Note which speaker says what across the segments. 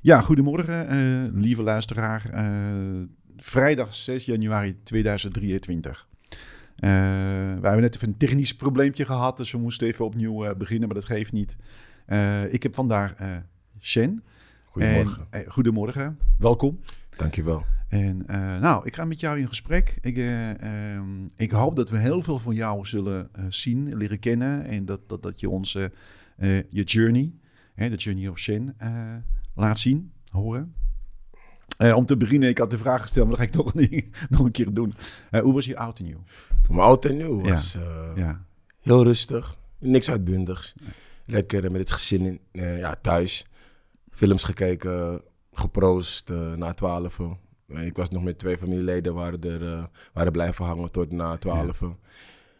Speaker 1: Ja, goedemorgen, eh, lieve luisteraar. Eh, vrijdag 6 januari 2023. Eh, we hebben net even een technisch probleempje gehad, dus we moesten even opnieuw eh, beginnen, maar dat geeft niet. Eh, ik heb vandaag eh Shen.
Speaker 2: Goedemorgen.
Speaker 1: En, eh, goedemorgen, welkom.
Speaker 2: Dankjewel.
Speaker 1: En eh, nou, ik ga met jou in gesprek. Ik, eh, ehm, ik hoop dat we heel veel van jou zullen eh, zien, leren kennen. En dat, dat, dat je ons eh, eh, je journey, hè, de journey of Shen, eh, laat zien, horen. Eh, om te beginnen, ik had de vraag gesteld, maar dat ga ik toch niet, nog een keer doen. Eh, hoe was je oud en nieuw?
Speaker 2: Maar oud en nieuw was eh,
Speaker 1: Ja.
Speaker 2: heel rustig. Niks uitbundigs. Lekker eh, met het gezin in, eh, ja, thuis. Films gekeken, geproost eh, na twaalf. Ik was nog met twee familieleden, waren, er, eh, waren blijven hangen tot na twaalf.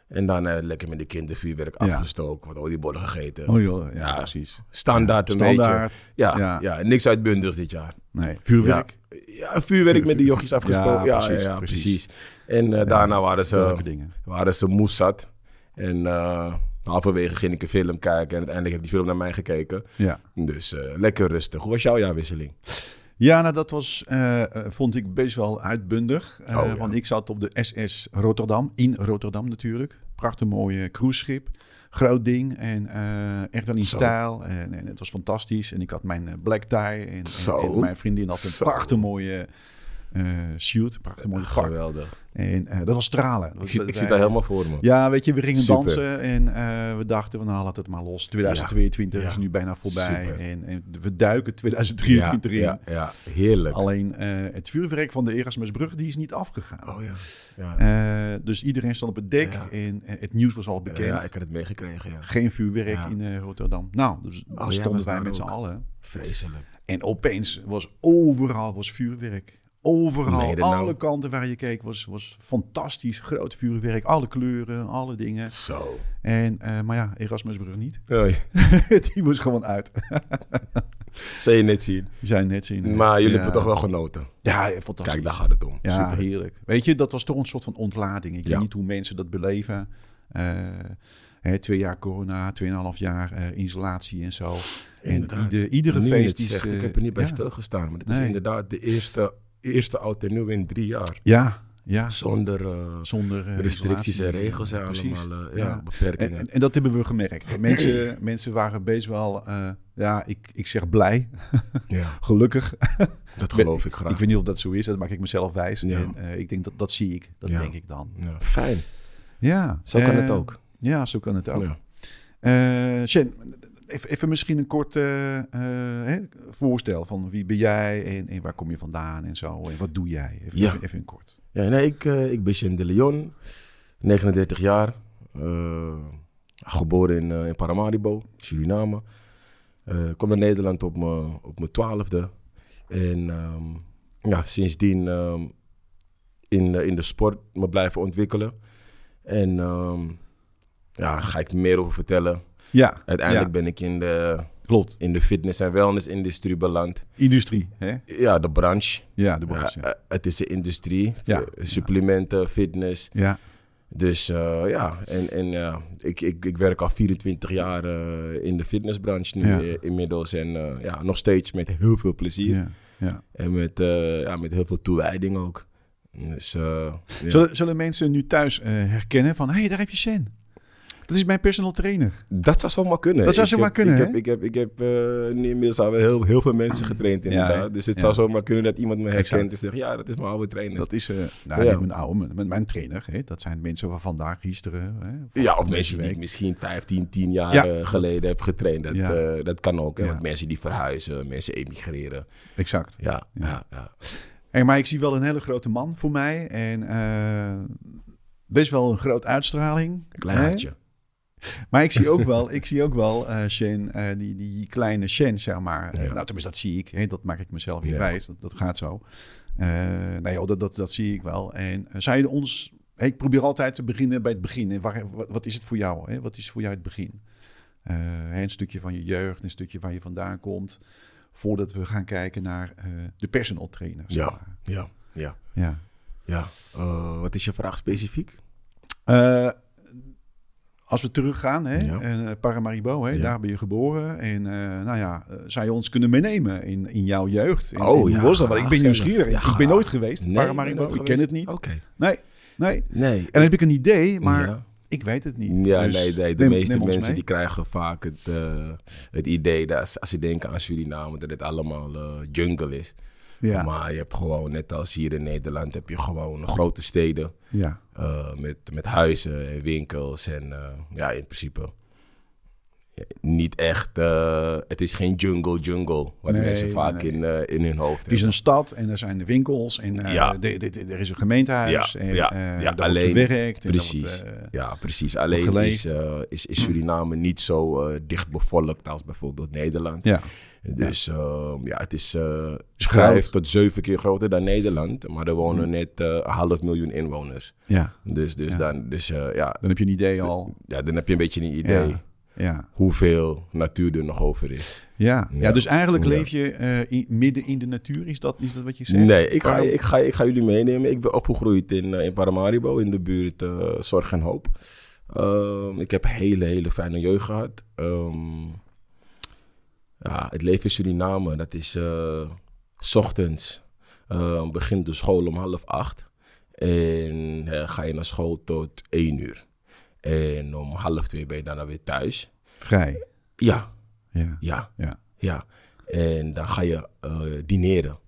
Speaker 2: En dan eh, lekker met de kindervuurwerk
Speaker 1: Ja.
Speaker 2: afgestoken, wat oliebollen gegeten.
Speaker 1: Oh joh, ja,
Speaker 2: Ja.
Speaker 1: precies.
Speaker 2: Standaard een beetje.
Speaker 1: Standaard.
Speaker 2: Ja,
Speaker 1: Ja.
Speaker 2: ja. niks uitbundigs dit jaar.
Speaker 1: Nee, vuurwerk.
Speaker 2: Ja, vuurwerk met de jochies
Speaker 1: Ja,
Speaker 2: afgesproken. Ja,
Speaker 1: precies,
Speaker 2: ja, ja,
Speaker 1: precies.
Speaker 2: precies. En eh, daarna waren ze
Speaker 1: Leuke dingen.
Speaker 2: waren ze moesat. En eh, halverwege ging ik een film kijken en uiteindelijk heeft die film naar mij gekeken.
Speaker 1: Ja.
Speaker 2: Dus eh, lekker rustig. Hoe was jouw jaarwisseling?
Speaker 1: Ja, nou dat was, eh, eh, vond ik best wel uitbundig. Eh,
Speaker 2: Oh, ja.
Speaker 1: Want ik zat op de SS Rotterdam, in Rotterdam natuurlijk. Prachtig mooi cruiseschip. Groot ding en eh, echt wel in
Speaker 2: Zo.
Speaker 1: stijl. En, en het was fantastisch. En ik had mijn eh, black tie. En, en-
Speaker 2: Zo.
Speaker 1: en mijn vriendin had een
Speaker 2: Zo.
Speaker 1: prachtig mooie eh shoot. Prachtig mooie pak.
Speaker 2: Ah, Geweldig.
Speaker 1: En eh, dat was stralen. Dat
Speaker 2: Ik
Speaker 1: was-
Speaker 2: zie,
Speaker 1: dat
Speaker 2: ik
Speaker 1: wij-
Speaker 2: zie daar helemaal voor me.
Speaker 1: Ja, weet je, we gingen
Speaker 2: Super.
Speaker 1: dansen en eh, we dachten, van, nou laat het maar los. 2022
Speaker 2: Ja.
Speaker 1: is nu bijna voorbij.
Speaker 2: Super.
Speaker 1: En, en we duiken 2023 in.
Speaker 2: ja, ja, heerlijk.
Speaker 1: Alleen eh, het vuurwerk van de Erasmusbrug die is niet afgegaan.
Speaker 2: Oh ja. Ja.
Speaker 1: Eh, dus iedereen stond op het dek
Speaker 2: Ja.
Speaker 1: en eh, het nieuws was al bekend.
Speaker 2: ja, ik had het meegekregen. Ja.
Speaker 1: Geen vuurwerk
Speaker 2: Ja.
Speaker 1: in eh, Rotterdam. Nou, dus daar
Speaker 2: jij
Speaker 1: stonden
Speaker 2: was
Speaker 1: wij
Speaker 2: daar
Speaker 1: met z'n
Speaker 2: ook.
Speaker 1: allen.
Speaker 2: Vreselijk.
Speaker 1: En opeens was overal was vuurwerk. Overal,
Speaker 2: Meen je dat
Speaker 1: alle
Speaker 2: nou?
Speaker 1: kanten waar je keek was, was fantastisch. Groot vuurwerk, alle kleuren, alle dingen.
Speaker 2: Zo.
Speaker 1: En, eh, maar ja, Erasmusbrug niet.
Speaker 2: Hoi.
Speaker 1: Die was gewoon uit.
Speaker 2: Zal je net zien.
Speaker 1: Die zijn net zien. eh,
Speaker 2: Maar jullie
Speaker 1: ja.
Speaker 2: hebben toch wel genoten.
Speaker 1: Ja, ja, fantastisch.
Speaker 2: Kijk, daar gaat het om.
Speaker 1: Ja,
Speaker 2: Super.
Speaker 1: heerlijk. Weet je, dat was toch een soort van ontlading. Ik weet
Speaker 2: Ja.
Speaker 1: niet hoe mensen dat beleven. Eh, hè, twee jaar corona, tweeënhalf jaar eh, isolatie en zo. En
Speaker 2: Inderdaad.
Speaker 1: ieder, iedere
Speaker 2: Nu je
Speaker 1: feest
Speaker 2: het
Speaker 1: is...
Speaker 2: zegt,
Speaker 1: eh,
Speaker 2: ik heb er niet bij
Speaker 1: ja.
Speaker 2: stilgestaan. Maar dit is
Speaker 1: Nee.
Speaker 2: inderdaad de eerste, eerste oud en nieuw in drie jaar.
Speaker 1: Ja, ja.
Speaker 2: Zonder eh,
Speaker 1: Zonder eh,
Speaker 2: restricties en
Speaker 1: isolatie.
Speaker 2: regels en
Speaker 1: Precies.
Speaker 2: allemaal eh,
Speaker 1: Ja.
Speaker 2: ja.
Speaker 1: En,
Speaker 2: beperkingen.
Speaker 1: en, en dat hebben we gemerkt. Mensen, mensen waren best wel, eh, ja, ik, ik zeg blij,
Speaker 2: ja,
Speaker 1: gelukkig.
Speaker 2: dat geloof ik graag.
Speaker 1: Ik weet niet of dat zo is, dat maak ik mezelf wijs.
Speaker 2: Ja.
Speaker 1: En, eh, ik denk dat dat zie ik, dat
Speaker 2: Ja.
Speaker 1: denk ik dan.
Speaker 2: Ja. Fijn,
Speaker 1: Ja,
Speaker 2: zo kan het
Speaker 1: eh,
Speaker 2: ook.
Speaker 1: Ja, zo kan het ook.
Speaker 2: Ja.
Speaker 1: Eh Sjen, even, even misschien een kort eh, eh, hè, voorstel van wie ben jij en, en waar kom je vandaan en zo. En wat doe jij? Even,
Speaker 2: Ja.
Speaker 1: even, even een kort.
Speaker 2: Ja, nee, ik, eh, ik ben Sjen de Leon, 39 jaar, eh, geboren in, eh, in Paramaribo, Suriname. Eh, kom naar Nederland op mijn op mijn twaalfde. En ehm, ja, sindsdien ehm, in, de- in de sport me blijven ontwikkelen. En ehm ja, ga ik meer over vertellen.
Speaker 1: Ja,
Speaker 2: Uiteindelijk
Speaker 1: Ja.
Speaker 2: ben ik in de,
Speaker 1: klopt.
Speaker 2: in de fitness- en wellness-industrie beland.
Speaker 1: Industrie, hè?
Speaker 2: Ja, de branche.
Speaker 1: Ja, de bos. Ja.
Speaker 2: Ja, eh, het is de industrie.
Speaker 1: Ja.
Speaker 2: Eh, Supplementen, fitness.
Speaker 1: Ja.
Speaker 2: Dus eh, ja, en, en ja, ik, ik, ik werk al 24 jaar eh, in de fitnessbranche nu
Speaker 1: Ja.
Speaker 2: eh, inmiddels. En eh, ja, nog steeds met heel veel plezier.
Speaker 1: ja, ja.
Speaker 2: En met, eh, ja, met heel veel toewijding ook. Dus, eh, ja.
Speaker 1: Zullen, zullen mensen nu thuis eh, herkennen van, hé, hey, daar heb je Sjen. Dat is mijn personal trainer.
Speaker 2: Dat zou zomaar kunnen.
Speaker 1: Dat zou
Speaker 2: Ik
Speaker 1: zomaar
Speaker 2: heb-
Speaker 1: kunnen,
Speaker 2: Ik
Speaker 1: hè?
Speaker 2: heb, ik heb, ik heb eh, nu inmiddels al heel, heel veel mensen getraind
Speaker 1: Ja,
Speaker 2: inderdaad.
Speaker 1: hè?
Speaker 2: dus het
Speaker 1: Ja.
Speaker 2: zou zomaar kunnen dat iemand me herkent
Speaker 1: Exact.
Speaker 2: en zegt... Ja, dat is mijn oude trainer.
Speaker 1: Dat is eh, nou,
Speaker 2: Ja.
Speaker 1: niet mijn oude, mijn, mijn- mijn trainer. Hè? Dat zijn mensen van vandaag, gisteren. Hè? Van
Speaker 2: Ja, of
Speaker 1: deze
Speaker 2: mensen die ik
Speaker 1: week.
Speaker 2: misschien 15, 10 jaar
Speaker 1: Ja.
Speaker 2: eh, geleden heb getraind. Dat,
Speaker 1: Ja.
Speaker 2: eh, dat kan ook. Hè?
Speaker 1: Ja.
Speaker 2: Want mensen die verhuizen, mensen emigreren.
Speaker 1: Exact.
Speaker 2: Ja,
Speaker 1: Ja.
Speaker 2: ja. ja, ja.
Speaker 1: Hey, maar ik zie wel een hele grote man voor mij. En eh, best wel een groot uitstraling.
Speaker 2: Klein
Speaker 1: Hè?
Speaker 2: hartje.
Speaker 1: Maar ik zie ook wel, ik zie ook wel eh, Shen, eh, die, die kleine Shen, zeg maar.
Speaker 2: Ja.
Speaker 1: Eh, nou, tenminste, dat zie ik. Hè? Dat maak ik mezelf niet
Speaker 2: Ja.
Speaker 1: wijs. Dat, dat gaat zo. Eh, nee, joh, dat, dat, dat zie ik wel. En eh, zou je ons... hey, ik probeer altijd te beginnen bij het begin. En waar, wat, wat is het voor jou? Hè? Wat is voor jou het begin? Eh, hè, een stukje van je jeugd, een stukje waar je vandaan komt. Voordat we gaan kijken naar eh, de personal trainer. zeg
Speaker 2: Ja.
Speaker 1: maar.
Speaker 2: Ja, ja,
Speaker 1: ja.
Speaker 2: ja. Eh, wat is je vraag specifiek?
Speaker 1: Eh, als we teruggaan, hè,
Speaker 2: Ja.
Speaker 1: en, eh, Paramaribo, hè,
Speaker 2: Ja.
Speaker 1: daar ben je geboren. En eh, nou ja, eh, zou je ons kunnen meenemen in, in jouw jeugd? En,
Speaker 2: Oh,
Speaker 1: en
Speaker 2: ja,
Speaker 1: Hoe was dat? Want ik ben
Speaker 2: gezellig.
Speaker 1: nieuwsgierig.
Speaker 2: Ja.
Speaker 1: Ik ben nooit geweest,
Speaker 2: Nee,
Speaker 1: Paramaribo.
Speaker 2: ben
Speaker 1: Ik
Speaker 2: nooit
Speaker 1: ken het
Speaker 2: geweest.
Speaker 1: niet.
Speaker 2: Oké.
Speaker 1: Nee, nee.
Speaker 2: Nee.
Speaker 1: En dan heb ik een idee, maar
Speaker 2: Ja.
Speaker 1: ik weet het niet.
Speaker 2: Ja,
Speaker 1: Dus
Speaker 2: nee, nee, de
Speaker 1: neem-
Speaker 2: meeste
Speaker 1: neem ons
Speaker 2: mensen
Speaker 1: mee.
Speaker 2: die krijgen vaak het, eh, het idee dat als, als ze denken aan Suriname, dat het allemaal eh, jungle is.
Speaker 1: Ja,
Speaker 2: Maar je hebt gewoon, net als hier in Nederland, heb je gewoon grote steden
Speaker 1: ja.
Speaker 2: eh, met, met huizen en winkels. En eh, ja, in principe ja, niet echt, eh, het is geen jungle jungle, wat
Speaker 1: Nee,
Speaker 2: mensen vaak
Speaker 1: nee.
Speaker 2: in, eh, in hun hoofd
Speaker 1: Het is
Speaker 2: hebben.
Speaker 1: een stad en er zijn de winkels en eh,
Speaker 2: Ja.
Speaker 1: de- de- de- er is een gemeentehuis.
Speaker 2: Ja,
Speaker 1: en,
Speaker 2: ja,
Speaker 1: eh,
Speaker 2: ja,
Speaker 1: daar wordt
Speaker 2: alleen-
Speaker 1: gewerkt. en daar wordt,
Speaker 2: Precies.
Speaker 1: eh,
Speaker 2: Ja, precies. Alleen
Speaker 1: geleefd.
Speaker 2: is, eh, is, is Suriname niet zo eh, dicht bevolkt als bijvoorbeeld Nederland.
Speaker 1: ja.
Speaker 2: Dus ehm, ja, het is, eh
Speaker 1: Is
Speaker 2: vijf
Speaker 1: groot.
Speaker 2: tot zeven keer groter dan Nederland. Maar er wonen net eh, een half miljoen inwoners.
Speaker 1: ja,
Speaker 2: Dus, dus,
Speaker 1: Ja.
Speaker 2: Dan, dus eh, ja,
Speaker 1: dan heb je een idee al.
Speaker 2: ja, dan heb je een beetje een idee
Speaker 1: Ja. Ja,
Speaker 2: hoeveel natuur er nog over is.
Speaker 1: ja. ja.
Speaker 2: Ja.
Speaker 1: dus eigenlijk
Speaker 2: Ja.
Speaker 1: leef je eh, in- midden in de natuur. Is dat, is dat wat je zegt?
Speaker 2: Nee, ik ga,
Speaker 1: Waarom-
Speaker 2: ik, ga, ik ga jullie meenemen. Ik ben opgegroeid in, eh, in Paramaribo, in de buurt eh, Zorg en Hoop. Ehm, ik heb hele, hele fijne jeugd gehad. Ehm, ja, het leven in Suriname, dat is eh, 's ochtends. eh, begint de school om half acht. En eh, ga je naar school tot één uur. En om half twee ben je daarna weer thuis.
Speaker 1: Vrij.
Speaker 2: Ja,
Speaker 1: Ja.
Speaker 2: ja,
Speaker 1: Ja.
Speaker 2: ja. En dan ga je eh, dineren.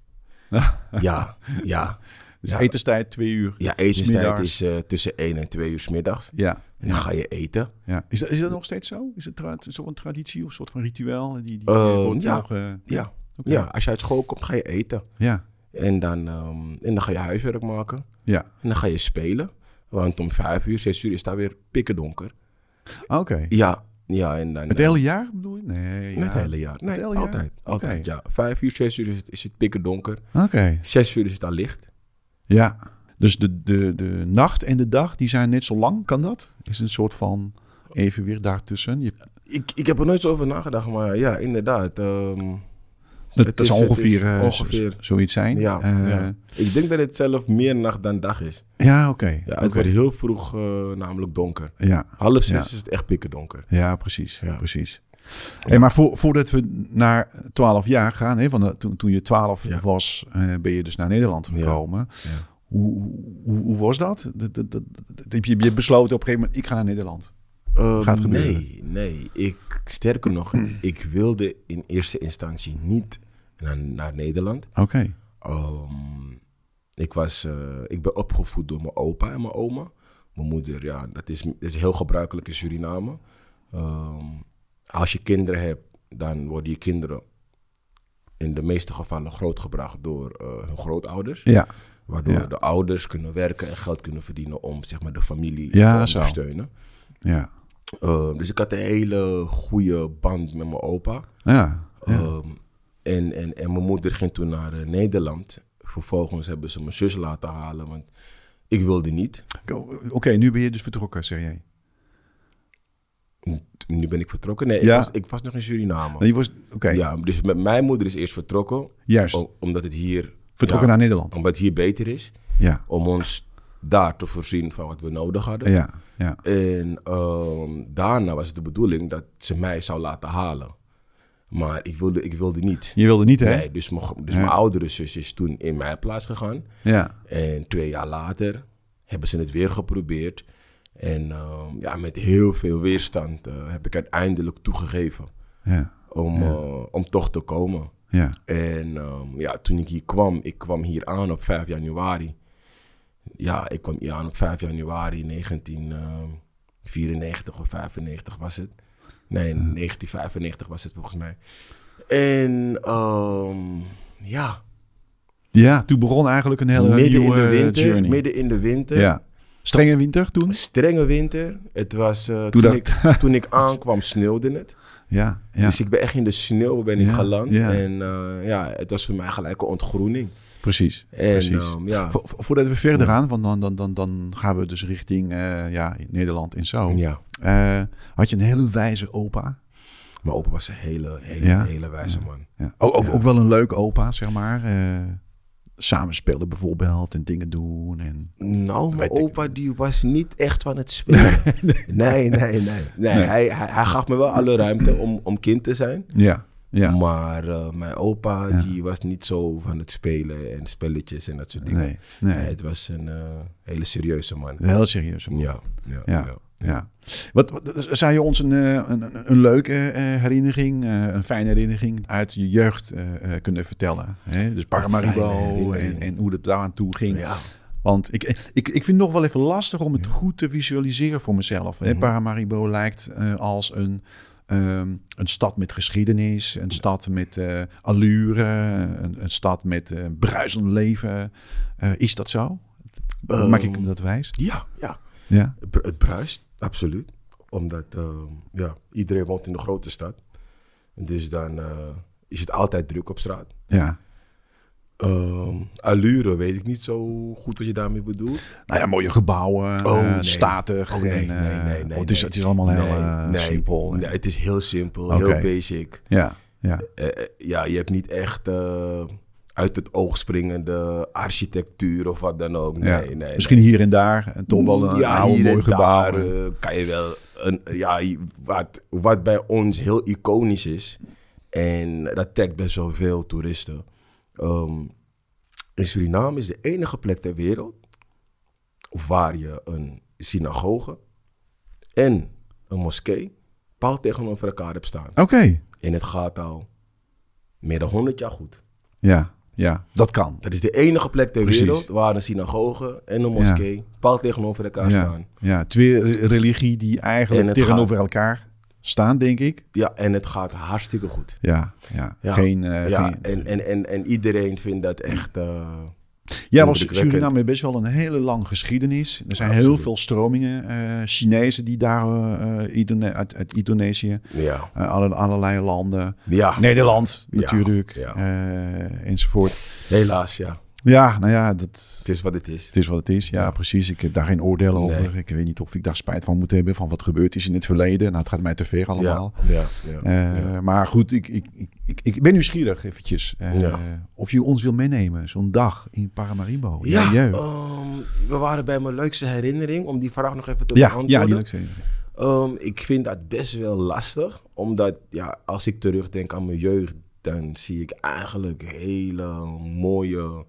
Speaker 2: ja, ja.
Speaker 1: Dus
Speaker 2: Ja.
Speaker 1: etenstijd twee uur.
Speaker 2: Ja, etenstijd
Speaker 1: Smiddags.
Speaker 2: is eh, tussen 1 en 2 uur 's middags.
Speaker 1: Ja.
Speaker 2: En dan ga je eten.
Speaker 1: ja. Is, dat, is dat nog steeds zo? Is het tra- zo'n traditie of een soort van ritueel? Die, die
Speaker 2: Eh,
Speaker 1: wordt
Speaker 2: ja.
Speaker 1: nog, eh,
Speaker 2: Ja.
Speaker 1: oké.
Speaker 2: ja, als je uit school komt, ga je eten.
Speaker 1: ja.
Speaker 2: En dan, ehm, en dan ga je huiswerk maken.
Speaker 1: Ja.
Speaker 2: En dan ga je spelen. Want om 5 uur, 6 uur is daar weer pikken donker.
Speaker 1: Ah, Oké.
Speaker 2: Ja, ja. En dan,
Speaker 1: Het hele jaar bedoel je? Nee.
Speaker 2: Met het
Speaker 1: ja.
Speaker 2: hele jaar. Nee,
Speaker 1: hele jaar?
Speaker 2: altijd.
Speaker 1: Oké.
Speaker 2: altijd ja. 5 uur, 6 uur is het, is het pikken donker.
Speaker 1: Oké.
Speaker 2: 6 uur is het al licht.
Speaker 1: Ja. Dus de, de, de nacht en de dag, die zijn net zo lang. Kan dat? Is een soort van even weer daartussen. Je,
Speaker 2: Ik, ik heb er nooit zo over nagedacht, maar ja, inderdaad. ehm,
Speaker 1: dat
Speaker 2: Het
Speaker 1: dat
Speaker 2: is-
Speaker 1: zal
Speaker 2: het is
Speaker 1: ongeveer, eh,
Speaker 2: ongeveer-
Speaker 1: z- zoiets zijn.
Speaker 2: ja,
Speaker 1: Eh,
Speaker 2: ja. Ik denk dat het zelf meer nacht dan dag is.
Speaker 1: ja, oké. Ja,
Speaker 2: Ja, het wordt heel vroeg eh, namelijk donker.
Speaker 1: ja,
Speaker 2: Half zes
Speaker 1: Ja.
Speaker 2: is het echt pikken donker.
Speaker 1: Ja, precies.
Speaker 2: Ja.
Speaker 1: precies. Hey, maar voor, voordat we naar 12 jaar gaan, hè, van toen, toen je 12
Speaker 2: Ja.
Speaker 1: was, eh, ben je dus naar Nederland
Speaker 2: Ja.
Speaker 1: gekomen.
Speaker 2: Ja.
Speaker 1: Hoe, hoe, hoe was dat? Dat- dat- dat- dat- Heb je, je hebt besloten op een gegeven moment, ik ga naar Nederland.
Speaker 2: Eh,
Speaker 1: Gaat gebeuren. Hmm.
Speaker 2: nee, nee. Ik, sterker nog, ik wilde in eerste instantie niet naar, naar Nederland.
Speaker 1: Oké.
Speaker 2: Ehm, ik, was, eh, ik ben opgevoed door mijn opa en mijn oma. Mijn moeder, ja, dat is, dat is heel gebruikelijk in Suriname. Ehm, als je kinderen hebt, dan worden je kinderen in de meeste gevallen grootgebracht door eh, hun grootouders.
Speaker 1: Ja.
Speaker 2: Waardoor
Speaker 1: Ja.
Speaker 2: de ouders kunnen werken en geld kunnen verdienen om zeg maar, de familie
Speaker 1: Ja,
Speaker 2: te
Speaker 1: zo.
Speaker 2: ondersteunen.
Speaker 1: Ja.
Speaker 2: Ehm, dus ik had een hele goede band met mijn opa.
Speaker 1: Ja.
Speaker 2: Ehm, en, en, en mijn moeder ging toen naar eh, Nederland. Vervolgens hebben ze mijn zus laten halen, want ik wilde niet.
Speaker 1: Oké, nu ben je dus vertrokken, zeg jij.
Speaker 2: Nu ben ik vertrokken. Nee,
Speaker 1: Ja.
Speaker 2: ik, was, ik was nog in Suriname.
Speaker 1: Nou, je was, oké,
Speaker 2: Oh. Ja, dus met mijn moeder is eerst vertrokken,
Speaker 1: juist.
Speaker 2: o- omdat het hier,
Speaker 1: vertrokken
Speaker 2: ja. Oh.
Speaker 1: naar Nederland.
Speaker 2: omdat het hier beter is.
Speaker 1: Ja.
Speaker 2: Om ons daar te voorzien van wat we nodig hadden.
Speaker 1: Ja. Ja.
Speaker 2: En ehm, daarna was het de bedoeling dat ze mij zou laten halen. Maar ik wilde, ik wilde niet.
Speaker 1: Je wilde niet, hè?
Speaker 2: Nee, dus mijn, dus
Speaker 1: Ja.
Speaker 2: mijn oudere zus is toen in mijn plaats gegaan.
Speaker 1: Ja.
Speaker 2: En twee jaar later hebben ze het weer geprobeerd. En ehm, ja, met heel veel weerstand eh, heb ik uiteindelijk toegegeven
Speaker 1: Ja.
Speaker 2: om, eh, om toch te komen.
Speaker 1: Ja.
Speaker 2: En ehm, ja, toen ik hier kwam, ik kwam hier aan op 5 januari. Ja, ik kwam hier aan op 5 januari 1994 of 95 was het. Nee, 1995 was het volgens mij. En ehm, ja,
Speaker 1: Ja, toen begon eigenlijk een hele
Speaker 2: midden in
Speaker 1: nieuwe eh,
Speaker 2: de winter.
Speaker 1: journey.
Speaker 2: Midden in de winter.
Speaker 1: Ja. Strenge winter toen?
Speaker 2: Strenge winter. Het was, eh, toen,
Speaker 1: Toen dat-
Speaker 2: ik, toen ik aankwam sneeuwde het.
Speaker 1: Ja, ja
Speaker 2: Dus ik ben echt in de sneeuw ben ik
Speaker 1: Ja,
Speaker 2: geland.
Speaker 1: ja.
Speaker 2: En eh, ja, het was voor mij gelijk een ontgroening.
Speaker 1: precies.
Speaker 2: En,
Speaker 1: precies.
Speaker 2: ehm, ja.
Speaker 1: Vo- vo- voordat we verder gaan, want dan, dan, dan, dan gaan we dus richting eh, ja, Nederland en zo.
Speaker 2: ja.
Speaker 1: Eh, had je een hele wijze opa.
Speaker 2: Mijn opa was een hele, hele,
Speaker 1: Ja?
Speaker 2: hele wijze man.
Speaker 1: Ja. Ook, ook,
Speaker 2: Ja.
Speaker 1: ook wel een leuke opa, zeg maar. Eh, samen spelen bijvoorbeeld en dingen doen. En...
Speaker 2: Nou, mijn
Speaker 1: weet ik
Speaker 2: opa die was niet echt van het spelen. Nee, nee, nee. nee. Hij, hij, hij gaf me wel alle ruimte om, om kind te zijn.
Speaker 1: Ja, ja.
Speaker 2: Maar eh, mijn opa
Speaker 1: Ja.
Speaker 2: die was niet zo van het spelen en spelletjes en dat soort dingen.
Speaker 1: Nee, nee.
Speaker 2: het was een eh, hele serieuze man.
Speaker 1: Heel serieus.
Speaker 2: Ja, ja,
Speaker 1: Ja.
Speaker 2: ja.
Speaker 1: Ja. Wat, wat, zou je ons een, eh, een, een- een leuke eh, herinnering, eh, een fijne herinnering uit je jeugd eh, eh, kunnen vertellen? Hè? Dus
Speaker 2: Fijne
Speaker 1: Paramaribo
Speaker 2: herinnering.
Speaker 1: en, en hoe het daar aan toe ging.
Speaker 2: Ja.
Speaker 1: Want ik, ik, ik vind het nog wel even lastig om het goed te visualiseren voor mezelf.
Speaker 2: Mhm.
Speaker 1: hè. Paramaribo lijkt eh, als een, ehm, een stad met geschiedenis, een stad met eh, allure, een, een stad met eh, bruisend leven. Eh, is dat zo? Maak
Speaker 2: Oh.
Speaker 1: ik hem dat wijs?
Speaker 2: ja, ja.
Speaker 1: Ja.
Speaker 2: Het bru- Het bruist, absoluut. Omdat eh, ja, iedereen woont in de grote stad. Dus dan eh, is het altijd druk op straat.
Speaker 1: ja.
Speaker 2: Ehm, allure weet ik niet zo goed wat je daarmee bedoelt.
Speaker 1: Nou ja, mooie gebouwen,
Speaker 2: Oh,
Speaker 1: eh,
Speaker 2: nee.
Speaker 1: statig.
Speaker 2: Oh, nee,
Speaker 1: en, eh,
Speaker 2: nee, nee, nee,
Speaker 1: want het, is,
Speaker 2: nee.
Speaker 1: het is allemaal heel
Speaker 2: Nee,
Speaker 1: eh,
Speaker 2: nee,
Speaker 1: simpel.
Speaker 2: nee, het is heel simpel,
Speaker 1: Oké.
Speaker 2: heel basic.
Speaker 1: Ja, ja,
Speaker 2: Eh, eh, ja, je hebt niet echt eh, uit het oog springende architectuur of wat dan ook. Nee,
Speaker 1: ja. Dus
Speaker 2: nee, nee.
Speaker 1: Misschien hier en daar en toch wel een
Speaker 2: ja,
Speaker 1: oude,
Speaker 2: hier
Speaker 1: mooi
Speaker 2: en
Speaker 1: gebouw.
Speaker 2: daar, eh, kan je wel een, ja, wat, wat bij ons heel iconisch is, en dat trekt best wel veel toeristen. Ehm, in Suriname is de enige plek ter wereld waar je een synagoge en een moskee paal tegenover elkaar hebt staan.
Speaker 1: Oké,
Speaker 2: En het gaat al meer dan 100 jaar goed.
Speaker 1: ja, ja, dat kan.
Speaker 2: Dat is de enige plek ter
Speaker 1: Precies.
Speaker 2: wereld waar een synagoge en een moskee paal tegenover elkaar
Speaker 1: Ja,
Speaker 2: staan.
Speaker 1: ja, twee re- religie die
Speaker 2: En
Speaker 1: eigenlijk
Speaker 2: het
Speaker 1: tegenover elkaar staan, denk ik.
Speaker 2: Ja, en het gaat hartstikke goed.
Speaker 1: Ja, ja.
Speaker 2: Ja.
Speaker 1: Geen, eh,
Speaker 2: ja,
Speaker 1: geen-
Speaker 2: en, en, en, en iedereen vindt dat echt. eh,
Speaker 1: ja, was
Speaker 2: indrukwekkend.
Speaker 1: Suriname heeft best wel een hele lange geschiedenis. Er zijn heel
Speaker 2: Absoluut.
Speaker 1: veel stromingen. eh, Chinezen die daar eh, eh, Indone- uit, uit Indonesië,
Speaker 2: ja.
Speaker 1: eh, alle- allerlei landen.
Speaker 2: ja,
Speaker 1: Ah. Nederland
Speaker 2: Ja,
Speaker 1: natuurlijk,
Speaker 2: ja.
Speaker 1: eh, enzovoort.
Speaker 2: helaas, ja.
Speaker 1: Ja, nou ja, dat,
Speaker 2: Het is wat het is.
Speaker 1: het is wat het is. Ja, precies. Ik heb daar geen oordeel
Speaker 2: Nee.
Speaker 1: over. Ik weet niet of ik daar spijt van moet hebben van wat gebeurd is in het verleden. Nou, het gaat mij te ver allemaal.
Speaker 2: Ja, ja, ja,
Speaker 1: Eh,
Speaker 2: ja.
Speaker 1: Maar goed, ik, ik, ik- ik, ik ben nieuwsgierig eventjes. eh,
Speaker 2: Ja.
Speaker 1: Of je ons wil meenemen, zo'n dag in Paramaribo. in
Speaker 2: Ja,
Speaker 1: jouw jeugd.
Speaker 2: ehm, we waren bij mijn leukste herinnering om die vraag nog even te
Speaker 1: ja, ja,
Speaker 2: beantwoorden.
Speaker 1: die leukste.
Speaker 2: Ehm, ik vind dat best wel lastig, omdat ja, als ik terugdenk aan mijn jeugd, dan zie ik eigenlijk hele mooie,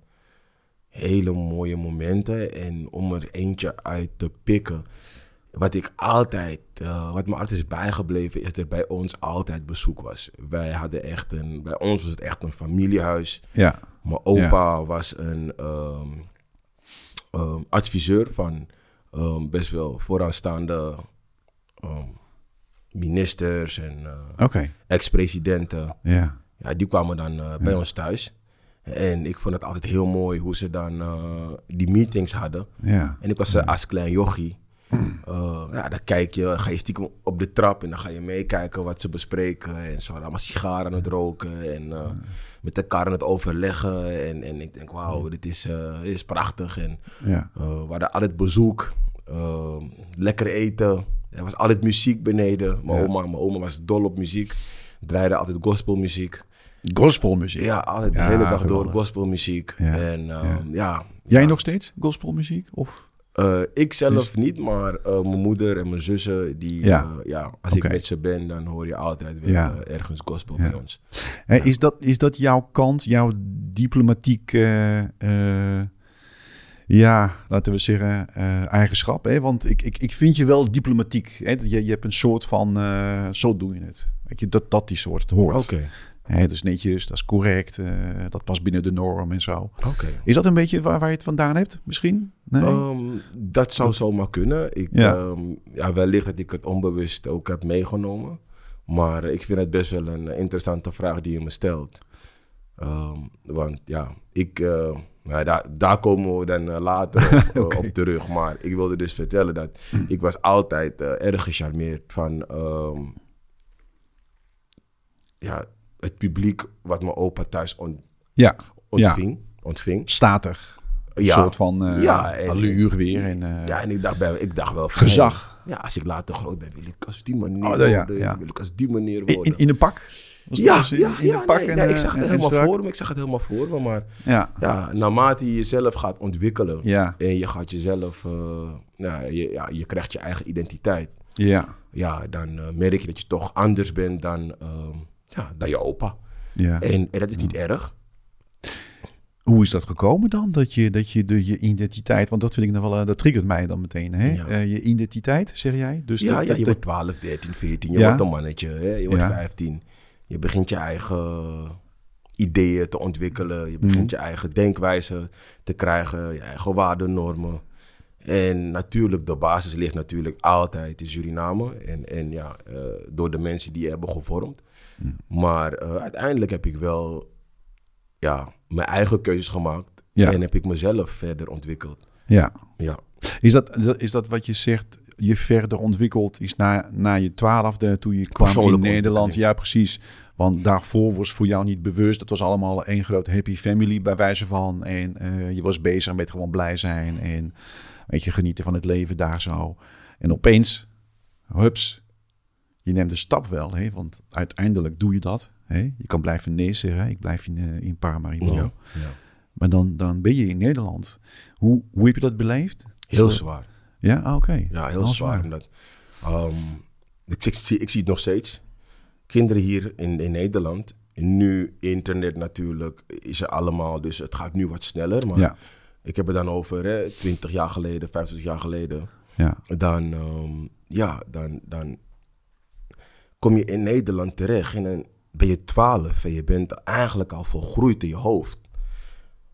Speaker 2: hele mooie momenten. En om er eentje uit te pikken, wat ik altijd, eh, wat me altijd is bijgebleven, is dat bij ons altijd bezoek was. Wij hadden echt een, bij ons was het echt een familiehuis.
Speaker 1: Ja,
Speaker 2: Mijn opa was een ehm, ehm, adviseur van ehm, best wel vooraanstaande ehm, ministers en eh,
Speaker 1: oké.
Speaker 2: ex-presidenten.
Speaker 1: Ja.
Speaker 2: Ja, die kwamen dan eh, bij ons thuis. En ik vond het altijd heel mooi hoe ze dan eh, die meetings hadden.
Speaker 1: Ja.
Speaker 2: En ik was eh, als klein jochie. Eh, ja, dan kijk je, ga je stiekem op de trap en dan ga je meekijken wat ze bespreken. En ze waren allemaal sigaren aan het roken en eh, met elkaar aan het overleggen. En, en ik denk, wauw, dit is, eh, dit is prachtig. En
Speaker 1: Ja.
Speaker 2: eh, we hadden altijd bezoek, eh, lekker eten. Er was altijd muziek beneden. Mijn,
Speaker 1: Ja.
Speaker 2: oma, mijn oma was dol op muziek, draaide altijd gospelmuziek. Dus
Speaker 1: Gospelmuziek.
Speaker 2: Ja, altijd de
Speaker 1: Ja,
Speaker 2: hele dag
Speaker 1: geweldig.
Speaker 2: door gospelmuziek.
Speaker 1: Ja,
Speaker 2: En eh, ja,
Speaker 1: Jij nog steeds gospelmuziek? Of?
Speaker 2: Eh, ik zelf niet, maar eh, mijn moeder en mijn zussen, die,
Speaker 1: Dus- Ja.
Speaker 2: ja. ja, als
Speaker 1: Oké.
Speaker 2: ik met ze ben, dan hoor je altijd weer
Speaker 1: Ja.
Speaker 2: eh, ergens gospel
Speaker 1: Ja.
Speaker 2: bij ons.
Speaker 1: Hè, is, dat, is dat jouw kant, jouw diplomatiek, eh, eh, ja, laten we zeggen, eh, eigenschap? Hè? Want ik, ik, ik vind je wel diplomatiek. Hè? Dat Je, je hebt een soort van, eh, zo doe je het. Weet je, dat, dat die soort hoort. Hè, dat is netjes, dat is correct, eh, dat past binnen de norm en zo.
Speaker 2: oké.
Speaker 1: Is dat een beetje waar, waar je het vandaan hebt, misschien? Nee?
Speaker 2: Ehm, dat zou zomaar kunnen. Ik,
Speaker 1: Ja.
Speaker 2: ehm, ja, wellicht dat ik het onbewust ook heb meegenomen. Maar eh, ik vind het best wel een eh, interessante vraag die je me stelt. Ehm, want ja, ik, eh, nou, daar, daar komen we dan eh, later op, eh,
Speaker 1: Oké. Mm.
Speaker 2: op terug. Maar ik wilde dus vertellen dat ik was altijd eh, erg gecharmeerd van ehm, ja, het publiek wat mijn opa thuis on-
Speaker 1: ja,
Speaker 2: ontving. ontving.
Speaker 1: statig. Een
Speaker 2: Ja.
Speaker 1: soort van eh
Speaker 2: Ja, en-
Speaker 1: allure weer en eh,
Speaker 2: Ja, en ik dacht, bij, ik dacht wel van,
Speaker 1: gezag.
Speaker 2: hey, ja, als ik later groot ben, wil ik als die manier
Speaker 1: Oh, dat-
Speaker 2: worden.
Speaker 1: ja, ja.
Speaker 2: Wil ik als die manier
Speaker 1: In,
Speaker 2: worden.
Speaker 1: in, in een pak? Was
Speaker 2: ja,
Speaker 1: dat dus in,
Speaker 2: ja,
Speaker 1: in
Speaker 2: ja,
Speaker 1: de pak
Speaker 2: nee,
Speaker 1: en,
Speaker 2: nee,
Speaker 1: eh,
Speaker 2: ik zag het
Speaker 1: en- en
Speaker 2: helemaal
Speaker 1: strak?
Speaker 2: voor me. Ik zag het helemaal voor me. Maar
Speaker 1: Ja,
Speaker 2: ja, naarmate je jezelf gaat ontwikkelen
Speaker 1: ja,
Speaker 2: en je gaat jezelf, eh, ja, je, ja, je krijgt je eigen identiteit.
Speaker 1: ja,
Speaker 2: Ja, dan eh, merk je dat je toch anders bent dan, ehm, ja, dan je opa.
Speaker 1: ja.
Speaker 2: En, en dat is niet erg.
Speaker 1: Eh, Hoe is dat gekomen dan? Dat je, dat je de, je identiteit, want dat vind ik nog wel, eh, dat triggert mij dan meteen. Hè?
Speaker 2: Ja.
Speaker 1: Eh, je identiteit, zeg jij? Dus
Speaker 2: ja,
Speaker 1: dat,
Speaker 2: ja,
Speaker 1: dat-
Speaker 2: je
Speaker 1: dat-
Speaker 2: wordt 12, 13, 14. Je
Speaker 1: Ja.
Speaker 2: wordt een mannetje. Hè? Je wordt
Speaker 1: Ja.
Speaker 2: 15. Je begint je eigen ideeën te ontwikkelen. Je begint je eigen denkwijze te krijgen. Je eigen waardennormen. En natuurlijk, de basis ligt natuurlijk altijd in Suriname. En, en ja, eh, door de mensen die je hebben gevormd. Maar eh, uiteindelijk heb ik wel ja, mijn eigen keuzes gemaakt.
Speaker 1: Ja.
Speaker 2: En heb ik mezelf verder ontwikkeld.
Speaker 1: ja.
Speaker 2: Ja.
Speaker 1: Is, dat, is dat wat je zegt, je verder ontwikkeld is na, na je twaalfde, toen je kwam in
Speaker 2: Persoonlijke
Speaker 1: Nederland?
Speaker 2: ontwikkeling.
Speaker 1: Ja, precies. Want daarvoor was voor jou niet bewust. Dat was allemaal één groot happy family bij wijze van. En eh, je was bezig met gewoon blij zijn en weet je, genieten van het leven daar zo. En opeens, hups, je neemt de stap wel. Hè? Want uiteindelijk doe je dat. Hè? Je kan blijven nee zeggen. Ik blijf in, eh, in Paramaribo.
Speaker 2: Ja. Ja.
Speaker 1: Maar dan, dan ben je in Nederland. Hoe, hoe heb je dat beleefd? Is
Speaker 2: Heel
Speaker 1: dat-
Speaker 2: zwaar.
Speaker 1: Ja, Ah, oké.
Speaker 2: Ja, heel
Speaker 1: Wel
Speaker 2: zwaar. Omdat, ehm, ik, ik, zie, ik zie het nog steeds. Kinderen hier in, in Nederland. Nu internet natuurlijk is er allemaal, dus het gaat nu wat sneller. Maar
Speaker 1: Ja,
Speaker 2: ik heb het dan over hè, 20 jaar geleden, 25 jaar geleden.
Speaker 1: ja,
Speaker 2: Dan, ehm, ja, dan, dan kom je in Nederland terecht en dan ben je 12 en je bent eigenlijk al volgroeid in je hoofd.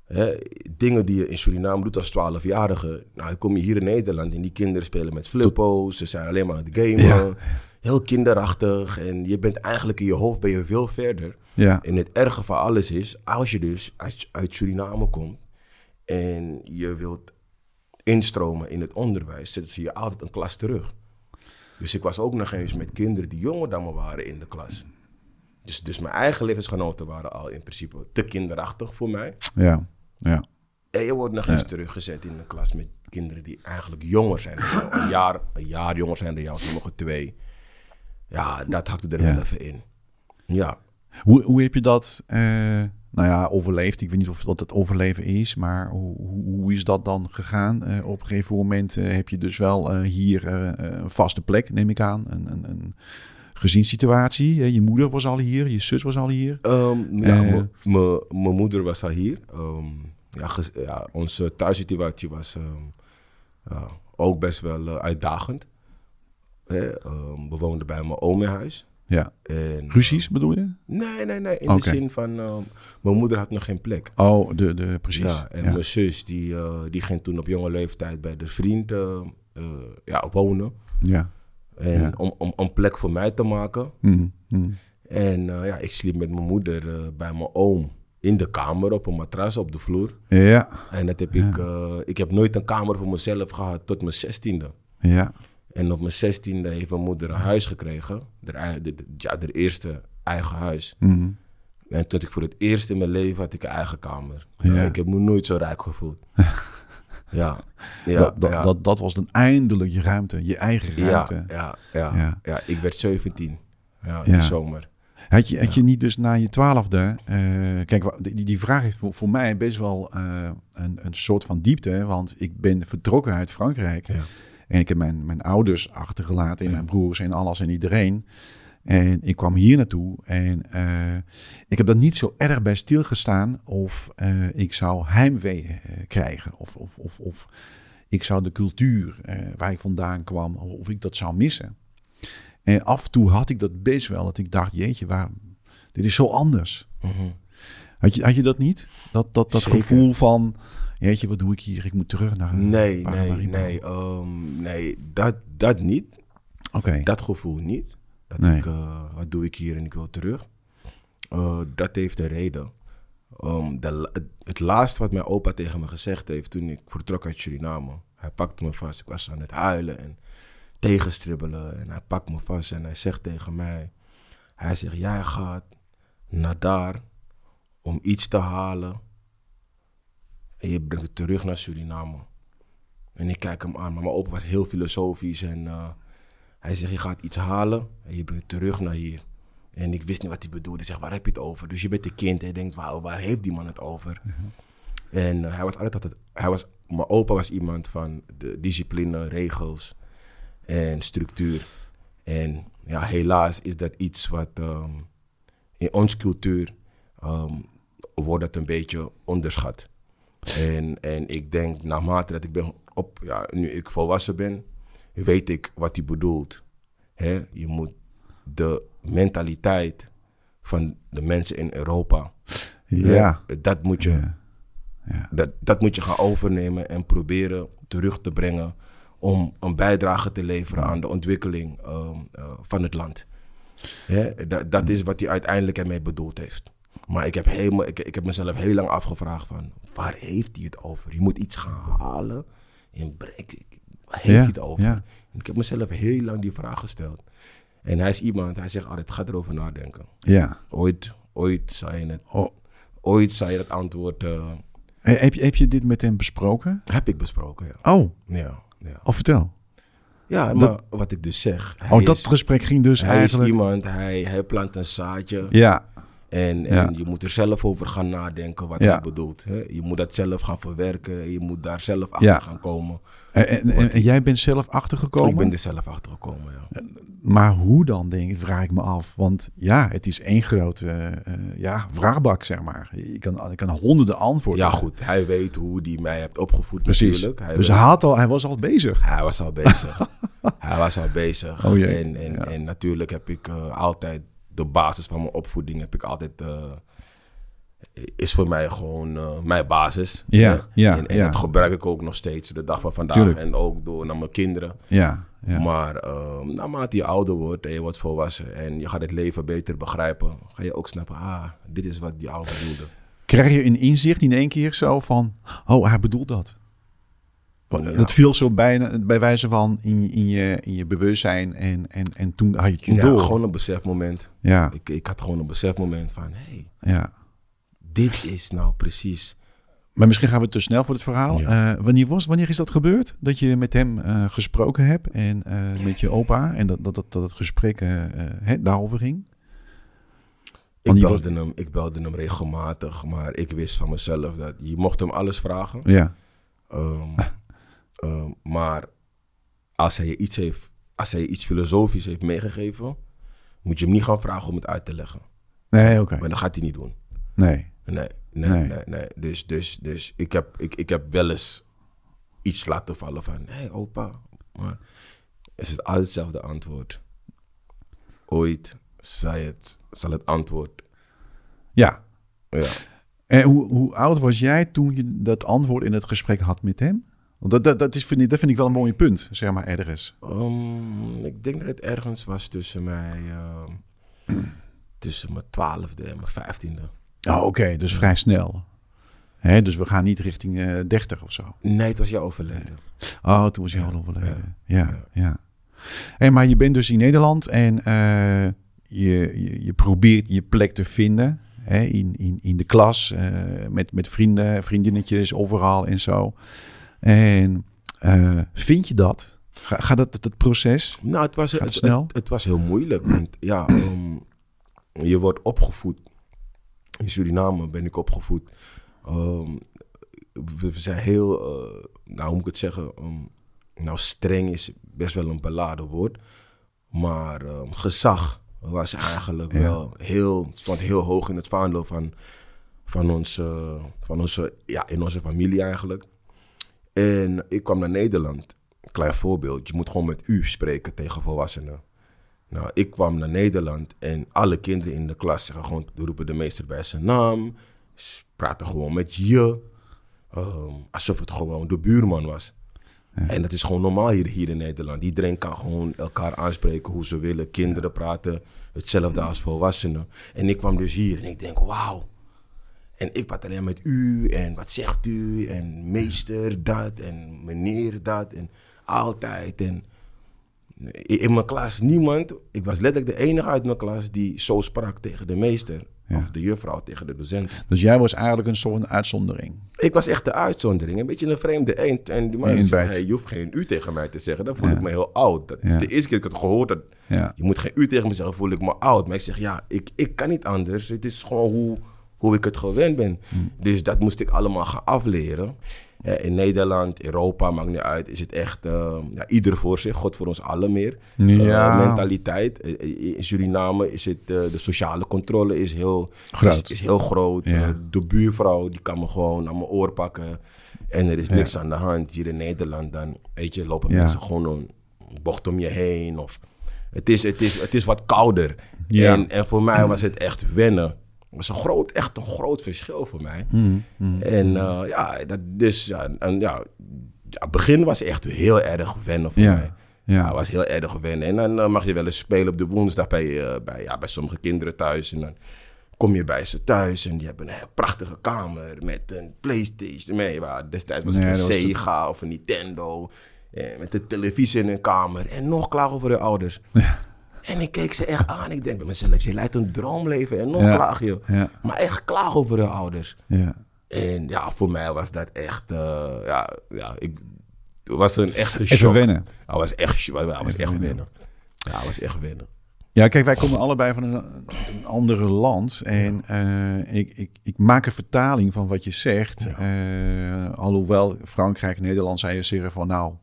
Speaker 2: Hè, dingen die je in Suriname doet als 12-jarige. Nou, dan kom je hier in Nederland en die kinderen spelen met flippo's. Ze zijn alleen maar aan het gamen.
Speaker 1: Ja.
Speaker 2: Heel kinderachtig. En je bent eigenlijk in je hoofd ben je veel verder.
Speaker 1: ja,
Speaker 2: En het erge van alles is, als je dus uit, uit Suriname komt en je wilt instromen in het onderwijs, zetten ze je altijd een klas terug. Dus ik was ook nog eens met kinderen die jonger dan me waren in de klas. Dus, dus mijn eigen levensgenoten waren al in principe te kinderachtig voor mij.
Speaker 1: ja, ja.
Speaker 2: En je wordt nog eens teruggezet in een klas met kinderen die eigenlijk jonger zijn. dan jou. Een jaar, een jaar jonger zijn dan jou, sommige twee. Ja, dat hakte er
Speaker 1: Ja.
Speaker 2: wel even in. Ja,
Speaker 1: Hoe, hoe heb je dat, eh, nou ja, overleefd? Ik weet niet of dat het overleven is, maar hoe, hoe- hoe is dat dan gegaan? Eh, op een gegeven moment eh, heb je dus wel eh, hier eh, eh, een vaste plek, neem ik aan. Een, een, een gezinssituatie. Eh, je moeder was al hier, je zus was al hier.
Speaker 2: Ehm, ja,
Speaker 1: Eh.
Speaker 2: me- me- mijn moeder was al hier. Ehm, ja, ges- ja, onze thuissituatie was ehm, ja, ook best wel eh, uitdagend. Hè, ehm, we woonden bij mijn oom in huis.
Speaker 1: Ja.
Speaker 2: En,
Speaker 1: Ruzies bedoel je?
Speaker 2: Nee, nee, nee. In
Speaker 1: Oké.
Speaker 2: de zin van, ehm, mijn moeder had nog geen plek.
Speaker 1: Oh, de, de, precies.
Speaker 2: Ja, en
Speaker 1: ja.
Speaker 2: mijn zus, die, eh, die ging toen op jonge leeftijd bij de vriend eh, eh, ja, wonen.
Speaker 1: ja.
Speaker 2: En
Speaker 1: Ja.
Speaker 2: om, om, om plek voor mij te maken.
Speaker 1: Mm, mm.
Speaker 2: En eh, ja, ik sliep met mijn moeder eh, bij mijn oom in de kamer op een matras op de vloer.
Speaker 1: ja,
Speaker 2: En dat heb ik, eh, ik heb nooit een kamer voor mezelf gehad tot mijn zestiende.
Speaker 1: ja,
Speaker 2: En op mijn zestiende heeft mijn moeder een huis gekregen. Haar, ei- de- de- ja, haar eerste eigen huis.
Speaker 1: mm.
Speaker 2: En toen ik voor het eerst in mijn leven had ik een eigen kamer.
Speaker 1: Ja.
Speaker 2: Ja, ik heb me nooit zo rijk gevoeld. ja, ja,
Speaker 1: dat, dat,
Speaker 2: ja.
Speaker 1: Dat, dat was dan eindelijk je ruimte, je eigen
Speaker 2: ja,
Speaker 1: ruimte.
Speaker 2: ja, ja,
Speaker 1: Ja.
Speaker 2: ja, Ik werd 17 ja, in
Speaker 1: Ja.
Speaker 2: de zomer.
Speaker 1: Had je, had je niet dus na je twaalfde... eh, kijk, wa- die, die vraag heeft voor, voor mij best wel eh, een, een soort van diepte. Want ik ben vertrokken uit Frankrijk.
Speaker 2: Ja.
Speaker 1: En ik heb mijn, mijn ouders achtergelaten. En mijn broers en alles en iedereen. En ik kwam hier naartoe. En eh, ik heb dat niet zo erg bij stilgestaan. Of eh, ik zou heimwee eh, krijgen. Of, of, of, of ik zou de cultuur eh, waar ik vandaan kwam... Of, of ik dat zou missen. En af en toe had ik dat best wel. Dat ik dacht, jeetje, waar, dit is zo anders.
Speaker 2: Mhm.
Speaker 1: Had je, had je dat niet? Dat, dat, dat
Speaker 2: Zeker.
Speaker 1: gevoel van, jeetje, wat doe ik hier? Ik moet terug naar
Speaker 2: Nee, nee,
Speaker 1: Paramaribo.
Speaker 2: nee. ehm, nee, dat, dat niet.
Speaker 1: Oké,
Speaker 2: Dat gevoel niet. Dat
Speaker 1: Nee.
Speaker 2: ik, eh, wat doe ik hier en ik wil terug. Eh, dat heeft een reden. Ehm, de la- het- het laatste wat mijn opa tegen me gezegd heeft toen ik vertrok uit Suriname. Hij pakte me vast. Ik was aan het huilen en tegenstribbelen. En hij pakt me vast en hij zegt tegen mij. Hij zegt, jij gaat naar daar om iets te halen. En je brengt het terug naar Suriname. En ik kijk hem aan. Maar mijn opa was heel filosofisch en... eh, hij zegt, je gaat iets halen en je brengt het terug naar hier. En ik wist niet wat hij bedoelde. Ik zeg, waar heb je het over? Dus je bent een kind en je denkt, wauw, waar heeft die man het over? En eh, hij was altijd, altijd hij was, mijn opa was iemand van de discipline, regels en structuur. En ja, helaas is dat iets wat ehm, in onze cultuur ehm, wordt dat een beetje onderschat. En, en ik denk, naarmate dat ik ben op, ja, nu ik volwassen ben, weet ik wat hij bedoelt. Hè? Je moet de mentaliteit van de mensen in Europa, hè,
Speaker 1: Ja.
Speaker 2: dat moet je
Speaker 1: Ja.
Speaker 2: dat, dat moet je gaan overnemen en proberen terug te brengen om een bijdrage te leveren aan de ontwikkeling ehm, eh, van het land. Hè? Dat, dat is wat hij uiteindelijk ermee bedoeld heeft. Maar ik heb, helemaal, ik, ik heb mezelf heel lang afgevraagd van waar heeft hij het over? Je moet iets gaan halen en breken. Waar heeft
Speaker 1: Ja,
Speaker 2: hij het over?
Speaker 1: ja.
Speaker 2: En Ik heb mezelf heel lang die vraag gesteld. En hij is iemand, hij zegt altijd, ga erover nadenken.
Speaker 1: ja.
Speaker 2: Ooit, ooit zal je het,
Speaker 1: Oh.
Speaker 2: ooit zal je het antwoord, eh,
Speaker 1: He- Heb, je, heb je dit met hem besproken?
Speaker 2: heb ik besproken. Ja.
Speaker 1: Oh,
Speaker 2: Ja, ja.
Speaker 1: oh vertel.
Speaker 2: ja maar wat ik dus zeg. Hij
Speaker 1: oh, dat
Speaker 2: is,
Speaker 1: gesprek ging dus
Speaker 2: hij is
Speaker 1: eigenlijk...
Speaker 2: iemand, hij, hij plant een zaadje.
Speaker 1: Ja,
Speaker 2: En,
Speaker 1: Ja.
Speaker 2: en je moet er zelf over gaan nadenken wat
Speaker 1: Ja.
Speaker 2: hij bedoelt. Hè? Je moet dat zelf gaan verwerken. Je moet daar zelf achter
Speaker 1: Ja.
Speaker 2: gaan komen.
Speaker 1: en, en, en- en jij bent zelf achtergekomen?
Speaker 2: Ik ben er zelf achter gekomen. Ja.
Speaker 1: Maar hoe dan, denk ik, vraag ik me af. Want ja, het is één grote eh, eh, ja, vraagbak, zeg maar. Je kan, je kan honderden antwoorden.
Speaker 2: ja, goed. Hij weet hoe hij mij heeft opgevoed
Speaker 1: Precies.
Speaker 2: natuurlijk. Hij,
Speaker 1: dus
Speaker 2: weet-
Speaker 1: hij, had al, hij was al bezig.
Speaker 2: hij was al bezig. hij was al bezig.
Speaker 1: Oh jee,
Speaker 2: en, en,
Speaker 1: ja.
Speaker 2: en natuurlijk heb ik eh, altijd de basis van mijn opvoeding. Heb ik altijd, eh, is voor mij gewoon eh, mijn basis.
Speaker 1: Ja,
Speaker 2: Hè?
Speaker 1: ja,
Speaker 2: en en
Speaker 1: ja.
Speaker 2: dat gebruik ik ook nog steeds de dag van vandaag.
Speaker 1: Tuurlijk.
Speaker 2: En ook door naar mijn kinderen.
Speaker 1: Ja, ja.
Speaker 2: Maar ehm, naarmate je ouder wordt en je wordt volwassen en je gaat het leven beter begrijpen, ga je ook snappen, ah, dit is wat die oude bedoelde.
Speaker 1: Krijg je een inzicht in één keer zo van... Oh, hij bedoelt dat.
Speaker 2: Ja.
Speaker 1: Dat viel zo bijna, bij wijze van in, in, je, in je bewustzijn. En, en, en toen had je het
Speaker 2: Ja,
Speaker 1: door.
Speaker 2: gewoon een besefmoment.
Speaker 1: ja,
Speaker 2: Ik, ik had gewoon een besefmoment van, hé, hey,
Speaker 1: ja.
Speaker 2: dit is nou precies
Speaker 1: Maar misschien gaan we te snel voor het verhaal.
Speaker 2: Ja.
Speaker 1: Eh, wanneer, was, wanneer is dat gebeurd? Dat je met hem eh, gesproken hebt en eh, met je opa. En dat, dat, dat, dat het gesprek eh, eh, hè, daarover ging.
Speaker 2: Ik
Speaker 1: Want je
Speaker 2: belde, hem, ik belde hem regelmatig, maar ik wist van mezelf dat je mocht hem alles vragen.
Speaker 1: Ja,
Speaker 2: Ehm, ehm, maar als hij, je iets heeft, als hij je iets filosofisch heeft meegegeven, moet je hem niet gaan vragen om het uit te leggen.
Speaker 1: nee, oké.
Speaker 2: Maar dat gaat hij niet doen.
Speaker 1: Nee,
Speaker 2: Nee, nee,
Speaker 1: Nee.
Speaker 2: nee. nee, Dus, dus, dus ik, heb, ik, ik heb wel eens iets laten vallen van, hé hey, opa, maar is het altijd hetzelfde antwoord. Ooit zal het, zal het antwoord,
Speaker 1: ja.
Speaker 2: ja.
Speaker 1: En hoe, hoe oud was jij toen je dat antwoord in het gesprek had met hem? Want dat, dat, dat, is, vind ik, dat vind ik wel een mooi punt, zeg maar, ergens.
Speaker 2: Ehm, ik denk dat het ergens was tussen mij. ehm, tussen mijn twaalfde en mijn vijftiende.
Speaker 1: Oh, oké, dus vrij snel. Hè, dus we gaan niet richting eh 30 of zo.
Speaker 2: Nee, het was jou overleden.
Speaker 1: Oh, toen was je
Speaker 2: Ja,
Speaker 1: al overleden. Ja,
Speaker 2: ja,
Speaker 1: ja. Hey, maar je bent dus in Nederland en eh, je, je, je probeert je plek te vinden. Hè, in, in, in de klas, eh, met, met vrienden, vriendinnetjes, overal en zo. En eh, vind je dat? Ga, gaat dat, dat, dat proces?
Speaker 2: Nou, het was, het,
Speaker 1: het snel?
Speaker 2: het- het was heel moeilijk. Want ja, ehm, je wordt opgevoed. In Suriname ben ik opgevoed. Ehm, we, we zijn heel, eh, nou hoe moet ik het zeggen? ehm, nou, streng is best wel een beladen woord. Maar ehm, gezag was eigenlijk
Speaker 1: Ja.
Speaker 2: wel heel, stond heel hoog in het vaandel van, van onze, van onze, ja, in onze familie eigenlijk. En ik kwam naar Nederland. Klein voorbeeld, je moet gewoon met u spreken tegen volwassenen. Nou, ik kwam naar Nederland en alle kinderen in de klas zeggen gewoon, roepen de meester bij zijn naam. Ze praten gewoon met je. Ehm, alsof het gewoon de buurman was. En dat is gewoon normaal hier, hier in Nederland. Iedereen kan gewoon elkaar aanspreken hoe ze willen. Kinderen praten hetzelfde als volwassenen. En ik kwam dus hier en ik denk, wauw. En ik praat alleen met u en wat zegt u en meester dat en meneer dat en altijd. En in in mijn klas niemand, ik was letterlijk de enige uit mijn klas die zo sprak tegen de meester.
Speaker 1: Ja.
Speaker 2: Of de juffrouw tegen de docent.
Speaker 1: Dus jij was eigenlijk een soort uitzondering.
Speaker 2: Ik was echt de uitzondering. Een beetje een vreemde eend. En die man
Speaker 1: Een
Speaker 2: zei,
Speaker 1: eendbijt.
Speaker 2: hey, je hoeft geen u tegen mij te zeggen. Dan voel
Speaker 1: Ja.
Speaker 2: ik me heel oud. Dat is
Speaker 1: Ja.
Speaker 2: de eerste keer dat ik het gehoord heb.
Speaker 1: Ja.
Speaker 2: Je moet geen u tegen me zeggen, voel ik me oud. Maar ik zeg, ja, ik, ik kan niet anders. Het is gewoon hoe, hoe ik het gewend ben.
Speaker 1: Hm.
Speaker 2: Dus dat moest ik allemaal gaan afleren. Eh, in Nederland, Europa, maakt niet uit. Is het echt, eh, ja, ieder voor zich. God voor ons allen meer.
Speaker 1: Ja.
Speaker 2: Eh, mentaliteit. Eh, eh, In Suriname is het, eh, de sociale controle is heel
Speaker 1: Groot.
Speaker 2: Is, is heel groot.
Speaker 1: Ja.
Speaker 2: Eh, de buurvrouw die kan me gewoon aan mijn oor pakken. En er is niks aan de hand. Hier in Nederland dan, weet je, lopen
Speaker 1: Ja.
Speaker 2: mensen gewoon een bocht om je heen. Of, het, is, het, is, het is wat kouder.
Speaker 1: Ja.
Speaker 2: En, en voor mij was het echt wennen. Het was een groot, echt een groot verschil voor mij.
Speaker 1: Mm,
Speaker 2: En eh, ja, dat, dus, ja, en, ja, het begin was echt heel erg wennen voor
Speaker 1: Ja.
Speaker 2: mij. Ja,
Speaker 1: Ja.
Speaker 2: het was heel erg wennen. En dan eh, mag je wel eens spelen op de woensdag bij, eh, bij, ja, bij sommige kinderen thuis. En dan kom je bij ze thuis en die hebben een heel prachtige kamer met een Playstation. Nee, maar destijds was het
Speaker 1: Nee,
Speaker 2: een
Speaker 1: dat was het-
Speaker 2: Sega of een Nintendo. eh, met een televisie in hun kamer. En nog klaar over hun ouders. En ik keek ze echt aan. Ik denk bij mezelf, je leidt een droomleven en nog
Speaker 1: Ja.
Speaker 2: klaag je.
Speaker 1: Ja.
Speaker 2: Maar echt klaag over hun ouders.
Speaker 1: Ja.
Speaker 2: En ja, voor mij was dat echt, eh, ja, ja, ik, het was een echte shock.
Speaker 1: Even wennen.
Speaker 2: Hij was echt, hij was
Speaker 1: Even
Speaker 2: echt
Speaker 1: winnen.
Speaker 2: winnen. Ja, hij was echt winnen.
Speaker 1: Ja, kijk, wij komen allebei van een, een ander land. En eh, ik, ik, ik maak een vertaling van wat je zegt. Eh, alhoewel Frankrijk, Nederland, zij zeggen van nou,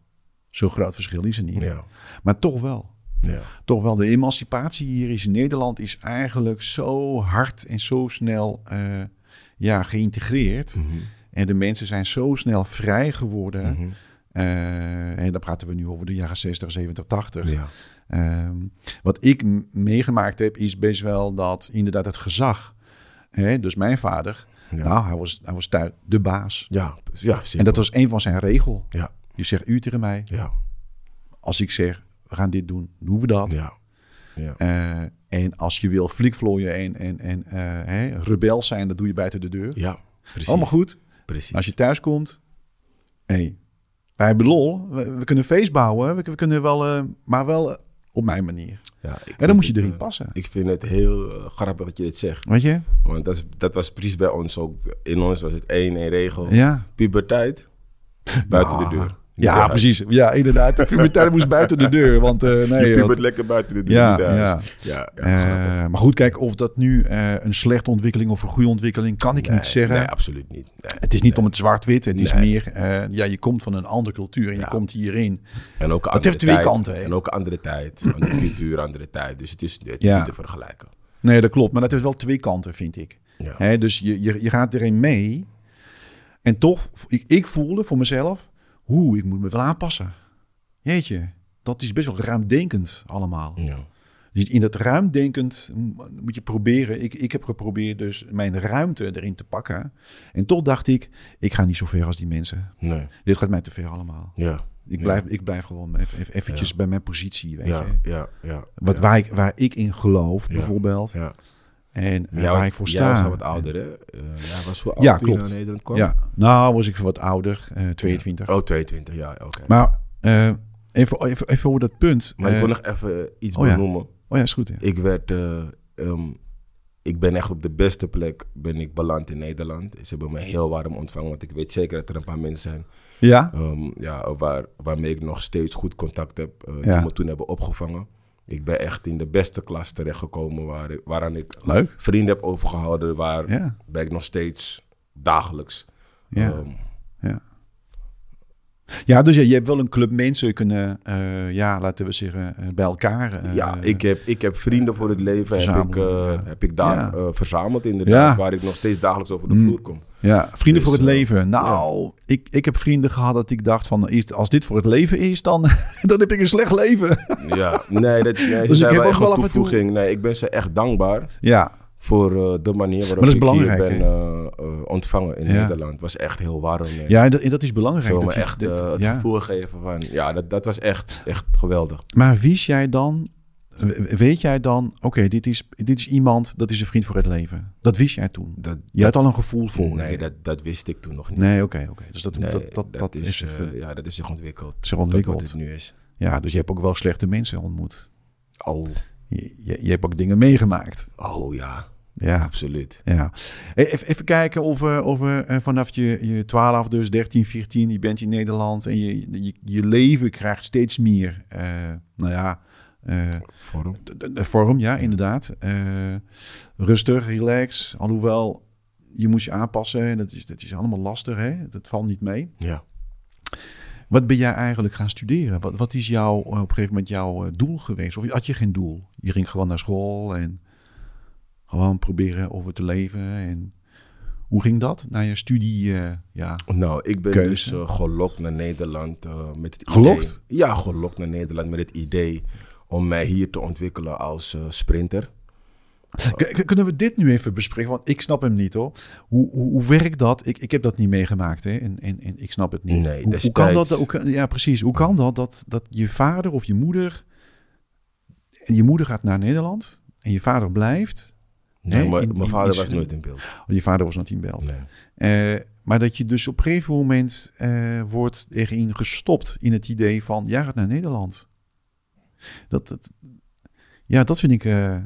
Speaker 1: zo'n groot verschil is er niet.
Speaker 2: Ja.
Speaker 1: Maar toch wel.
Speaker 2: Ja.
Speaker 1: Toch wel, de emancipatie hier is in Nederland is eigenlijk zo hard en zo snel eh, ja, geïntegreerd.
Speaker 2: Mhm.
Speaker 1: En de mensen zijn zo snel vrij geworden. Eh, en dan praten we nu over de jaren 60, 70, 80.
Speaker 2: Ja.
Speaker 1: Ehm, wat ik m- meegemaakt heb, is best wel dat inderdaad het gezag. Hè, dus mijn vader,
Speaker 2: Ja.
Speaker 1: nou, hij was, hij was thuis de baas.
Speaker 2: Ja, ja, simpel.
Speaker 1: En dat was een van zijn regel.
Speaker 2: ja,
Speaker 1: Je zegt u tegen mij,
Speaker 2: ja,
Speaker 1: als ik zeg, we gaan dit doen, doen we dat.
Speaker 2: ja, ja,
Speaker 1: Eh, en als je wil flikvlooien en, en, en eh, hè, rebel zijn, dat doe je buiten de deur.
Speaker 2: ja, precies.
Speaker 1: Allemaal goed.
Speaker 2: Precies.
Speaker 1: Als je thuis komt, hey, wij hebben lol. We, we kunnen feest bouwen, we, we kunnen wel, eh, maar wel eh, op mijn manier.
Speaker 2: ja, ik
Speaker 1: En
Speaker 2: vind
Speaker 1: dan moet je
Speaker 2: het,
Speaker 1: erin
Speaker 2: eh,
Speaker 1: passen.
Speaker 2: Ik vind het heel eh, grappig dat je dit zegt.
Speaker 1: Weet je?
Speaker 2: Want dat, is, dat was precies bij ons ook. In ons was het één, één regel.
Speaker 1: Ja.
Speaker 2: Puberteit, buiten de deur. Niet
Speaker 1: Ja,
Speaker 2: thuis.
Speaker 1: precies. Ja, inderdaad. De puberteit moest buiten de deur. Want, eh, nee,
Speaker 2: Je
Speaker 1: dat-
Speaker 2: pubert lekker buiten de deur,
Speaker 1: Ja,
Speaker 2: niet thuis.
Speaker 1: ja.
Speaker 2: ja, ja,
Speaker 1: Eh,
Speaker 2: grappig.
Speaker 1: maar goed, kijk, of dat nu eh, een slechte ontwikkeling of een goede ontwikkeling, kan ik
Speaker 2: Nee,
Speaker 1: niet zeggen.
Speaker 2: Nee, absoluut niet. Nee.
Speaker 1: het is niet om het zwart-wit. Het is
Speaker 2: Nee.
Speaker 1: meer, eh, ja, je komt van een andere cultuur en je komt hierin.
Speaker 2: En ook een
Speaker 1: Het
Speaker 2: andere
Speaker 1: heeft twee
Speaker 2: tijd.
Speaker 1: kanten, hè?
Speaker 2: En ook een andere tijd, andere cultuur, andere tijd. Dus het is, het is
Speaker 1: Ja.
Speaker 2: niet te vergelijken.
Speaker 1: Nee, dat klopt. Maar dat heeft wel twee kanten, vind ik.
Speaker 2: Ja.
Speaker 1: Hè, dus je, je, je gaat erin mee. En toch, ik, ik voelde voor mezelf, hoe, ik moet me wel aanpassen. Jeetje, dat is best wel ruimdenkend allemaal.
Speaker 2: Ja.
Speaker 1: Dus in dat ruimdenkend m- moet je proberen. Ik, ik heb geprobeerd dus mijn ruimte erin te pakken. En toch dacht ik, ik ga niet zo ver als die mensen.
Speaker 2: Nee.
Speaker 1: Dit gaat mij te ver allemaal.
Speaker 2: Ja.
Speaker 1: Ik blijf, ik blijf gewoon even, even- eventjes bij mijn positie, weet
Speaker 2: Ja,
Speaker 1: je.
Speaker 2: ja, ja.
Speaker 1: Wat, waar, ik, waar ik in geloof, bijvoorbeeld.
Speaker 2: Ja.
Speaker 1: En eh,
Speaker 2: Jij
Speaker 1: waar
Speaker 2: was-
Speaker 1: ik voor
Speaker 2: Jij was
Speaker 1: sta.
Speaker 2: al wat ouder, hè? Eh, jij was hoe oud
Speaker 1: Ja,
Speaker 2: toen je
Speaker 1: klopt.
Speaker 2: naar Nederland kwam?
Speaker 1: Ja, nou was ik wat ouder, eh 22.
Speaker 2: Oh, 22, ja, oké.
Speaker 1: Maar eh, even, even, even over dat punt.
Speaker 2: Maar ik
Speaker 1: Eh,
Speaker 2: wil nog even iets
Speaker 1: oh ja.
Speaker 2: benoemen.
Speaker 1: Oh ja, is goed. Ja.
Speaker 2: Ik werd... eh, ehm, ik ben echt op de beste plek ben ik beland in Nederland. Ze hebben me heel warm ontvangen, want ik weet zeker dat er een paar mensen zijn
Speaker 1: ja?
Speaker 2: Ehm, ja, waar, waarmee ik nog steeds goed contact heb, eh,
Speaker 1: Ja.
Speaker 2: die me toen hebben opgevangen. Ik ben echt in de beste klas terechtgekomen, waar, ik- waaraan ik
Speaker 1: Leuk.
Speaker 2: vrienden heb overgehouden, waar
Speaker 1: Ja.
Speaker 2: ben ik nog steeds dagelijks.
Speaker 1: Ja.
Speaker 2: Ehm,
Speaker 1: Ja. Ja, dus je, je hebt wel een club mensen kunnen, eh, ja, laten we zeggen, eh, bij elkaar. eh,
Speaker 2: ja, ik heb, ik heb vrienden voor het leven, heb ik,
Speaker 1: verzamelen,
Speaker 2: eh,
Speaker 1: ja.
Speaker 2: heb ik daar
Speaker 1: Ja.
Speaker 2: eh, verzameld inderdaad,
Speaker 1: Ja.
Speaker 2: waar ik nog steeds dagelijks over de
Speaker 1: Mm.
Speaker 2: vloer kom.
Speaker 1: ja, vrienden
Speaker 2: dus,
Speaker 1: voor het
Speaker 2: eh,
Speaker 1: leven. Nou, ik, ik heb vrienden gehad dat ik dacht van, is- als dit voor het leven is, dan, dan heb ik een slecht leven.
Speaker 2: Ja, nee, dat, nee ze
Speaker 1: Dus ik
Speaker 2: zijn
Speaker 1: heb
Speaker 2: wel
Speaker 1: ook
Speaker 2: echt
Speaker 1: wel
Speaker 2: een
Speaker 1: af en toe-
Speaker 2: toevoeging. Nee, ik ben ze echt dankbaar.
Speaker 1: ja,
Speaker 2: voor eh, de manier waarop
Speaker 1: Maar dat is
Speaker 2: ik hier
Speaker 1: belangrijk,
Speaker 2: ben
Speaker 1: hè?
Speaker 2: eh, eh, ontvangen in
Speaker 1: Ja.
Speaker 2: Nederland. Het was echt heel warm. eh, en
Speaker 1: ja en dat, en dat is belangrijk.
Speaker 2: Ze hebben
Speaker 1: dat
Speaker 2: me
Speaker 1: je-
Speaker 2: echt
Speaker 1: dat-
Speaker 2: eh, het
Speaker 1: ja.
Speaker 2: gevoel geven van... Ja, dat, dat was echt, echt geweldig.
Speaker 1: Maar wist jij dan, we- weet jij dan, oké, dit, is, dit is iemand, dat is een vriend voor het leven. Dat wist jij toen.
Speaker 2: Dat,
Speaker 1: Je had al een gevoel voor.
Speaker 2: nee, dat, dat wist ik toen nog niet.
Speaker 1: Nee, oké, oké. Dus dat,
Speaker 2: Nee,
Speaker 1: dat, dat, dat, is,
Speaker 2: eh,
Speaker 1: even,
Speaker 2: ja, dat is zich ontwikkeld.
Speaker 1: zich
Speaker 2: Dat wat
Speaker 1: ontwikkeld.
Speaker 2: het nu is.
Speaker 1: Ja, dus je hebt ook wel slechte mensen ontmoet.
Speaker 2: Oh,
Speaker 1: Je, je, je hebt ook dingen meegemaakt.
Speaker 2: oh ja.
Speaker 1: Ja,
Speaker 2: Absoluut.
Speaker 1: ja. E- Even, even kijken of, eh, of eh, eh, vanaf je, je 12, dus 13, 14, je bent in Nederland en je, je, je leven krijgt steeds meer, eh, nou ja, eh,
Speaker 2: Vorm.
Speaker 1: de, de- de vorm, ja, inderdaad. Eh, rustig, relax, alhoewel je moest je aanpassen en dat is, dat is allemaal lastig, hè? dat valt niet mee.
Speaker 2: Ja.
Speaker 1: Wat ben jij eigenlijk gaan studeren? Wat, wat is jouw, eh, op een gegeven moment jouw eh, doel geweest? Of had je geen doel? Je ging gewoon naar school en gewoon proberen over te leven. En hoe ging dat? Naar je studie, eh, ja.
Speaker 2: Nou, ik ben
Speaker 1: Keuze.
Speaker 2: dus eh, gelokt naar Nederland eh, met het
Speaker 1: Gelokt?
Speaker 2: idee. Ja, gelokt naar Nederland met het idee om mij hier te ontwikkelen als eh, sprinter.
Speaker 1: K- k- kunnen we dit nu even bespreken? Want ik snap hem niet hoor. Hoe, hoe, hoe werkt dat? Ik, ik heb dat niet meegemaakt hè? En, en, en ik snap het niet.
Speaker 2: Nee,
Speaker 1: hoe, hoe
Speaker 2: destijds-
Speaker 1: kan dat? Hoe kan- ja, precies. Hoe kan dat, dat dat je vader of je moeder. Je moeder gaat naar Nederland en je vader blijft.
Speaker 2: Nee,
Speaker 1: Nee,
Speaker 2: maar
Speaker 1: in-
Speaker 2: mijn
Speaker 1: in-
Speaker 2: vader
Speaker 1: in-
Speaker 2: was nooit in beeld.
Speaker 1: Je vader was nog in Belt.
Speaker 2: Nee.
Speaker 1: Eh, maar dat je dus op een gegeven moment eh, wordt erin gestopt in het idee van jij gaat naar Nederland. Dat, dat, ja, dat vind ik eh,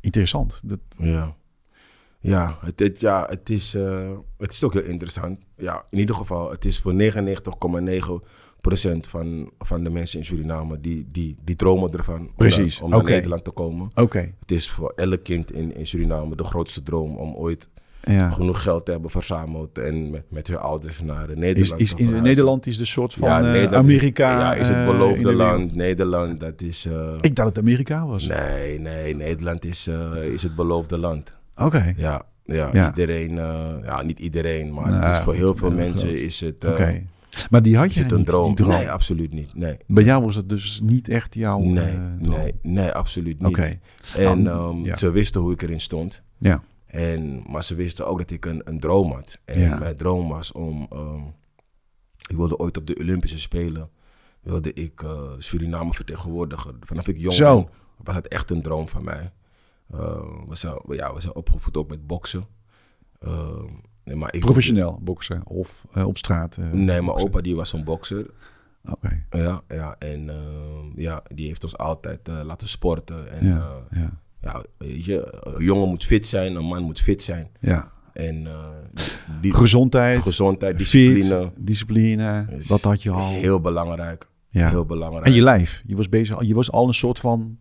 Speaker 1: interessant. Dat,
Speaker 2: Ja. Ja, het, het- ja het, is, eh, het is ook heel interessant. Ja, in ieder geval, het is voor 99,9% van, van de mensen in Suriname die, die, die dromen ervan om
Speaker 1: Precies,
Speaker 2: naar- om naar
Speaker 1: oké.
Speaker 2: Nederland te komen.
Speaker 1: Oké.
Speaker 2: Het is voor elk kind in, in Suriname de grootste droom om ooit
Speaker 1: Ja.
Speaker 2: genoeg geld te hebben verzameld en met, met hun ouders naar de
Speaker 1: Is,
Speaker 2: Nederland
Speaker 1: is,
Speaker 2: te
Speaker 1: in
Speaker 2: verhuizen.
Speaker 1: Nederland is de soort van eh,
Speaker 2: Nederland is-
Speaker 1: Amerika.
Speaker 2: ja, is het
Speaker 1: eh, in
Speaker 2: beloofde
Speaker 1: de wereld.
Speaker 2: land. Nederland, dat is... eh,
Speaker 1: Ik dacht het Amerika was.
Speaker 2: nee, nee, Nederland is, eh, is het beloofde land.
Speaker 1: Oké.
Speaker 2: Ja, ja,
Speaker 1: Ja.
Speaker 2: iedereen, eh, ja, niet iedereen, maar
Speaker 1: Nou,
Speaker 2: het is voor heel
Speaker 1: goed,
Speaker 2: veel
Speaker 1: heel
Speaker 2: mensen
Speaker 1: groot.
Speaker 2: is het, eh,
Speaker 1: Oké. Maar die had
Speaker 2: is
Speaker 1: je
Speaker 2: het een
Speaker 1: niet, die
Speaker 2: droom.
Speaker 1: droom.
Speaker 2: Nee, absoluut niet. Nee,
Speaker 1: Bij jou was het dus niet echt jouw
Speaker 2: nee,
Speaker 1: eh, droom.
Speaker 2: nee, nee, absoluut
Speaker 1: Oké.
Speaker 2: niet. En
Speaker 1: Nou,
Speaker 2: ehm,
Speaker 1: ja.
Speaker 2: ze wisten hoe ik erin stond,
Speaker 1: Ja.
Speaker 2: en, maar ze wisten ook dat ik een, een droom had. En
Speaker 1: Ja.
Speaker 2: mijn droom was om, ehm, ik wilde ooit op de Olympische Spelen, wilde ik eh, Suriname vertegenwoordigen. Vanaf ik jong
Speaker 1: Zo.
Speaker 2: ben, was het echt een droom van mij. Eh, we, zijn, ja, we zijn opgevoed ook met boksen. Ehm, nee, maar ik
Speaker 1: Professioneel boksen of eh, op straat. eh,
Speaker 2: Nee, mijn
Speaker 1: boksen.
Speaker 2: opa die was een bokser.
Speaker 1: Oké.
Speaker 2: Ja, ja en ehm, ja, die heeft ons altijd eh, laten sporten. En
Speaker 1: Ja.
Speaker 2: eh,
Speaker 1: ja.
Speaker 2: ja, weet je, een jongen moet fit zijn, een man moet fit zijn.
Speaker 1: Ja,
Speaker 2: En eh, die- die
Speaker 1: gezondheid,
Speaker 2: gezondheid, discipline
Speaker 1: discipline, discipline
Speaker 2: is
Speaker 1: dat had je al.
Speaker 2: heel belangrijk.
Speaker 1: ja.
Speaker 2: Heel belangrijk.
Speaker 1: en je lijf, je was, bezig, je was al een soort van...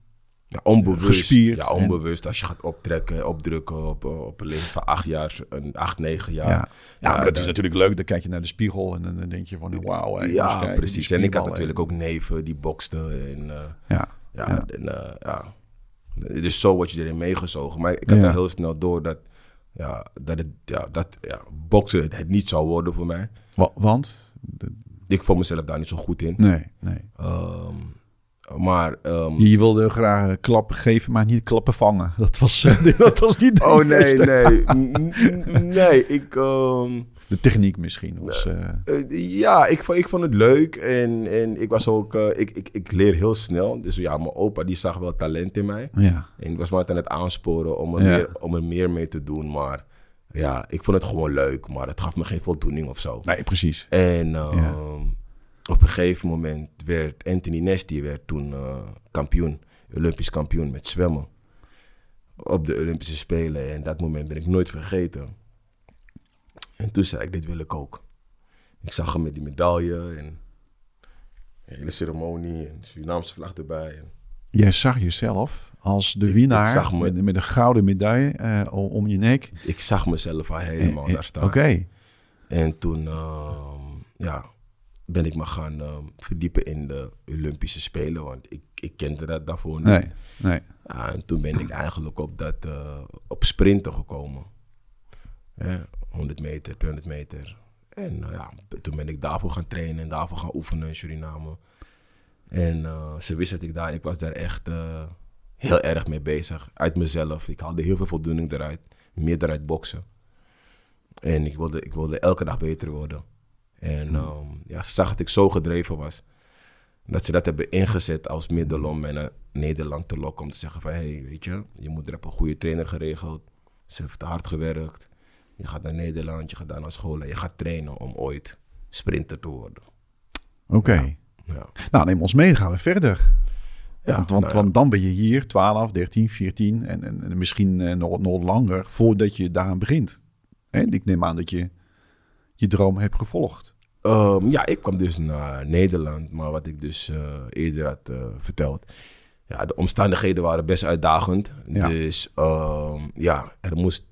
Speaker 2: ja, onbewust.
Speaker 1: gespierd
Speaker 2: Ja,
Speaker 1: en-
Speaker 2: onbewust. Als je gaat optrekken, opdrukken op, eh, op een leven van acht jaar, een acht, negen
Speaker 1: Ja,
Speaker 2: jaar.
Speaker 1: ja. maar dat
Speaker 2: de-
Speaker 1: is natuurlijk leuk. Dan kijk je naar de spiegel en dan dan denk je van, wauw. hè, dus kijk,
Speaker 2: Ja,
Speaker 1: die
Speaker 2: precies. En ik had
Speaker 1: spierballen.
Speaker 2: natuurlijk ook neven die boksten. En, eh,
Speaker 1: Ja,
Speaker 2: Ja,
Speaker 1: Ja.
Speaker 2: En, eh, ja. Dus zo word je erin meegezogen. Maar ik had
Speaker 1: Ja.
Speaker 2: daar heel snel door dat, ja, dat, het, ja, dat ja, boksen het, het niet zou worden voor mij.
Speaker 1: Wa- want? de-
Speaker 2: Ik vond mezelf daar niet zo goed in.
Speaker 1: nee, nee.
Speaker 2: Ehm, maar... ehm,
Speaker 1: Je wilde graag eh, klappen geven, maar niet klappen vangen. Dat was, eh, dat was niet de,
Speaker 2: oh nee,
Speaker 1: beste.
Speaker 2: nee. N- n- nee, ik... ehm,
Speaker 1: de techniek misschien. Was, eh,
Speaker 2: eh, ja, ik, vond- ik vond het leuk. En, en ik was ook... eh, ik, ik, ik leer heel snel. Dus ja, mijn opa die zag wel talent in mij.
Speaker 1: ja,
Speaker 2: En ik was me altijd aan het aansporen om er,
Speaker 1: Ja.
Speaker 2: meer, om er meer mee te doen. Maar ja, ik vond het gewoon leuk. Maar het gaf me geen voldoening of zo.
Speaker 1: nee, precies.
Speaker 2: En ehm, op een gegeven moment werd Anthony Nesty werd toen eh, kampioen. Olympisch kampioen met zwemmen. Op de Olympische Spelen. En dat moment ben ik nooit vergeten. En toen zei ik, dit wil ik ook. Ik zag hem met die medaille en de hele ceremonie en de Surinaamse vlag erbij. En
Speaker 1: Jij zag jezelf als de
Speaker 2: Ik- ik
Speaker 1: winnaar
Speaker 2: zag me-
Speaker 1: met, met een gouden medaille eh, om om je nek.
Speaker 2: ik zag mezelf al helemaal
Speaker 1: Eh, eh,
Speaker 2: daar staan.
Speaker 1: Oké,
Speaker 2: En toen ehm, ja, ben ik me gaan ehm, verdiepen in de Olympische Spelen, want ik, ik kende dat daarvoor niet.
Speaker 1: nee, nee.
Speaker 2: Ja, en toen ben ik eigenlijk op, dat, eh, op sprinten gekomen. Ja, 100 meter, 200 meter. En nou ja, toen ben ik daarvoor gaan trainen en daarvoor gaan oefenen in Suriname. En eh, ze wisten dat ik daar, ik was daar echt eh, heel erg mee bezig. Uit mezelf. Ik haalde heel veel voldoening eruit. Meer eruit boksen. En ik wilde, ik wilde elke dag beter worden. En ehm, ja, ze zag dat ik zo gedreven was. Dat ze dat hebben ingezet als middel om mij naar Nederland te lokken. Om te zeggen van, hé, hey, weet je, je moeder heeft een goede trainer geregeld. Ze heeft hard gewerkt. Je gaat naar Nederland, je gaat daar naar school en je gaat trainen om ooit sprinter te worden.
Speaker 1: Oké.
Speaker 2: Ja.
Speaker 1: Nou, neem ons mee, dan gaan we verder.
Speaker 2: Ja,
Speaker 1: want, want,
Speaker 2: nou ja.
Speaker 1: want dan ben je hier 12, 13, 14 en, en, en misschien eh, nog, nog langer voordat je daaraan begint. En ik neem aan dat je je droom hebt gevolgd.
Speaker 2: Ehm, ja, ik kwam dus naar Nederland, maar wat ik dus eh, eerder had eh, verteld. Ja, de omstandigheden waren best uitdagend.
Speaker 1: Ja.
Speaker 2: Dus ehm, ja, er moest,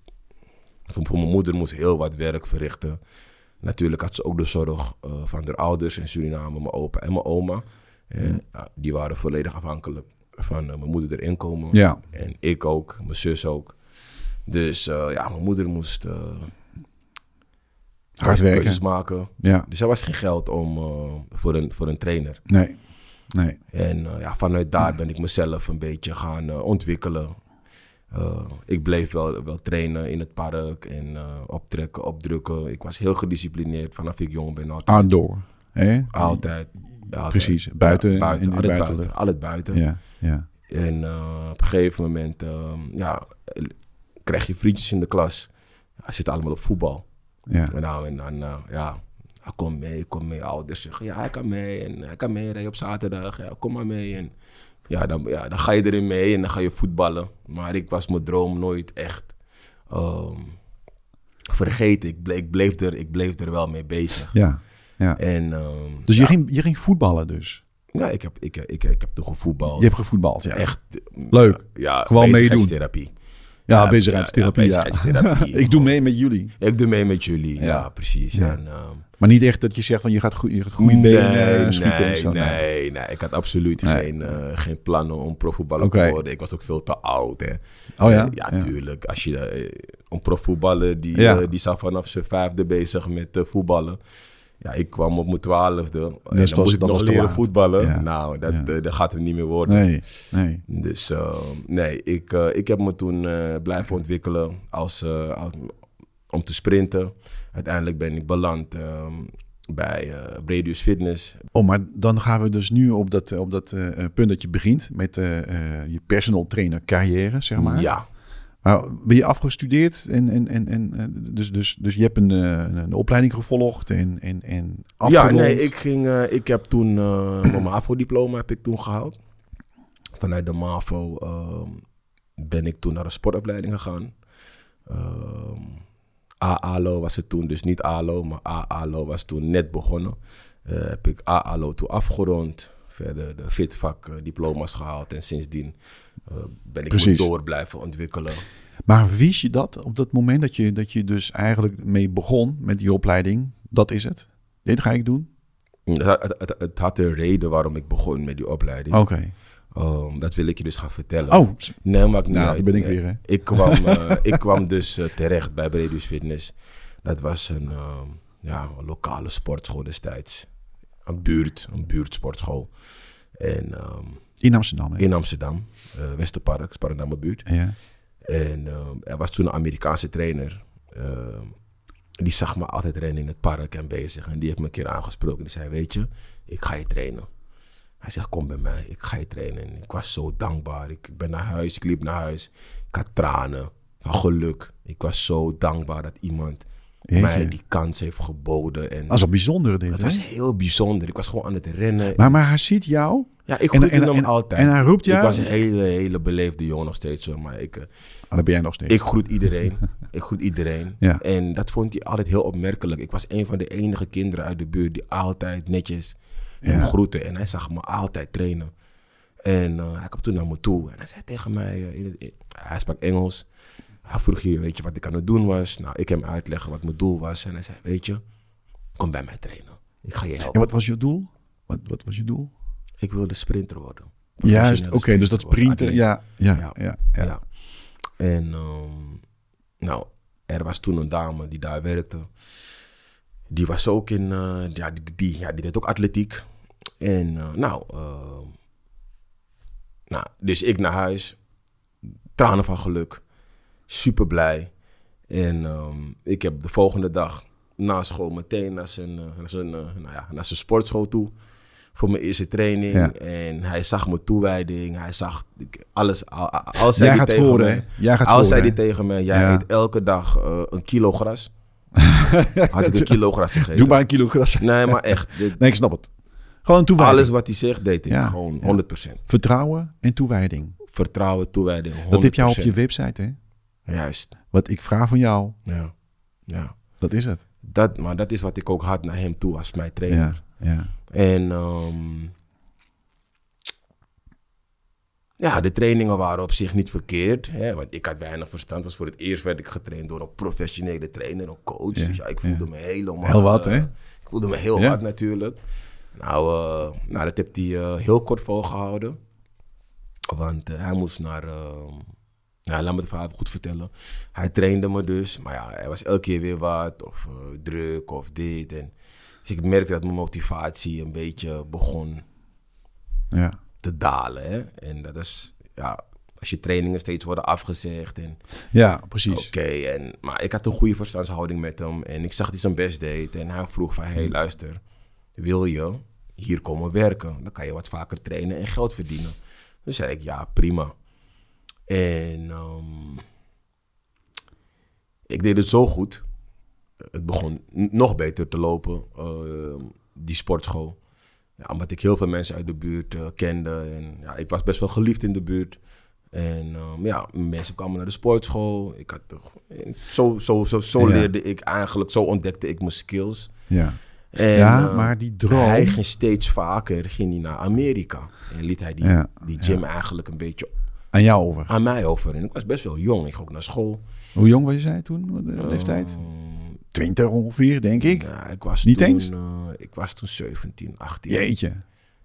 Speaker 2: voor, voor mijn moeder moest heel wat werk verrichten. Natuurlijk had ze ook de zorg eh, van haar ouders in Suriname, mijn opa en mijn oma. En,
Speaker 1: Mm.
Speaker 2: ja, die waren volledig afhankelijk van eh, mijn moeder haar inkomen.
Speaker 1: Ja,
Speaker 2: En ik ook, mijn zus ook. Dus eh, ja, mijn moeder moest eh,
Speaker 1: hard
Speaker 2: keuzes
Speaker 1: werken.
Speaker 2: maken.
Speaker 1: Ja,
Speaker 2: Dus er was geen geld om, eh, voor, een, voor een trainer.
Speaker 1: nee. Nee,
Speaker 2: En eh, ja, vanuit daar ben ik mezelf een beetje gaan eh, ontwikkelen. Eh, ik bleef wel, wel trainen in het park en eh, optrekken, opdrukken. Ik was heel gedisciplineerd vanaf ik jong ben. Altijd.
Speaker 1: outdoor. Hè?
Speaker 2: altijd, altijd.
Speaker 1: Precies, buiten
Speaker 2: Ja,
Speaker 1: en- en
Speaker 2: altijd buiten.
Speaker 1: buitenlucht.
Speaker 2: Altijd buiten.
Speaker 1: Ja, ja.
Speaker 2: En eh, op een gegeven moment eh, ja, eh, krijg je vriendjes in de klas. Ja, Ze zitten allemaal op voetbal.
Speaker 1: ja.
Speaker 2: En nou, en dan, eh, ja, hij komt mee, kom mee. Ouders zeggen, ja, hij kan mee. En hij kan meerijden op zaterdag. Ja, kom maar mee. En ja dan, ja, dan ga je erin mee en dan ga je voetballen. Maar ik was mijn droom nooit echt ehm, vergeten. Ik bleef, ik, bleef er, ik bleef er wel mee bezig.
Speaker 1: ja, ja.
Speaker 2: En ehm,
Speaker 1: Dus
Speaker 2: ja,
Speaker 1: je, ging, je ging voetballen dus?
Speaker 2: ja, ik, heb, ik, ik, ik heb toen gevoetbald.
Speaker 1: Je hebt gevoetbald, ja.
Speaker 2: Echt.
Speaker 1: Leuk.
Speaker 2: Ja,
Speaker 1: Gewoon meedoen.
Speaker 2: bezigheidstherapie.
Speaker 1: Ja,
Speaker 2: Ja,
Speaker 1: bezigheidstherapie.
Speaker 2: ja,
Speaker 1: Ja,
Speaker 2: bezigheidstherapie.
Speaker 1: ik doe mee met jullie.
Speaker 2: Ik doe mee met jullie. Ja,
Speaker 1: Ja.
Speaker 2: precies.
Speaker 1: Ja.
Speaker 2: En, ehm,
Speaker 1: Maar niet echt dat je zegt van je gaat, goe- je gaat goede benen eh, schieten
Speaker 2: nee,
Speaker 1: en zo.
Speaker 2: Nee, nee, ik had absoluut
Speaker 1: Nee.
Speaker 2: geen, eh, geen plannen om profvoetballer
Speaker 1: Oké.
Speaker 2: te worden. Ik was ook veel te oud. Hè.
Speaker 1: Oh ja?
Speaker 2: Eh,
Speaker 1: Ja.
Speaker 2: ja, tuurlijk. Als je, eh, een profvoetballer die,
Speaker 1: Ja.
Speaker 2: eh, die is al vanaf zijn vijfde bezig met eh, voetballen. Ja, ik kwam op mijn twaalfde. En
Speaker 1: Dus was
Speaker 2: dan moest
Speaker 1: het-
Speaker 2: ik
Speaker 1: dat
Speaker 2: nog
Speaker 1: was te
Speaker 2: leren
Speaker 1: laat.
Speaker 2: voetballen.
Speaker 1: Ja.
Speaker 2: Nou, dat,
Speaker 1: Ja.
Speaker 2: eh, dat gaat er niet meer worden.
Speaker 1: Nee, nee.
Speaker 2: Dus eh, nee, ik, eh, ik heb me toen eh, blijven ontwikkelen als, eh, als- om te sprinten. Uiteindelijk ben ik beland eh, bij eh Bredius Fitness.
Speaker 1: Oh, maar dan gaan we dus nu op dat, eh, op dat eh, eh, punt dat je begint met eh, eh, je personal trainer carrière, zeg maar.
Speaker 2: Ja,
Speaker 1: Maar ben je afgestudeerd en, en, en, en eh, dus, dus, dus je hebt een, eh, een, een opleiding gevolgd en, en, en
Speaker 2: ja
Speaker 1: afgerond?
Speaker 2: nee, ik, ging, eh, ik heb toen eh, mijn MAVO-diploma heb ik toen gehaald. Vanuit de MAVO ehm, ben ik toen naar een sportopleiding gegaan. Ehm A-ALO was het toen, dus niet ALO, maar A-ALO was toen net begonnen. Eh, heb ik A-ALO toen afgerond, verder de fitvak-diploma's gehaald en sindsdien eh, ben ik
Speaker 1: Precies.
Speaker 2: me door blijven ontwikkelen.
Speaker 1: Maar wist je dat op dat moment dat je, dat je dus eigenlijk mee begon met die opleiding? Dat is het. Dit ga ik doen?
Speaker 2: Mm, Het, het, het- het had een reden waarom ik begon met die opleiding.
Speaker 1: Oké.
Speaker 2: Ehm, dat wil ik je dus gaan vertellen.
Speaker 1: Oh,
Speaker 2: Nee, maakt niet
Speaker 1: nou,
Speaker 2: uit.
Speaker 1: daar ben ik
Speaker 2: Nee.
Speaker 1: weer, hè.
Speaker 2: Ik kwam, eh, ik kwam dus eh, terecht bij Bredius Fitness. Dat was een, eh, ja, een lokale sportschool destijds. Een buurt, een buurtsportschool. En ehm,
Speaker 1: In Amsterdam, hè?
Speaker 2: in Amsterdam, eh, Westerpark, Sparendamme buurt.
Speaker 1: Ja.
Speaker 2: En ehm, er was toen een Amerikaanse trainer. ehm, die zag me altijd rennen in het park en bezig. En die heeft me een keer aangesproken. Die zei, weet je, ik ga je trainen. Hij zegt, kom bij mij, ik ga je trainen. En ik was zo dankbaar. Ik ben naar huis, ik liep naar huis. Ik had tranen van geluk. Ik was zo dankbaar dat iemand mij
Speaker 1: Jeetje.
Speaker 2: die kans heeft geboden. En
Speaker 1: Dat is wel bijzonder dit,
Speaker 2: dat
Speaker 1: hè?
Speaker 2: was heel bijzonder. Ik was gewoon aan het rennen.
Speaker 1: Maar, maar hij ziet jou
Speaker 2: ja, ik
Speaker 1: en-
Speaker 2: groette
Speaker 1: en-
Speaker 2: hem
Speaker 1: en-
Speaker 2: altijd.
Speaker 1: en hij roept jou?
Speaker 2: Ik was een hele, hele beleefde jongen nog steeds. hoor, Maar ik... eh,
Speaker 1: Ah, dat ben jij nog steeds.
Speaker 2: ik groet iedereen. ik groet iedereen.
Speaker 1: Ja.
Speaker 2: En dat vond hij altijd heel opmerkelijk. Ik was een van de enige kinderen uit de buurt die altijd netjes hem
Speaker 1: Ja.
Speaker 2: groette. En hij zag me altijd trainen. En eh, hij kwam toen naar me toe en hij zei tegen mij, eh, in het- in- hij sprak Engels. Hij vroeg hier, weet je wat ik aan het doen was? Nou, ik hem uitleggen wat mijn doel was. En hij zei, weet je, kom bij mij trainen. Ik ga je helpen.
Speaker 1: En wat was je doel? Wat, wat was je doel?
Speaker 2: Ik wilde sprinter worden.
Speaker 1: Juist, oké,
Speaker 2: Professionele
Speaker 1: dus dat
Speaker 2: sprinter worden,
Speaker 1: printen,
Speaker 2: atleet.
Speaker 1: ja, ja, ja,
Speaker 2: Ja.
Speaker 1: ja,
Speaker 2: Ja. En ehm, nou, er was toen een dame die daar werkte. Die was ook in, eh, ja, die, die, ja, die deed ook atletiek. En eh, nou, ehm, nou, dus ik naar huis. Tranen van geluk. Super blij. En ehm, ik heb de volgende dag na school meteen naar zijn, eh, naar zijn, eh, nou ja, naar zijn sportschool toe. Voor mijn eerste training.
Speaker 1: Ja.
Speaker 2: En hij zag mijn toewijding. Hij zag ik- alles. Al, al- al zei
Speaker 1: Jij
Speaker 2: hij
Speaker 1: gaat
Speaker 2: tegen
Speaker 1: voor,
Speaker 2: mij-
Speaker 1: hè? Jij gaat
Speaker 2: als
Speaker 1: voor,
Speaker 2: zei
Speaker 1: hè?
Speaker 2: die tegen me, jij
Speaker 1: Ja.
Speaker 2: eet elke dag eh, een kilo gras. Had ik een kilo gras gegeten.
Speaker 1: Doe maar een kilo gras.
Speaker 2: Nee, maar echt. dit-
Speaker 1: Nee, ik snap het. Gewoon toewijding.
Speaker 2: Alles wat hij zegt, deed ik.
Speaker 1: Ja,
Speaker 2: Gewoon
Speaker 1: ja.
Speaker 2: 100%.
Speaker 1: Vertrouwen en toewijding.
Speaker 2: Vertrouwen, toewijding. 100%.
Speaker 1: Dat heb jou op je website, hè?
Speaker 2: Juist.
Speaker 1: Wat ik vraag van jou,
Speaker 2: Ja. ja.
Speaker 1: dat is het.
Speaker 2: Dat, maar dat is wat ik ook had naar hem toe als mijn trainer.
Speaker 1: Ja, ja.
Speaker 2: En ehm, ja, de trainingen waren op zich niet verkeerd. Hè, want ik had weinig verstand. Was voor het eerst werd ik getraind door een professionele trainer, een coach.
Speaker 1: Ja,
Speaker 2: dus ja, ik voelde
Speaker 1: ja.
Speaker 2: me helemaal...
Speaker 1: Heel wat,
Speaker 2: eh,
Speaker 1: hè?
Speaker 2: Ik voelde me heel
Speaker 1: Ja.
Speaker 2: hard natuurlijk. Nou, eh, nou dat heeft hij eh, heel kort volgehouden. Want eh, hij moest naar... eh, nou, laat me het verhaal even goed vertellen. Hij trainde me dus. Maar ja, hij was elke keer weer wat. Of eh, druk of dit. En, dus ik merkte dat mijn motivatie een beetje begon
Speaker 1: Ja.
Speaker 2: te dalen. Hè? En dat is... Ja, als je trainingen steeds worden afgezegd en
Speaker 1: Ja, precies.
Speaker 2: Oké, en maar ik had een goede verstandshouding met hem en ik zag dat hij zijn best deed. En hij vroeg van, hey luister, wil je hier komen werken? Dan kan je wat vaker trainen en geld verdienen. Dus zei ik, ja prima. En ehm, ik deed het zo goed. Het begon n- nog beter te lopen, ehm, die sportschool. Ja, omdat ik heel veel mensen uit de buurt eh, kende. En ja, ik was best wel geliefd in de buurt. En ehm, ja, mensen kwamen naar de sportschool. Ik had toch, en zo zo, zo, zo
Speaker 1: Ja.
Speaker 2: leerde ik eigenlijk, zo ontdekte ik mijn skills.
Speaker 1: Ja.
Speaker 2: En,
Speaker 1: ja,
Speaker 2: eh,
Speaker 1: maar die droom.
Speaker 2: Hij ging steeds vaker ging hij naar Amerika. En liet hij die,
Speaker 1: Ja,
Speaker 2: die gym eigenlijk een beetje
Speaker 1: Aan jou over.
Speaker 2: aan mij over. En ik was best wel jong. Ik ging ook naar school.
Speaker 1: Hoe jong was jij toen? Wat, eh, leeftijd?
Speaker 2: Ehm,
Speaker 1: Twintig ongeveer, denk ik.
Speaker 2: nou, ik was
Speaker 1: Niet
Speaker 2: toen,
Speaker 1: eens?
Speaker 2: eh, ik was toen 17, 18.
Speaker 1: Jeetje.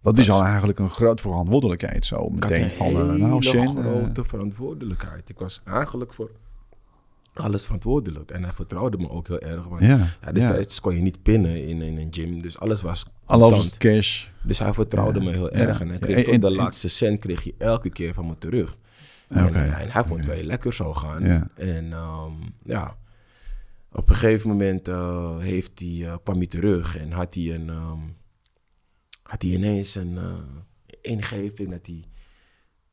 Speaker 1: Dat is al eigenlijk een groot verantwoordelijkheid zo.
Speaker 2: Ik had
Speaker 1: Meteen
Speaker 2: een
Speaker 1: van, eh,
Speaker 2: hele
Speaker 1: nou Shen, eh,
Speaker 2: grote verantwoordelijkheid. Ik was eigenlijk voor alles verantwoordelijk. En hij vertrouwde me ook heel erg. Want
Speaker 1: ja,
Speaker 2: ja,
Speaker 1: ja.
Speaker 2: destijds kon je niet pinnen in, in een gym. Dus alles was
Speaker 1: Alles
Speaker 2: contant.
Speaker 1: was het cash.
Speaker 2: Dus hij vertrouwde me heel
Speaker 1: Ja.
Speaker 2: erg. En hij
Speaker 1: Ja,
Speaker 2: kreeg
Speaker 1: en-
Speaker 2: tot de
Speaker 1: en-
Speaker 2: laatste cent kreeg je elke keer van me terug. En,
Speaker 1: Oké.
Speaker 2: en hij vond het wel heel lekker zo gaan.
Speaker 1: Ja.
Speaker 2: En ehm, ja, op een gegeven moment eh, heeft hij, eh, kwam hij terug en had hij, een, ehm, had hij ineens een eh, ingeving dat hij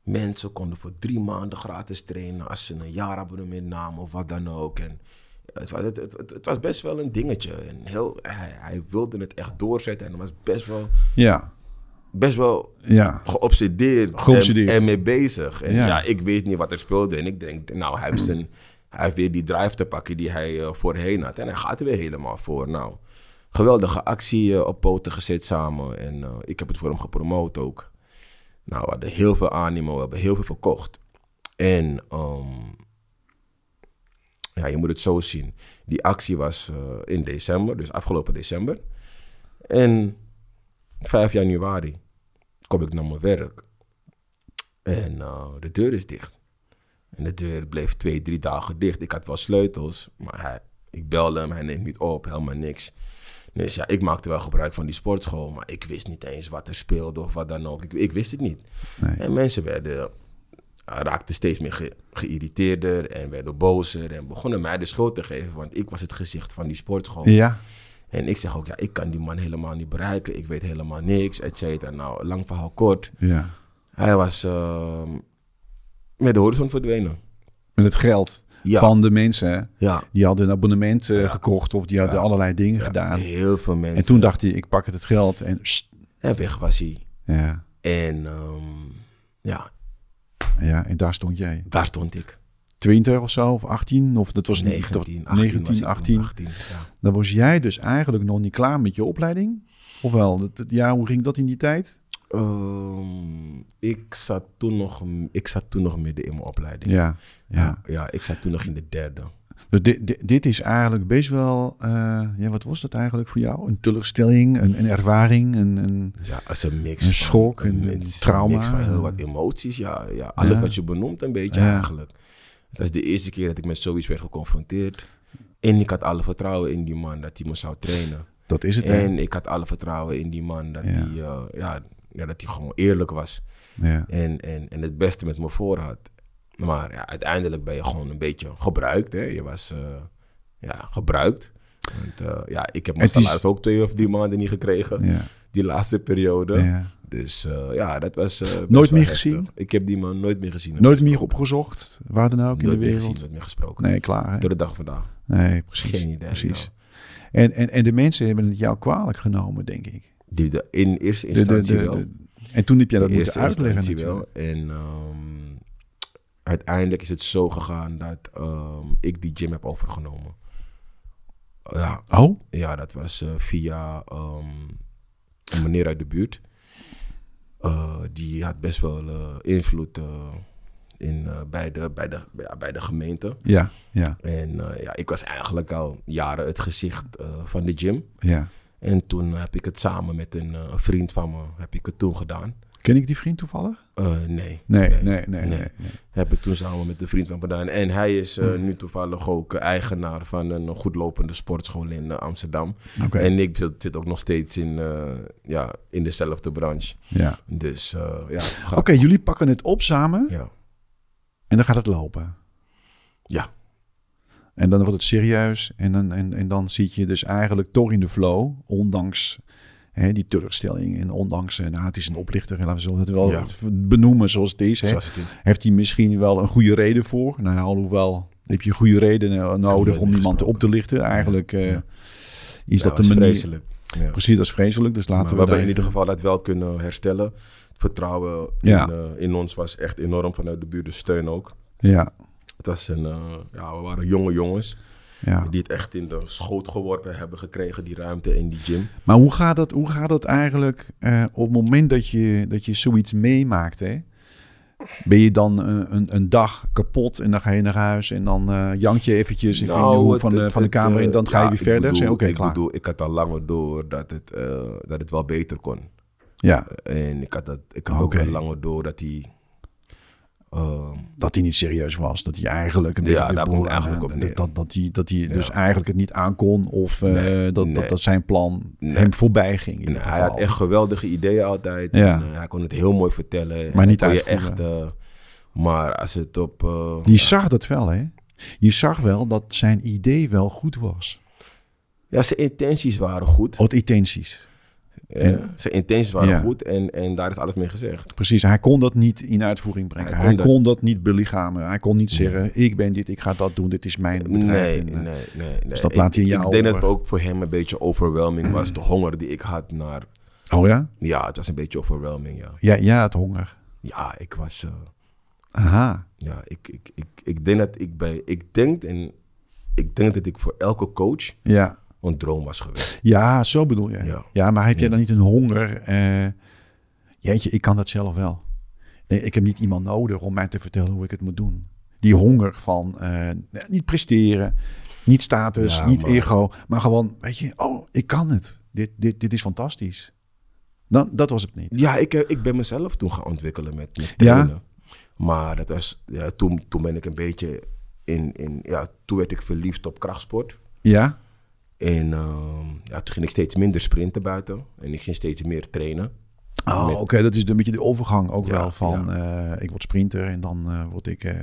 Speaker 2: mensen konden voor drie maanden gratis trainen als ze een jaarabonnement namen of wat dan ook. En het, wa- het, het, het, het was best wel een dingetje. En heel, hij, hij wilde het echt doorzetten en hij was best wel,
Speaker 1: Ja,
Speaker 2: best wel
Speaker 1: ja.
Speaker 2: geobsedeerd,
Speaker 1: Geobsedeerd.
Speaker 2: En, en mee bezig. En ja.
Speaker 1: Ja.
Speaker 2: ik weet niet wat er speelde. En ik denk, nou, hij heeft, zijn, hij heeft weer die drive te pakken die hij eh, voorheen had. En hij gaat er weer helemaal voor. Nou, geweldige actie eh, op poten gezet samen. En eh, ik heb het voor hem gepromoot ook. Nou, we hadden heel veel animo, we hebben heel veel verkocht. En ehm, ja, je moet het zo zien. Die actie was eh, in december, dus afgelopen december. En 5 januari kom ik naar mijn werk. En eh, de deur is dicht. En de deur bleef twee, drie dagen dicht. Ik had wel sleutels, maar hij, ik belde hem, hij neemt niet op, helemaal niks. Dus ja, ik maakte wel gebruik van die sportschool, maar ik wist niet eens wat er speelde of wat dan ook. Ik, ik wist het niet.
Speaker 1: Nee.
Speaker 2: En mensen werden, eh, raakten steeds meer ge- geïrriteerder en werden bozer en begonnen mij de schuld te geven, want ik was het gezicht van die sportschool.
Speaker 1: Ja,
Speaker 2: En ik zeg ook, ja, ik kan die man helemaal niet bereiken, ik weet helemaal niks, et cetera. Nou, lang verhaal kort,
Speaker 1: ja.
Speaker 2: hij was ehm, met de horizon verdwenen.
Speaker 1: Met het geld
Speaker 2: Ja.
Speaker 1: van de mensen.
Speaker 2: Ja.
Speaker 1: Die hadden een abonnement eh, gekocht of die hadden
Speaker 2: Ja.
Speaker 1: allerlei dingen gedaan.
Speaker 2: Heel veel mensen.
Speaker 1: En toen dacht hij, ik pak het, het geld en... sst.
Speaker 2: En weg was hij.
Speaker 1: Ja,
Speaker 2: En ehm, ja,
Speaker 1: ja, en daar stond jij.
Speaker 2: daar stond ik.
Speaker 1: 20 of zo, of 18, of dat was
Speaker 2: 19,
Speaker 1: 19,
Speaker 2: 18.
Speaker 1: 19
Speaker 2: was ik toen,
Speaker 1: 18.
Speaker 2: 18, ja.
Speaker 1: Dan was jij dus eigenlijk nog niet klaar met je opleiding? Ofwel, dat, dat- ja, hoe ging dat in die tijd?
Speaker 2: Ehm, ik, zat toen nog, ik zat toen nog midden in mijn opleiding.
Speaker 1: Ja, ja.
Speaker 2: ja, ik zat toen nog in de derde.
Speaker 1: Dus dit, dit, dit is eigenlijk best wel, eh, ja, wat was dat eigenlijk voor jou? Een teleurstelling, een, een ervaring, een, een,
Speaker 2: Ja, als een mix.
Speaker 1: Een
Speaker 2: van-
Speaker 1: schok, een-
Speaker 2: mix-
Speaker 1: een trauma.
Speaker 2: mix van heel wat emoties, ja. ja alles
Speaker 1: Ja.
Speaker 2: wat je benoemt een beetje
Speaker 1: Ja.
Speaker 2: eigenlijk. Het was de eerste keer dat ik met zoiets werd geconfronteerd. En ik had alle vertrouwen in die man dat hij me zou trainen.
Speaker 1: dat is het. hè?
Speaker 2: En ik had alle vertrouwen in die man dat
Speaker 1: Ja.
Speaker 2: hij eh, ja, ja, dat hij gewoon eerlijk was.
Speaker 1: ja.
Speaker 2: En, en, en het beste met me voor had. Maar ja, uiteindelijk ben je gewoon een beetje gebruikt. Hè? Je was eh, ja, gebruikt. Want, eh, ja, ik heb mijn
Speaker 1: Het is-
Speaker 2: salaris ook twee of drie maanden niet gekregen.
Speaker 1: Ja,
Speaker 2: Die laatste periode.
Speaker 1: ja.
Speaker 2: Dus eh, ja, dat was. eh, best
Speaker 1: Nooit
Speaker 2: wel
Speaker 1: meer
Speaker 2: heftig.
Speaker 1: gezien?
Speaker 2: Ik heb die man nooit meer gezien.
Speaker 1: Nooit meer opgezocht, waar dan ook in de
Speaker 2: nooit meer
Speaker 1: wereld.
Speaker 2: gezien, nooit meer gesproken.
Speaker 1: Nee, klaar. hè?
Speaker 2: Door de dag vandaag.
Speaker 1: Nee, precies.
Speaker 2: Geen idee.
Speaker 1: precies. En, en, en de mensen hebben het jou kwalijk genomen, denk ik.
Speaker 2: nou. Die de, in eerste
Speaker 1: De- de- de-
Speaker 2: instantie wel.
Speaker 1: de- en toen heb jij dat
Speaker 2: In
Speaker 1: moeten uitleggen
Speaker 2: instantie
Speaker 1: natuurlijk.
Speaker 2: En ehm, uiteindelijk is het zo gegaan dat ehm, ik die gym heb overgenomen. Ja,
Speaker 1: Oh,
Speaker 2: ja, dat was eh, via ehm, een meneer uit de buurt. Eh, die had best wel eh, invloed eh, in, eh, bij, de, bij, de, ja, bij de gemeente.
Speaker 1: ja, ja,
Speaker 2: En eh, ja, ik was eigenlijk al jaren het gezicht eh, van de gym.
Speaker 1: ja.
Speaker 2: En toen heb ik het samen met een eh, vriend van me, heb ik het toen gedaan.
Speaker 1: Ken ik die vriend toevallig?
Speaker 2: Eh, nee.
Speaker 1: Nee, nee, nee, nee.
Speaker 2: nee.
Speaker 1: nee,
Speaker 2: Heb ik toen samen met een vriend van me gedaan. En hij is
Speaker 1: Hmm.
Speaker 2: eh, nu toevallig ook eh, eigenaar van een goedlopende sportschool in eh, Amsterdam.
Speaker 1: Oké,
Speaker 2: En ik zit, zit ook nog steeds in, eh, ja, in dezelfde branche.
Speaker 1: ja.
Speaker 2: Dus eh, ja,
Speaker 1: Oké,
Speaker 2: ga-
Speaker 1: jullie pakken het op samen
Speaker 2: ja.
Speaker 1: en dan gaat het lopen.
Speaker 2: Ja.
Speaker 1: En dan wordt het serieus en dan, en, en dan zit je dus eigenlijk toch in de flow, ondanks hè, die teleurstelling en ondanks, eh, nou het is een oplichter, en laten we het wel
Speaker 2: Ja.
Speaker 1: benoemen zoals het is. Hè.
Speaker 2: Zoals het is.
Speaker 1: Heeft hij misschien wel een goede reden voor? Nou, alhoewel heb je goede reden nodig om iemand
Speaker 2: gesproken.
Speaker 1: op te lichten. Eigenlijk eh,
Speaker 2: Ja.
Speaker 1: is
Speaker 2: Ja,
Speaker 1: dat de manier.
Speaker 2: vreselijk. Ja.
Speaker 1: Precies, dat is vreselijk. Dus laten
Speaker 2: Maar
Speaker 1: we
Speaker 2: we hebben
Speaker 1: daar-
Speaker 2: in ieder geval dat wel kunnen herstellen. Het vertrouwen
Speaker 1: Ja.
Speaker 2: in, eh, in ons was echt enorm vanuit de buurt, de steun ook.
Speaker 1: Ja,
Speaker 2: Het was een, eh, ja, we waren jonge jongens
Speaker 1: ja.
Speaker 2: die het echt in de schoot geworpen hebben gekregen, die ruimte in die gym.
Speaker 1: Maar hoe gaat dat, hoe gaat dat eigenlijk eh, op het moment dat je, dat je zoiets meemaakt? Hè? Ben je dan eh, een, een dag kapot en dan ga je naar huis en dan eh jank je eventjes in
Speaker 2: Nou,
Speaker 1: de hoek
Speaker 2: het-
Speaker 1: van, de,
Speaker 2: het-
Speaker 1: van de
Speaker 2: het,
Speaker 1: kamer en
Speaker 2: eh,
Speaker 1: dan ga je
Speaker 2: ja,
Speaker 1: weer
Speaker 2: ik
Speaker 1: verder? Zeg,
Speaker 2: bedoel-
Speaker 1: Oké,
Speaker 2: ik
Speaker 1: klaar.
Speaker 2: bedoel, ik had al langer door dat het, eh, dat het wel beter kon.
Speaker 1: Ja,
Speaker 2: En ik had, dat, ik had
Speaker 1: Oké.
Speaker 2: ook al langer door dat hij... ehm,
Speaker 1: dat hij niet serieus was. Dat hij eigenlijk... Een
Speaker 2: Ja,
Speaker 1: beetje de
Speaker 2: daar
Speaker 1: boel
Speaker 2: komt het
Speaker 1: aan-
Speaker 2: eigenlijk op neer.
Speaker 1: dat, dat, dat hij, dat hij
Speaker 2: Ja.
Speaker 1: dus eigenlijk het niet aankon of eh,
Speaker 2: Nee,
Speaker 1: dat, dat,
Speaker 2: nee.
Speaker 1: dat zijn plan
Speaker 2: Nee.
Speaker 1: hem voorbij ging. in
Speaker 2: En
Speaker 1: ieder
Speaker 2: hij had
Speaker 1: geval.
Speaker 2: echt geweldige ideeën altijd.
Speaker 1: Nou, Ja.
Speaker 2: En, eh, hij kon het heel mooi vertellen.
Speaker 1: Maar
Speaker 2: En
Speaker 1: niet
Speaker 2: kon je
Speaker 1: uitvoeren.
Speaker 2: echt. eh, maar als het op. eh,
Speaker 1: Je zag dat wel, hè? Je zag wel dat zijn idee wel goed was.
Speaker 2: ja, zijn intenties waren goed.
Speaker 1: Wat intenties.
Speaker 2: Eh,
Speaker 1: en-
Speaker 2: zijn intenties waren
Speaker 1: Ja.
Speaker 2: goed en, en daar is alles mee gezegd.
Speaker 1: Precies, hij kon dat niet in uitvoering brengen. Hij
Speaker 2: Hij
Speaker 1: kon,
Speaker 2: kon
Speaker 1: dat...
Speaker 2: dat-
Speaker 1: niet belichamen. Hij kon niet zeggen, ik ben dit, ik ga dat doen, dit is mijn bedrijf.
Speaker 2: Nee, nee,
Speaker 1: En, eh,
Speaker 2: nee, nee.
Speaker 1: dus dat laat hij
Speaker 2: ik,
Speaker 1: in jou
Speaker 2: ik denk dat
Speaker 1: over.
Speaker 2: het ook voor hem een beetje overwhelming was. De honger die ik had naar.
Speaker 1: Oh ja?
Speaker 2: Ja, het was een beetje overwhelming, ja.
Speaker 1: ja? Ja, het honger.
Speaker 2: Ja, ik was. eh,
Speaker 1: Aha.
Speaker 2: ja, ik, ik, ik, ik denk dat ik bij. Ik denk, en, ik denk dat ik voor elke coach
Speaker 1: Ja,
Speaker 2: een droom was geweest.
Speaker 1: ja zo bedoel je. Ja,
Speaker 2: Ja.
Speaker 1: maar heb jij
Speaker 2: Ja.
Speaker 1: dan niet een honger? eh, jeetje, ik kan dat zelf wel. Nee, ik heb niet iemand nodig om mij te vertellen hoe ik het moet doen. Die honger van eh, niet presteren, niet status,
Speaker 2: Ja,
Speaker 1: niet
Speaker 2: maar-
Speaker 1: ego. Maar gewoon, weet je, oh, ik kan het. Dit, dit, dit is fantastisch. Dan, dat was het niet.
Speaker 2: Ja, ik, heb- ik ben mezelf toen gaan ontwikkelen met, met
Speaker 1: Ja?
Speaker 2: trainen. Maar dat was, ja, toen, toen ben ik een beetje in, in ja, toen werd ik verliefd op krachtsport.
Speaker 1: Ja?
Speaker 2: En ehm, ja, toen ging ik steeds minder sprinten buiten. En ik ging steeds meer trainen.
Speaker 1: Oh,
Speaker 2: Met-
Speaker 1: oké, dat is een beetje de overgang ook
Speaker 2: Ja,
Speaker 1: wel van eh, ik word sprinter en dan eh, word ik eh,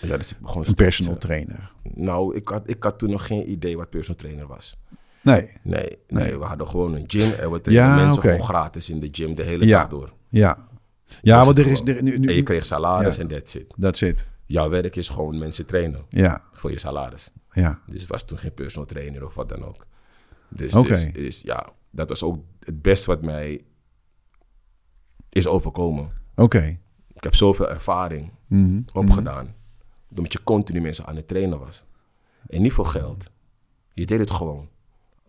Speaker 2: Ja, dus ik begon
Speaker 1: een
Speaker 2: steeds,
Speaker 1: personal
Speaker 2: eh,
Speaker 1: trainer.
Speaker 2: Nou, ik had, ik had toen nog geen idee wat personal trainer was.
Speaker 1: Nee,
Speaker 2: Nee, nee,
Speaker 1: Nee.
Speaker 2: we hadden gewoon een gym. En we trainen
Speaker 1: Ja,
Speaker 2: mensen
Speaker 1: oké.
Speaker 2: gewoon gratis in de gym de hele
Speaker 1: Ja.
Speaker 2: dag door.
Speaker 1: ja. Ja,
Speaker 2: Was
Speaker 1: want
Speaker 2: het
Speaker 1: er is...
Speaker 2: gewoon.
Speaker 1: Er, nu,
Speaker 2: En je
Speaker 1: nu,
Speaker 2: kreeg salaris
Speaker 1: Ja.
Speaker 2: en that's it.
Speaker 1: that's it.
Speaker 2: Jouw werk is gewoon mensen trainen
Speaker 1: Ja,
Speaker 2: voor je salaris.
Speaker 1: ja.
Speaker 2: Dus het was toen geen personal trainer of wat dan ook. Dus,
Speaker 1: Oké.
Speaker 2: dus, dus ja, dat was ook het beste wat mij is overkomen.
Speaker 1: Oké.
Speaker 2: Ik heb zoveel ervaring
Speaker 1: Mhm.
Speaker 2: opgedaan. Omdat je continu mensen aan het trainen was. En niet voor geld. Je deed het gewoon.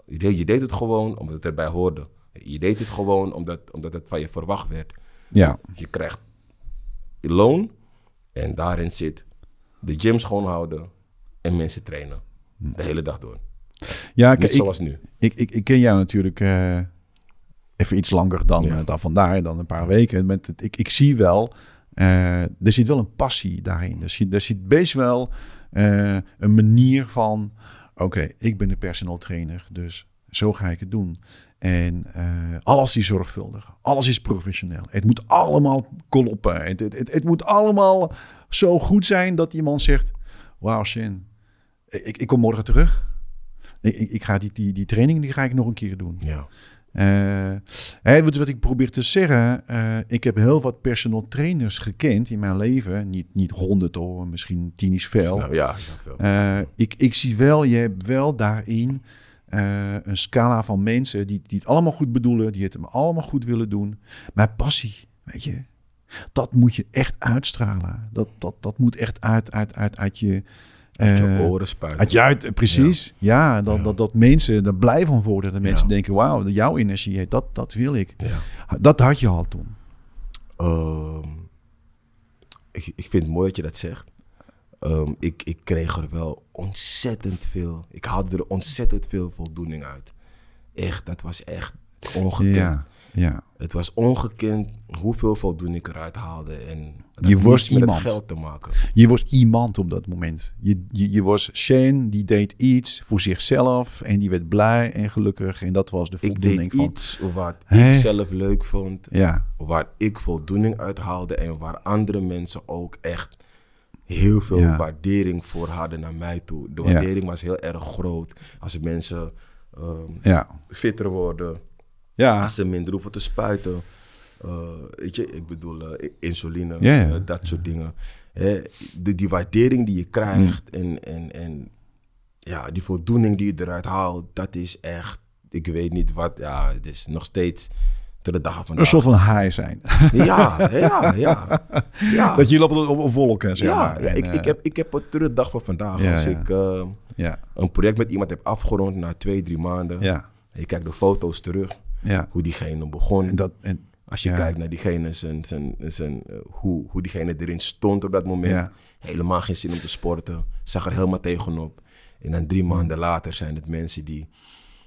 Speaker 2: Je deed, je deed het gewoon omdat het erbij hoorde. Je deed het gewoon omdat, omdat het van je verwacht werd.
Speaker 1: Ja,
Speaker 2: Je krijgt je loon en daarin zit de gym schoonhouden en mensen trainen. De hele dag door.
Speaker 1: ja kijk,
Speaker 2: Niet
Speaker 1: Mhm. ik,
Speaker 2: zoals nu.
Speaker 1: ik, ik, ik ken jou natuurlijk eh, even iets langer dan,
Speaker 2: Ja.
Speaker 1: eh, dan vandaar, dan een paar weken. Met het, ik, ik zie wel, eh, er zit wel een passie daarin. Er zit, er zit best wel eh, een manier van, oké, ik ben de personal trainer, dus zo ga ik het doen. En eh, alles is zorgvuldig, alles is professioneel. Het moet allemaal kloppen. Het, het, het, het moet allemaal zo goed zijn dat iemand zegt, wauw, Shin, Eh, ik, ik kom morgen terug. Ik, ik, ik ga die, die, die training die ga ik nog een keer doen.
Speaker 2: Ja.
Speaker 1: Eh, hè, wat, wat ik probeer te zeggen, eh, ik heb heel wat personal trainers gekend in mijn leven. Niet, niet honderd hoor, misschien tien is veel.
Speaker 2: Snap- ja, snap wel.
Speaker 1: Eh, ik, ik zie wel, je hebt wel daarin eh, eh, een scala van mensen die, die het allemaal goed bedoelen, die het hem allemaal goed willen doen. Maar passie, weet je, dat moet je echt uitstralen. Dat, dat, dat moet echt uit, uit, uit, uit je.
Speaker 2: Uit je
Speaker 1: eh,
Speaker 2: oren spuiten.
Speaker 1: uit je uit, eh, precies. Ja, dat,
Speaker 2: Ja.
Speaker 1: Dat, dat mensen er blij van worden. Dat mensen
Speaker 2: Ja.
Speaker 1: denken, wauw, jouw energie, dat, dat wil ik.
Speaker 2: Ja.
Speaker 1: Dat had je al toen.
Speaker 2: Ehm, ik, ik vind het mooi dat je dat zegt. Ehm, ik, ik kreeg er wel ontzettend veel. Ik haalde er ontzettend veel voldoening uit. Echt, dat was echt ongekend.
Speaker 1: Ja, ja.
Speaker 2: Het was ongekend hoeveel voldoening ik eruit haalde. En dat
Speaker 1: Je
Speaker 2: had
Speaker 1: wordt
Speaker 2: niets met het
Speaker 1: iemand.
Speaker 2: geld te maken.
Speaker 1: Je was iemand op dat moment. Je, je, je was Shane, die deed iets voor zichzelf en die werd blij en gelukkig. En dat was de
Speaker 2: Ik
Speaker 1: voldoening
Speaker 2: deed
Speaker 1: van...
Speaker 2: iets wat
Speaker 1: Hè?
Speaker 2: ik zelf leuk vond.
Speaker 1: Ja,
Speaker 2: Waar ik voldoening uit haalde. En waar andere mensen ook echt heel veel
Speaker 1: Ja.
Speaker 2: waardering voor hadden naar mij toe. De
Speaker 1: Ja.
Speaker 2: waardering was heel erg groot. Als mensen ehm,
Speaker 1: ja,
Speaker 2: fitter worden.
Speaker 1: ja,
Speaker 2: Als ze minder hoeven te spuiten. Eh, weet je, ik bedoel eh, insuline,
Speaker 1: Ja, ja.
Speaker 2: eh, dat soort dingen. Hè, de, die waardering die je krijgt
Speaker 1: Mm.
Speaker 2: en, en, en ja, die voldoening die je eruit haalt, dat is echt, ik weet niet wat, ja, het is nog steeds tot de dag van
Speaker 1: een soort van haai zijn.
Speaker 2: Ja, ja, ja. ja.
Speaker 1: Dat je loopt op, op, op wolken, zeg
Speaker 2: ja,
Speaker 1: maar.
Speaker 2: ja,
Speaker 1: En,
Speaker 2: ik,
Speaker 1: eh,
Speaker 2: ik, heb, ik heb het tot de dag van vandaag.
Speaker 1: Ja,
Speaker 2: Als
Speaker 1: ja.
Speaker 2: ik eh,
Speaker 1: Ja,
Speaker 2: een project met iemand heb afgerond na twee, drie maanden.
Speaker 1: ja,
Speaker 2: Je kijkt de foto's terug,
Speaker 1: ja.
Speaker 2: hoe diegene begon.
Speaker 1: En dat... En,
Speaker 2: Als je
Speaker 1: Ja.
Speaker 2: kijkt naar diegene, zijn, zijn, zijn, eh, hoe, hoe diegene erin stond op dat moment.
Speaker 1: Ja.
Speaker 2: Helemaal geen zin om te sporten. Zag er helemaal tegenop. En dan drie maanden later zijn het mensen die,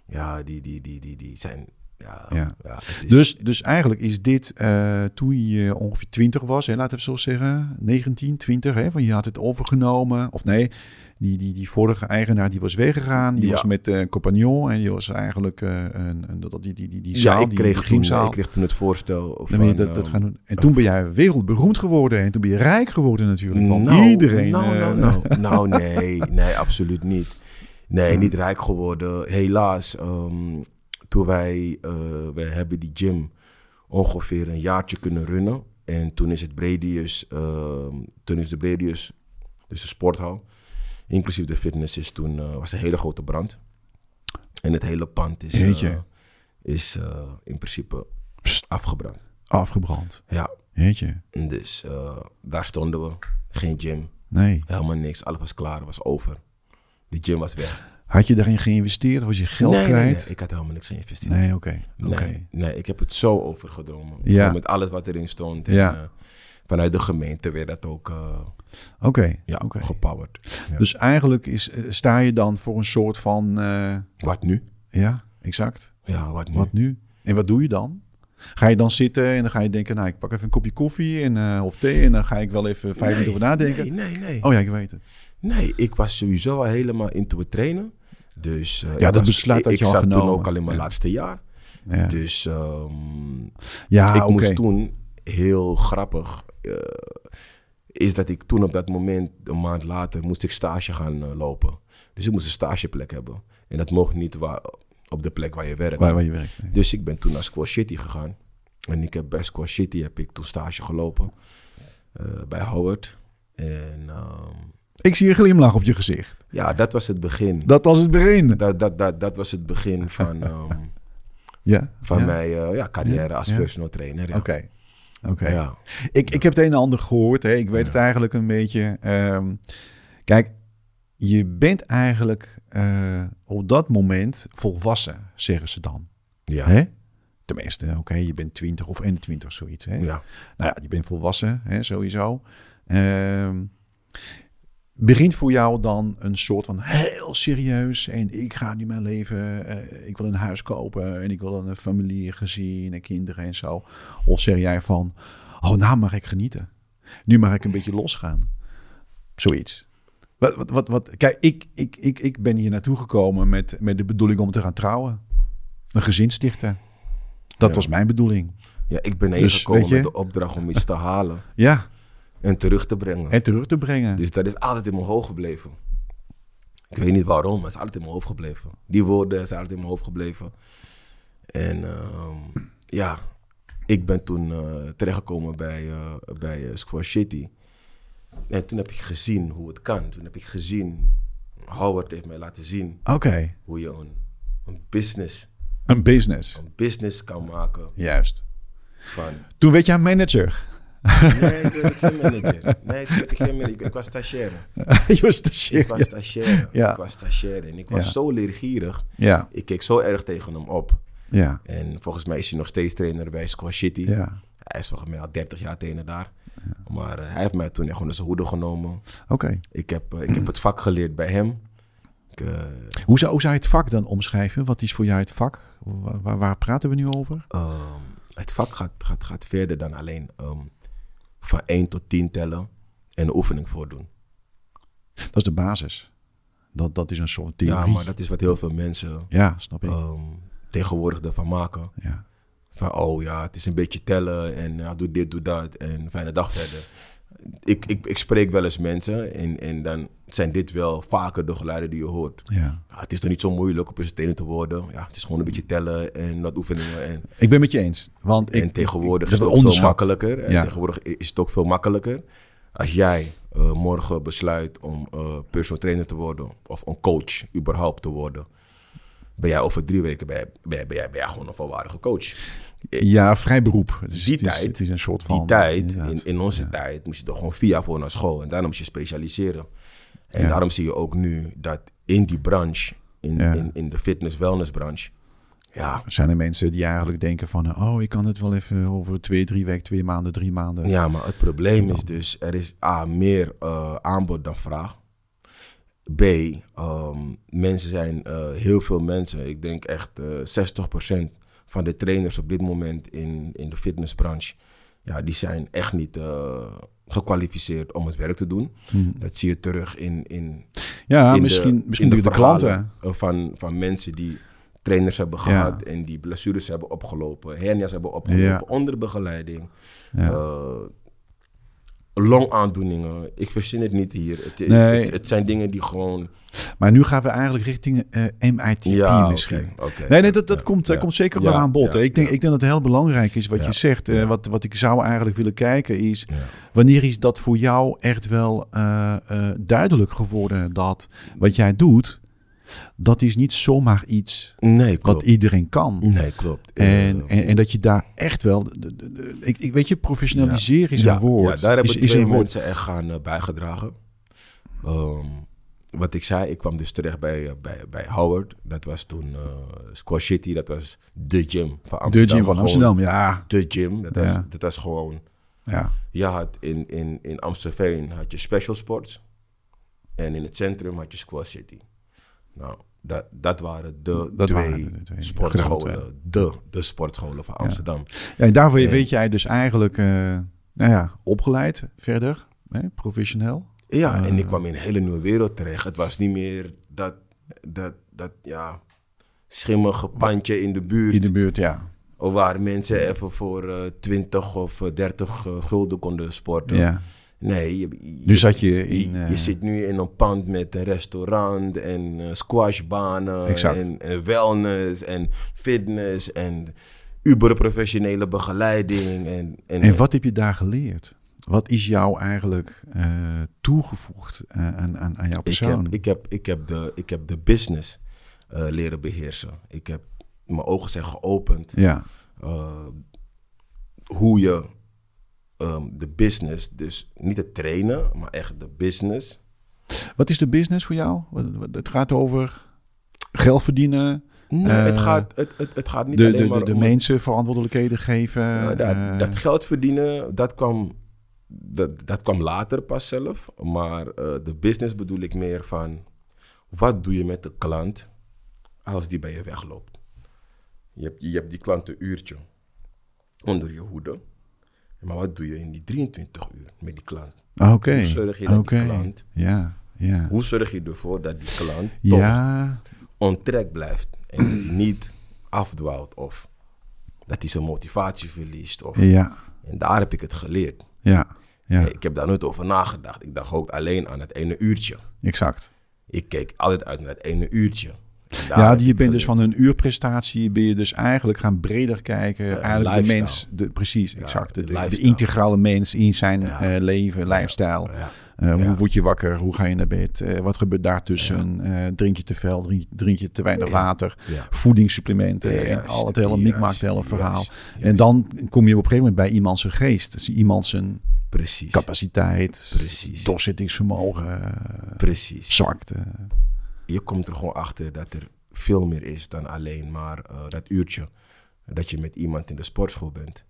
Speaker 2: ja, die, die, die, die, die zijn, ja,
Speaker 1: Ja.
Speaker 2: ja. het is-
Speaker 1: Dus, dus eigenlijk is dit eh, toen je ongeveer 20 was, hè, laten we het zo zeggen, 19, 20, hè, want je had het overgenomen. Of nee, die, die, die vorige eigenaar die was weggegaan, die
Speaker 2: Ja.
Speaker 1: was met eh, een compagnon en die was eigenlijk eh, een, een, dat- die, die, die, die zaal,
Speaker 2: ja, ik
Speaker 1: die-
Speaker 2: kreeg,
Speaker 1: die
Speaker 2: toen, ik
Speaker 1: gymzaal.
Speaker 2: kreeg toen het voorstel
Speaker 1: Dan
Speaker 2: van...
Speaker 1: ben je dat, dat
Speaker 2: ehm,
Speaker 1: gaan doen. En toen ben jij wereldberoemd geworden en toen ben je rijk geworden natuurlijk. Want
Speaker 2: Nou,
Speaker 1: iedereen...
Speaker 2: Nou,
Speaker 1: eh,
Speaker 2: nou, nou. nou, nee, nee, absoluut niet. Nee, niet rijk geworden. Helaas, ehm, toen wij, eh, wij hebben die gym ongeveer een jaartje kunnen runnen. En toen is het Bredius, ehm, toen is de Bredius, dus de sporthal, inclusief de fitness, is toen, eh, was een hele grote brand. En het hele pand is, eh,
Speaker 1: Jeetje.
Speaker 2: is eh, in principe
Speaker 1: Pst.
Speaker 2: afgebrand.
Speaker 1: Afgebrand.
Speaker 2: Ja,
Speaker 1: Weet je?
Speaker 2: dus eh, daar stonden we. Geen gym,
Speaker 1: Nee.
Speaker 2: Helemaal niks. Alles was klaar. was over. De gym was weg.
Speaker 1: Had je daarin geïnvesteerd? Was je geld
Speaker 2: nee, nee, nee,
Speaker 1: kwijt?
Speaker 2: Ik had helemaal niks geïnvesteerd.
Speaker 1: Nee, oké.
Speaker 2: Nee,
Speaker 1: oké.
Speaker 2: nee, ik heb het zo overgedrongen.
Speaker 1: Ja.
Speaker 2: Gewoon Met alles wat erin stond. En,
Speaker 1: Ja.
Speaker 2: eh, vanuit de gemeente werd dat ook eh,
Speaker 1: Oké.
Speaker 2: ja,
Speaker 1: Oké.
Speaker 2: gepowered. Ja.
Speaker 1: Dus eigenlijk is, eh, sta je dan voor een soort van. eh,
Speaker 2: Wat nu?
Speaker 1: ja, exact.
Speaker 2: Ja, wat nu?
Speaker 1: Wat nu? En wat doe je dan? Ga je dan zitten en dan ga je denken: Nou, ik pak even een kopje koffie en, eh, of thee en dan ga ik wel even vijf
Speaker 2: Nee,
Speaker 1: minuten over nadenken.
Speaker 2: Nee, nee, nee.
Speaker 1: Oh ja, ik weet het.
Speaker 2: Nee, ik was sowieso al helemaal into het trainen. Dus, eh, ik
Speaker 1: dat
Speaker 2: was-
Speaker 1: besluit
Speaker 2: ik-
Speaker 1: had je
Speaker 2: Ik
Speaker 1: al
Speaker 2: zat toen
Speaker 1: genomen.
Speaker 2: ook al in mijn
Speaker 1: Ja.
Speaker 2: laatste jaar.
Speaker 1: Ja,
Speaker 2: Dus ehm,
Speaker 1: ja
Speaker 2: ik
Speaker 1: Ah, oké.
Speaker 2: moest toen heel grappig. eh, is dat ik toen op dat moment, een maand later, moest ik stage gaan eh, lopen. Dus ik moest een stageplek hebben. En dat mocht niet waar, op de plek waar je werkt.
Speaker 1: Waar, waar je werkt. Nee.
Speaker 2: Dus ik ben toen naar Squash City gegaan. En ik heb bij Squash City heb ik toen stage gelopen. eh, bij Howard. En ehm,
Speaker 1: Ik zie een glimlach op je gezicht.
Speaker 2: ja, dat was het begin.
Speaker 1: Dat was het begin.
Speaker 2: Dat, dat, dat, dat was het begin van, ehm,
Speaker 1: Ja,
Speaker 2: van
Speaker 1: ja.
Speaker 2: mijn eh, ja, carrière als
Speaker 1: Ja.
Speaker 2: personal trainer. Ja.
Speaker 1: Oké. Oké.
Speaker 2: Ja.
Speaker 1: Ik, ik heb het een en ander gehoord. Hè. Ik weet het eigenlijk een beetje. Ehm, kijk, je bent eigenlijk eh, op dat moment volwassen, zeggen ze dan.
Speaker 2: Ja.
Speaker 1: Hè? Tenminste, oké, je bent 20 of 21, zoiets. Hè?
Speaker 2: Ja.
Speaker 1: Nou ja, je bent volwassen, hè, sowieso. Ehm, begint voor jou dan een soort van heel serieus... en ik ga nu mijn leven, eh, ik wil een huis kopen... en ik wil een familie, gezin en kinderen en zo. Of zeg jij van, oh, nou mag ik genieten. Nu mag ik een beetje losgaan. Zoiets. Wat, wat, wat, wat. Kijk, ik, ik, ik, ik ben hier naartoe gekomen met, met de bedoeling om te gaan trouwen. Een gezin stichten. Dat
Speaker 2: Ja.
Speaker 1: was mijn bedoeling.
Speaker 2: Ja, ik ben
Speaker 1: Dus,
Speaker 2: ingekomen
Speaker 1: weet je-
Speaker 2: met de opdracht om iets te halen
Speaker 1: Ja,
Speaker 2: en terug te brengen.
Speaker 1: en terug te brengen.
Speaker 2: Dus dat is altijd in mijn hoofd gebleven. Ik weet niet waarom, maar het is altijd in mijn hoofd gebleven. Die woorden zijn altijd in mijn hoofd gebleven. En ehm, ja, ik ben toen eh, terechtgekomen bij, eh, bij eh, Squash City. En toen heb ik gezien hoe het kan. Toen heb ik gezien, Howard heeft mij laten zien
Speaker 1: Oké.
Speaker 2: hoe je een, een business,
Speaker 1: Een business.
Speaker 2: een business kan maken
Speaker 1: Juist.
Speaker 2: van...
Speaker 1: Toen werd jij manager.
Speaker 2: Nee, ik ben geen manager. Nee, ik ben geen manager. Ik, ik was stagiaire.
Speaker 1: je was de
Speaker 2: Ik
Speaker 1: shit.
Speaker 2: was stagiaire.
Speaker 1: Ja.
Speaker 2: Ik was stagiaire. En ik was
Speaker 1: Ja.
Speaker 2: zo leergierig.
Speaker 1: Ja,
Speaker 2: Ik keek zo erg tegen hem op.
Speaker 1: ja,
Speaker 2: En volgens mij is hij nog steeds trainer bij Squash City.
Speaker 1: ja.
Speaker 2: Hij is volgens mij al 30 jaar trainer daar. Maar eh, hij heeft mij toen echt onder zijn hoede genomen.
Speaker 1: Oké.
Speaker 2: Ik heb, eh, ik heb het vak geleerd bij hem. Ik, eh,
Speaker 1: Hoe zou, hoe zou je het vak dan omschrijven? Wat is voor jou het vak? Waar, waar- waar praten we nu over?
Speaker 2: ehm, het vak gaat, gaat, gaat verder dan alleen ehm, van 1 tot 10 tellen en een oefening voordoen.
Speaker 1: Dat is de basis. Dat, dat is een soort theorie.
Speaker 2: Ja, maar dat is wat heel veel mensen
Speaker 1: Ja, snap ik.
Speaker 2: ehm, tegenwoordig ervan maken.
Speaker 1: Ja.
Speaker 2: Van, oh ja, het is een beetje tellen en ja, doe dit, doe dat en fijne dag verder. Ik, ik, ik spreek wel eens mensen en, en dan zijn dit wel vaker de geluiden die je hoort.
Speaker 1: Ja.
Speaker 2: Ja, het is toch niet zo moeilijk om presenteren te worden. Ja, het is gewoon een beetje tellen en wat oefeningen. En,
Speaker 1: Ik ben met je eens. Want ik,
Speaker 2: en tegenwoordig
Speaker 1: ik-
Speaker 2: is
Speaker 1: dat
Speaker 2: het
Speaker 1: wordt
Speaker 2: ook veel
Speaker 1: onderschat.
Speaker 2: makkelijker. En
Speaker 1: Ja.
Speaker 2: tegenwoordig i- is het ook veel makkelijker. Als jij eh, morgen besluit om eh, personal trainer te worden of een coach überhaupt te worden, ben jij over drie weken ben jij, ben jij, ben jij, ben jij gewoon een volwaardige coach.
Speaker 1: Ja, vrij beroep. Het is,
Speaker 2: Die
Speaker 1: het is-
Speaker 2: tijd-
Speaker 1: het is een soort van...
Speaker 2: Die tijd, in,
Speaker 1: inderdaad.
Speaker 2: in onze tijd, moest je toch gewoon via jaar voor naar school en daarom moest je specialiseren. En
Speaker 1: Ja.
Speaker 2: daarom zie je ook nu dat in die branche, in,
Speaker 1: Ja.
Speaker 2: in, in de fitness-wellness-branche, ja,
Speaker 1: Zijn er mensen die eigenlijk denken van... Oh, ik kan het wel even over twee, drie weken, twee maanden, drie maanden.
Speaker 2: Ja, maar het probleem is dus, er is A, meer eh, aanbod dan vraag. B, ehm, mensen zijn, eh, heel veel mensen, ik denk echt eh 60% van de trainers op dit moment in, in de fitnessbranche, ja, die zijn echt niet eh, gekwalificeerd om het werk te doen.
Speaker 1: Hm.
Speaker 2: Dat zie je terug in, in,
Speaker 1: Ja,
Speaker 2: in de-
Speaker 1: misschien,
Speaker 2: in
Speaker 1: misschien de, de
Speaker 2: verhalen,
Speaker 1: klanten.
Speaker 2: eh, Van, van mensen die trainers hebben gehad en die blessures hebben opgelopen, hernias hebben opgelopen
Speaker 1: Ja.
Speaker 2: onder begeleiding.
Speaker 1: Ja.
Speaker 2: Eh, longaandoeningen. Ik verzin het niet hier. Het, het-
Speaker 1: Nee.
Speaker 2: het, het zijn dingen die gewoon...
Speaker 1: Maar nu gaan we eigenlijk richting eh, MITP
Speaker 2: Ja,
Speaker 1: misschien.
Speaker 2: oké, oké.
Speaker 1: Nee, nee, dat, dat,
Speaker 2: Ja,
Speaker 1: komt, dat
Speaker 2: ja.
Speaker 1: komt zeker
Speaker 2: Ja,
Speaker 1: wel aan bod.
Speaker 2: ja,
Speaker 1: ik, denk,
Speaker 2: ja.
Speaker 1: ik denk dat het heel belangrijk is wat
Speaker 2: Ja,
Speaker 1: je zegt. Eh,
Speaker 2: ja.
Speaker 1: wat, wat ik zou eigenlijk willen kijken is...
Speaker 2: Ja.
Speaker 1: wanneer is dat voor jou echt wel eh, eh, duidelijk geworden... dat wat jij doet, dat is niet zomaar iets
Speaker 2: Nee,
Speaker 1: wat
Speaker 2: klopt. Mm.
Speaker 1: iedereen kan.
Speaker 2: Nee, klopt. Eh,
Speaker 1: En, en, en dat je daar echt wel... de- de- de- ik, ik weet je, professionaliseren is
Speaker 2: ja,
Speaker 1: een woord.
Speaker 2: Ja, daar hebben
Speaker 1: is, is
Speaker 2: twee
Speaker 1: een woord.
Speaker 2: mensen echt aan eh, bijgedragen. Ehm, wat ik zei, ik kwam dus terecht bij, eh, bij, bij Howard. Dat was toen eh Squash City. Dat was de gym van Amsterdam.
Speaker 1: De gym van
Speaker 2: Gewoon
Speaker 1: Amsterdam, ja.
Speaker 2: De gym. Dat was,
Speaker 1: Ja.
Speaker 2: dat was gewoon...
Speaker 1: ja.
Speaker 2: Je had in, in, in Amstelveen had je Special Sports. En in het centrum had je Squash City. Nou, dat, dat waren de
Speaker 1: Dat
Speaker 2: twee
Speaker 1: waren de twee grote.
Speaker 2: sportscholen. De, de sportscholen van Amsterdam.
Speaker 1: Ja, en daarvoor
Speaker 2: En-
Speaker 1: weet jij dus eigenlijk, eh, nou ja, opgeleid verder, hè, professioneel.
Speaker 2: Ja,
Speaker 1: Ah.
Speaker 2: en ik kwam in een hele nieuwe wereld terecht. Het was niet meer dat, dat, dat ja, schimmige pandje in de buurt.
Speaker 1: In de buurt, ja.
Speaker 2: Waar mensen even voor eh, 20 of eh, 30 eh, gulden konden sporten.
Speaker 1: ja.
Speaker 2: Nee, je, je-
Speaker 1: Nu zat je in...
Speaker 2: je,
Speaker 1: eh,
Speaker 2: je zit nu in een pand met een restaurant en eh, squashbanen
Speaker 1: Exact.
Speaker 2: en, en wellness en fitness en uberprofessionele begeleiding. En, en,
Speaker 1: en wat heb je daar geleerd? Wat is jou eigenlijk eh, toegevoegd eh, aan, aan, aan jouw
Speaker 2: ik,
Speaker 1: persoon?
Speaker 2: heb, ik, heb, ik, heb de, ik heb de business eh, leren beheersen. Ik heb, mijn ogen zijn geopend.
Speaker 1: Ja,
Speaker 2: eh, hoe je ehm, de business, dus niet het trainen, maar echt de business.
Speaker 1: wat is de business voor jou? Wat- wat- Het gaat over geld verdienen,
Speaker 2: Nee, het,
Speaker 1: Eh,
Speaker 2: gaat, het, het, het gaat
Speaker 1: de,
Speaker 2: niet
Speaker 1: de,
Speaker 2: alleen maar
Speaker 1: de, de
Speaker 2: om het
Speaker 1: mensen verantwoordelijkheden geven.
Speaker 2: Ja, dat,
Speaker 1: eh,
Speaker 2: dat geld verdienen, dat kwam, dat, dat kwam later pas zelf. Maar eh, de business bedoel ik meer van... Wat doe je met de klant als die bij je wegloopt? Je hebt, je hebt die klant een uurtje onder je hoede. Maar wat doe je in die 23 uur met die klant?
Speaker 1: Ah, Oké,
Speaker 2: Hoe zorg je dat die
Speaker 1: oké.
Speaker 2: klant-
Speaker 1: Ja, ja.
Speaker 2: Hoe zorg je ervoor dat die klant toch
Speaker 1: Ja,
Speaker 2: on track blijft? En dat hij niet afdwaalt of dat hij zijn motivatie verliest. Of,
Speaker 1: ja,
Speaker 2: En daar heb ik het geleerd.
Speaker 1: ja, ja.
Speaker 2: Nee, Ik heb daar nooit over nagedacht. Ik dacht ook alleen aan het ene uurtje.
Speaker 1: Exact.
Speaker 2: Ik keek altijd uit naar het ene uurtje. En daar
Speaker 1: Ja,
Speaker 2: heb
Speaker 1: je
Speaker 2: ik
Speaker 1: bent dus
Speaker 2: geleerd.
Speaker 1: van een uurprestatie, ben je dus eigenlijk gaan breder kijken. eigenlijk de
Speaker 2: lifestyle.
Speaker 1: mens, de, precies, exact. De, de
Speaker 2: lifestyle.
Speaker 1: integrale mens in zijn
Speaker 2: Ja.
Speaker 1: eh, leven, lifestyle.
Speaker 2: Ja.
Speaker 1: Eh,
Speaker 2: Ja.
Speaker 1: Hoe word je wakker? Hoe ga je naar bed? Eh, wat gebeurt daartussen? Eh, drink je te veel? Drink, je- drink je te weinig water?
Speaker 2: Ja.
Speaker 1: Voedingssupplementen en
Speaker 2: Juist,
Speaker 1: al het hele mikmak,
Speaker 2: juist,
Speaker 1: het hele verhaal.
Speaker 2: juist,
Speaker 1: En
Speaker 2: juist.
Speaker 1: dan kom je op een gegeven moment bij iemand zijn geest. Dus iemand zijn
Speaker 2: Precies.
Speaker 1: capaciteit,
Speaker 2: Precies.
Speaker 1: doorzettingsvermogen, eh,
Speaker 2: Precies.
Speaker 1: zwakte.
Speaker 2: Je komt er gewoon achter dat er veel meer is dan alleen maar eh, dat uurtje dat je met iemand in de sportschool bent.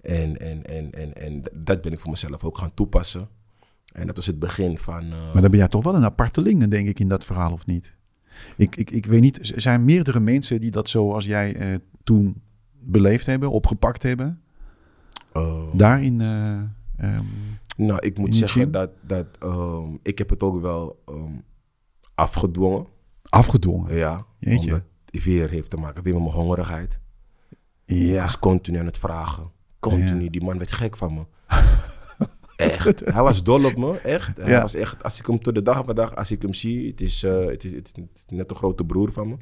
Speaker 2: En, en, en, en, en dat ben ik voor mezelf ook gaan toepassen. En dat was het begin van. eh,
Speaker 1: Maar dan ben jij toch wel een aparteling, denk ik, in dat verhaal, of niet? Ik, ik, ik weet niet, er zijn meerdere mensen die dat zo als jij eh, toen beleefd hebben, opgepakt hebben.
Speaker 2: eh,
Speaker 1: Daarin, eh, ehm,
Speaker 2: Nou, ik
Speaker 1: In
Speaker 2: moet
Speaker 1: de
Speaker 2: zeggen
Speaker 1: gym?
Speaker 2: dat, dat ehm, ik heb het ook wel ehm, afgedwongen.
Speaker 1: afgedwongen.
Speaker 2: Ja,
Speaker 1: Jeetje.
Speaker 2: omdat het weer heeft te maken weer met mijn hongerigheid. Ik
Speaker 1: Ja.
Speaker 2: was continu aan het vragen. Continu, die man werd gek van me. echt. Hij was dol op me, echt. Hij
Speaker 1: Ja.
Speaker 2: was echt. Als ik hem tot de dag van dag, als ik hem zie, het is, eh, het is, het is net een grote broer van me.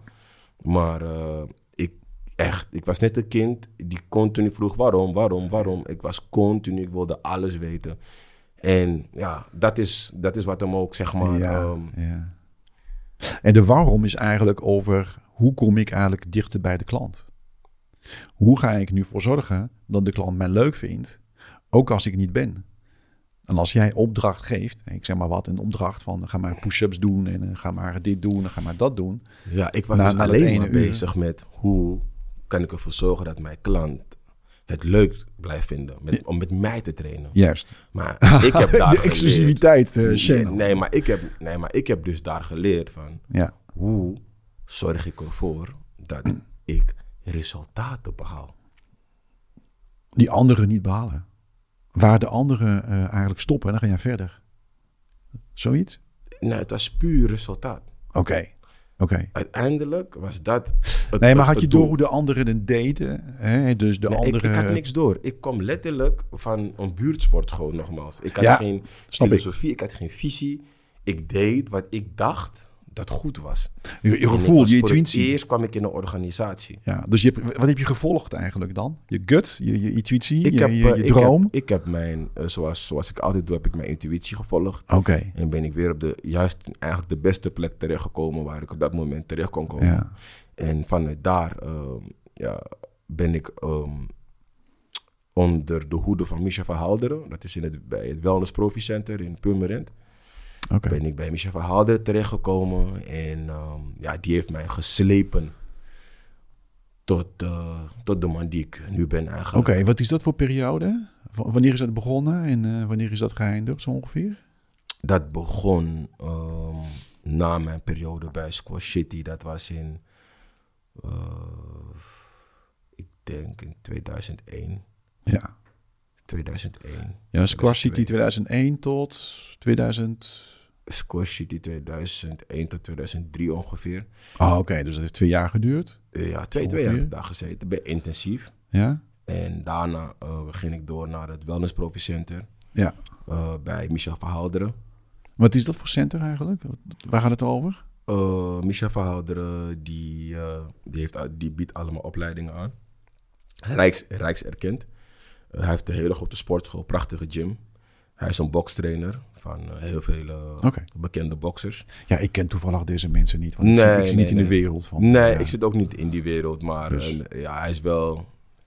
Speaker 2: Maar eh, ik, echt, ik was net een kind die continu vroeg waarom, waarom, waarom. Ik was continu, ik wilde alles weten. En ja, dat is, dat is wat hem ook, zeg maar.
Speaker 1: ja,
Speaker 2: ehm,
Speaker 1: ja. En de waarom is eigenlijk over hoe kom ik eigenlijk dichter bij de klant? Hoe ga ik nu voor zorgen dat de klant mij leuk vindt, ook als ik niet ben? En als jij opdracht geeft, ik zeg maar wat, een opdracht van ga maar push-ups doen en eh, ga maar dit doen en ga maar dat doen.
Speaker 2: Ja, ik was
Speaker 1: Na-
Speaker 2: dus
Speaker 1: na dat
Speaker 2: alleen
Speaker 1: ene
Speaker 2: maar
Speaker 1: uur.
Speaker 2: bezig met hoe kan ik ervoor zorgen dat mijn klant het leuk blijft vinden met, om met mij te trainen.
Speaker 1: Juist.
Speaker 2: Maar ik heb daar
Speaker 1: de exclusiviteit, eh,
Speaker 2: geleerd-
Speaker 1: channel.
Speaker 2: nee, maar ik heb, nee, maar ik heb dus daar geleerd van
Speaker 1: Ja.
Speaker 2: hoe zorg ik ervoor dat ik resultaten behaal.
Speaker 1: Die anderen niet behalen. Waar de anderen eh, eigenlijk stoppen, dan ga jij verder. Zoiets?
Speaker 2: Nou, het was puur resultaat.
Speaker 1: Oké. Oké.
Speaker 2: Uiteindelijk was dat. het-
Speaker 1: Nee, maar
Speaker 2: het-
Speaker 1: had je
Speaker 2: het
Speaker 1: door
Speaker 2: doel.
Speaker 1: hoe de anderen het deden? Hè? Dus de
Speaker 2: Nee, ik,
Speaker 1: anderen...
Speaker 2: ik had niks door. Ik kwam letterlijk van een buurtsportschool, nogmaals. Ik had
Speaker 1: Ja,
Speaker 2: geen
Speaker 1: snap ik.
Speaker 2: filosofie, ik. had geen visie. Ik deed wat ik dacht dat goed was.
Speaker 1: Je, je
Speaker 2: En ik
Speaker 1: gevoel,
Speaker 2: was
Speaker 1: je
Speaker 2: voor het
Speaker 1: intuïtie.
Speaker 2: Eerst kwam ik in een organisatie.
Speaker 1: Ja, dus je hebt, wat heb je gevolgd eigenlijk dan? Je gut, je, je intuïtie,
Speaker 2: Ik
Speaker 1: je,
Speaker 2: heb,
Speaker 1: je,
Speaker 2: eh,
Speaker 1: je
Speaker 2: ik
Speaker 1: droom?
Speaker 2: heb, ik heb mijn, eh, zoals, zoals ik altijd doe, heb ik mijn intuïtie gevolgd.
Speaker 1: Oké,
Speaker 2: En ben ik weer op de, juist eigenlijk de beste plek terechtgekomen waar ik op dat moment terecht kon komen.
Speaker 1: ja.
Speaker 2: En vanuit daar ehm, ja, ben ik ehm, onder de hoede van Micha van Halderen. Dat is in het, bij het Wellness Profi Center in Purmerend.
Speaker 1: Oké,
Speaker 2: Ben ik bij Micha van Halderen terechtgekomen. En ehm, ja, die heeft mij geslepen tot, eh, tot de man die ik nu ben eigenlijk.
Speaker 1: Oké, wat is dat voor periode? W- wanneer is dat begonnen en eh, wanneer is dat geëindigd zo ongeveer?
Speaker 2: Dat begon ehm, na mijn periode bij Squash City. Dat was in, eh, ik denk in 2001.
Speaker 1: Ja,
Speaker 2: 2001.
Speaker 1: ja Squash City
Speaker 2: 2002.
Speaker 1: 2001 tot 2000...
Speaker 2: Squash City 2001 tot 2003 ongeveer.
Speaker 1: Ah, oké, dus dat heeft twee jaar geduurd.
Speaker 2: Eh, Ja, twee, twee
Speaker 1: Ongeveer?
Speaker 2: jaar heb ik daar gezeten. Ben intensief.
Speaker 1: Ja,
Speaker 2: En daarna eh, ging ik door naar het Wellness Profi Center
Speaker 1: ja.
Speaker 2: eh, bij Michel Verhaalderen.
Speaker 1: Wat is dat voor center eigenlijk? Wat- Waar gaat het over?
Speaker 2: Eh Michel Verhaalderen die, eh, die, heeft, al- die biedt allemaal opleidingen aan. Rijks, Rijks erkend. Eh, hij heeft een hele grote sportschool, prachtige gym. Hij is een bokstrainer van eh, heel veel eh,
Speaker 1: Oké.
Speaker 2: bekende boksers.
Speaker 1: Ja, ik ken toevallig deze mensen niet, want ik zit, ik
Speaker 2: Nee,
Speaker 1: zit
Speaker 2: nee,
Speaker 1: niet in de
Speaker 2: nee.
Speaker 1: wereld van...
Speaker 2: Nee,
Speaker 1: ja.
Speaker 2: ik zit ook niet in die wereld, maar
Speaker 1: Dus.
Speaker 2: eh, ja, hij is wel.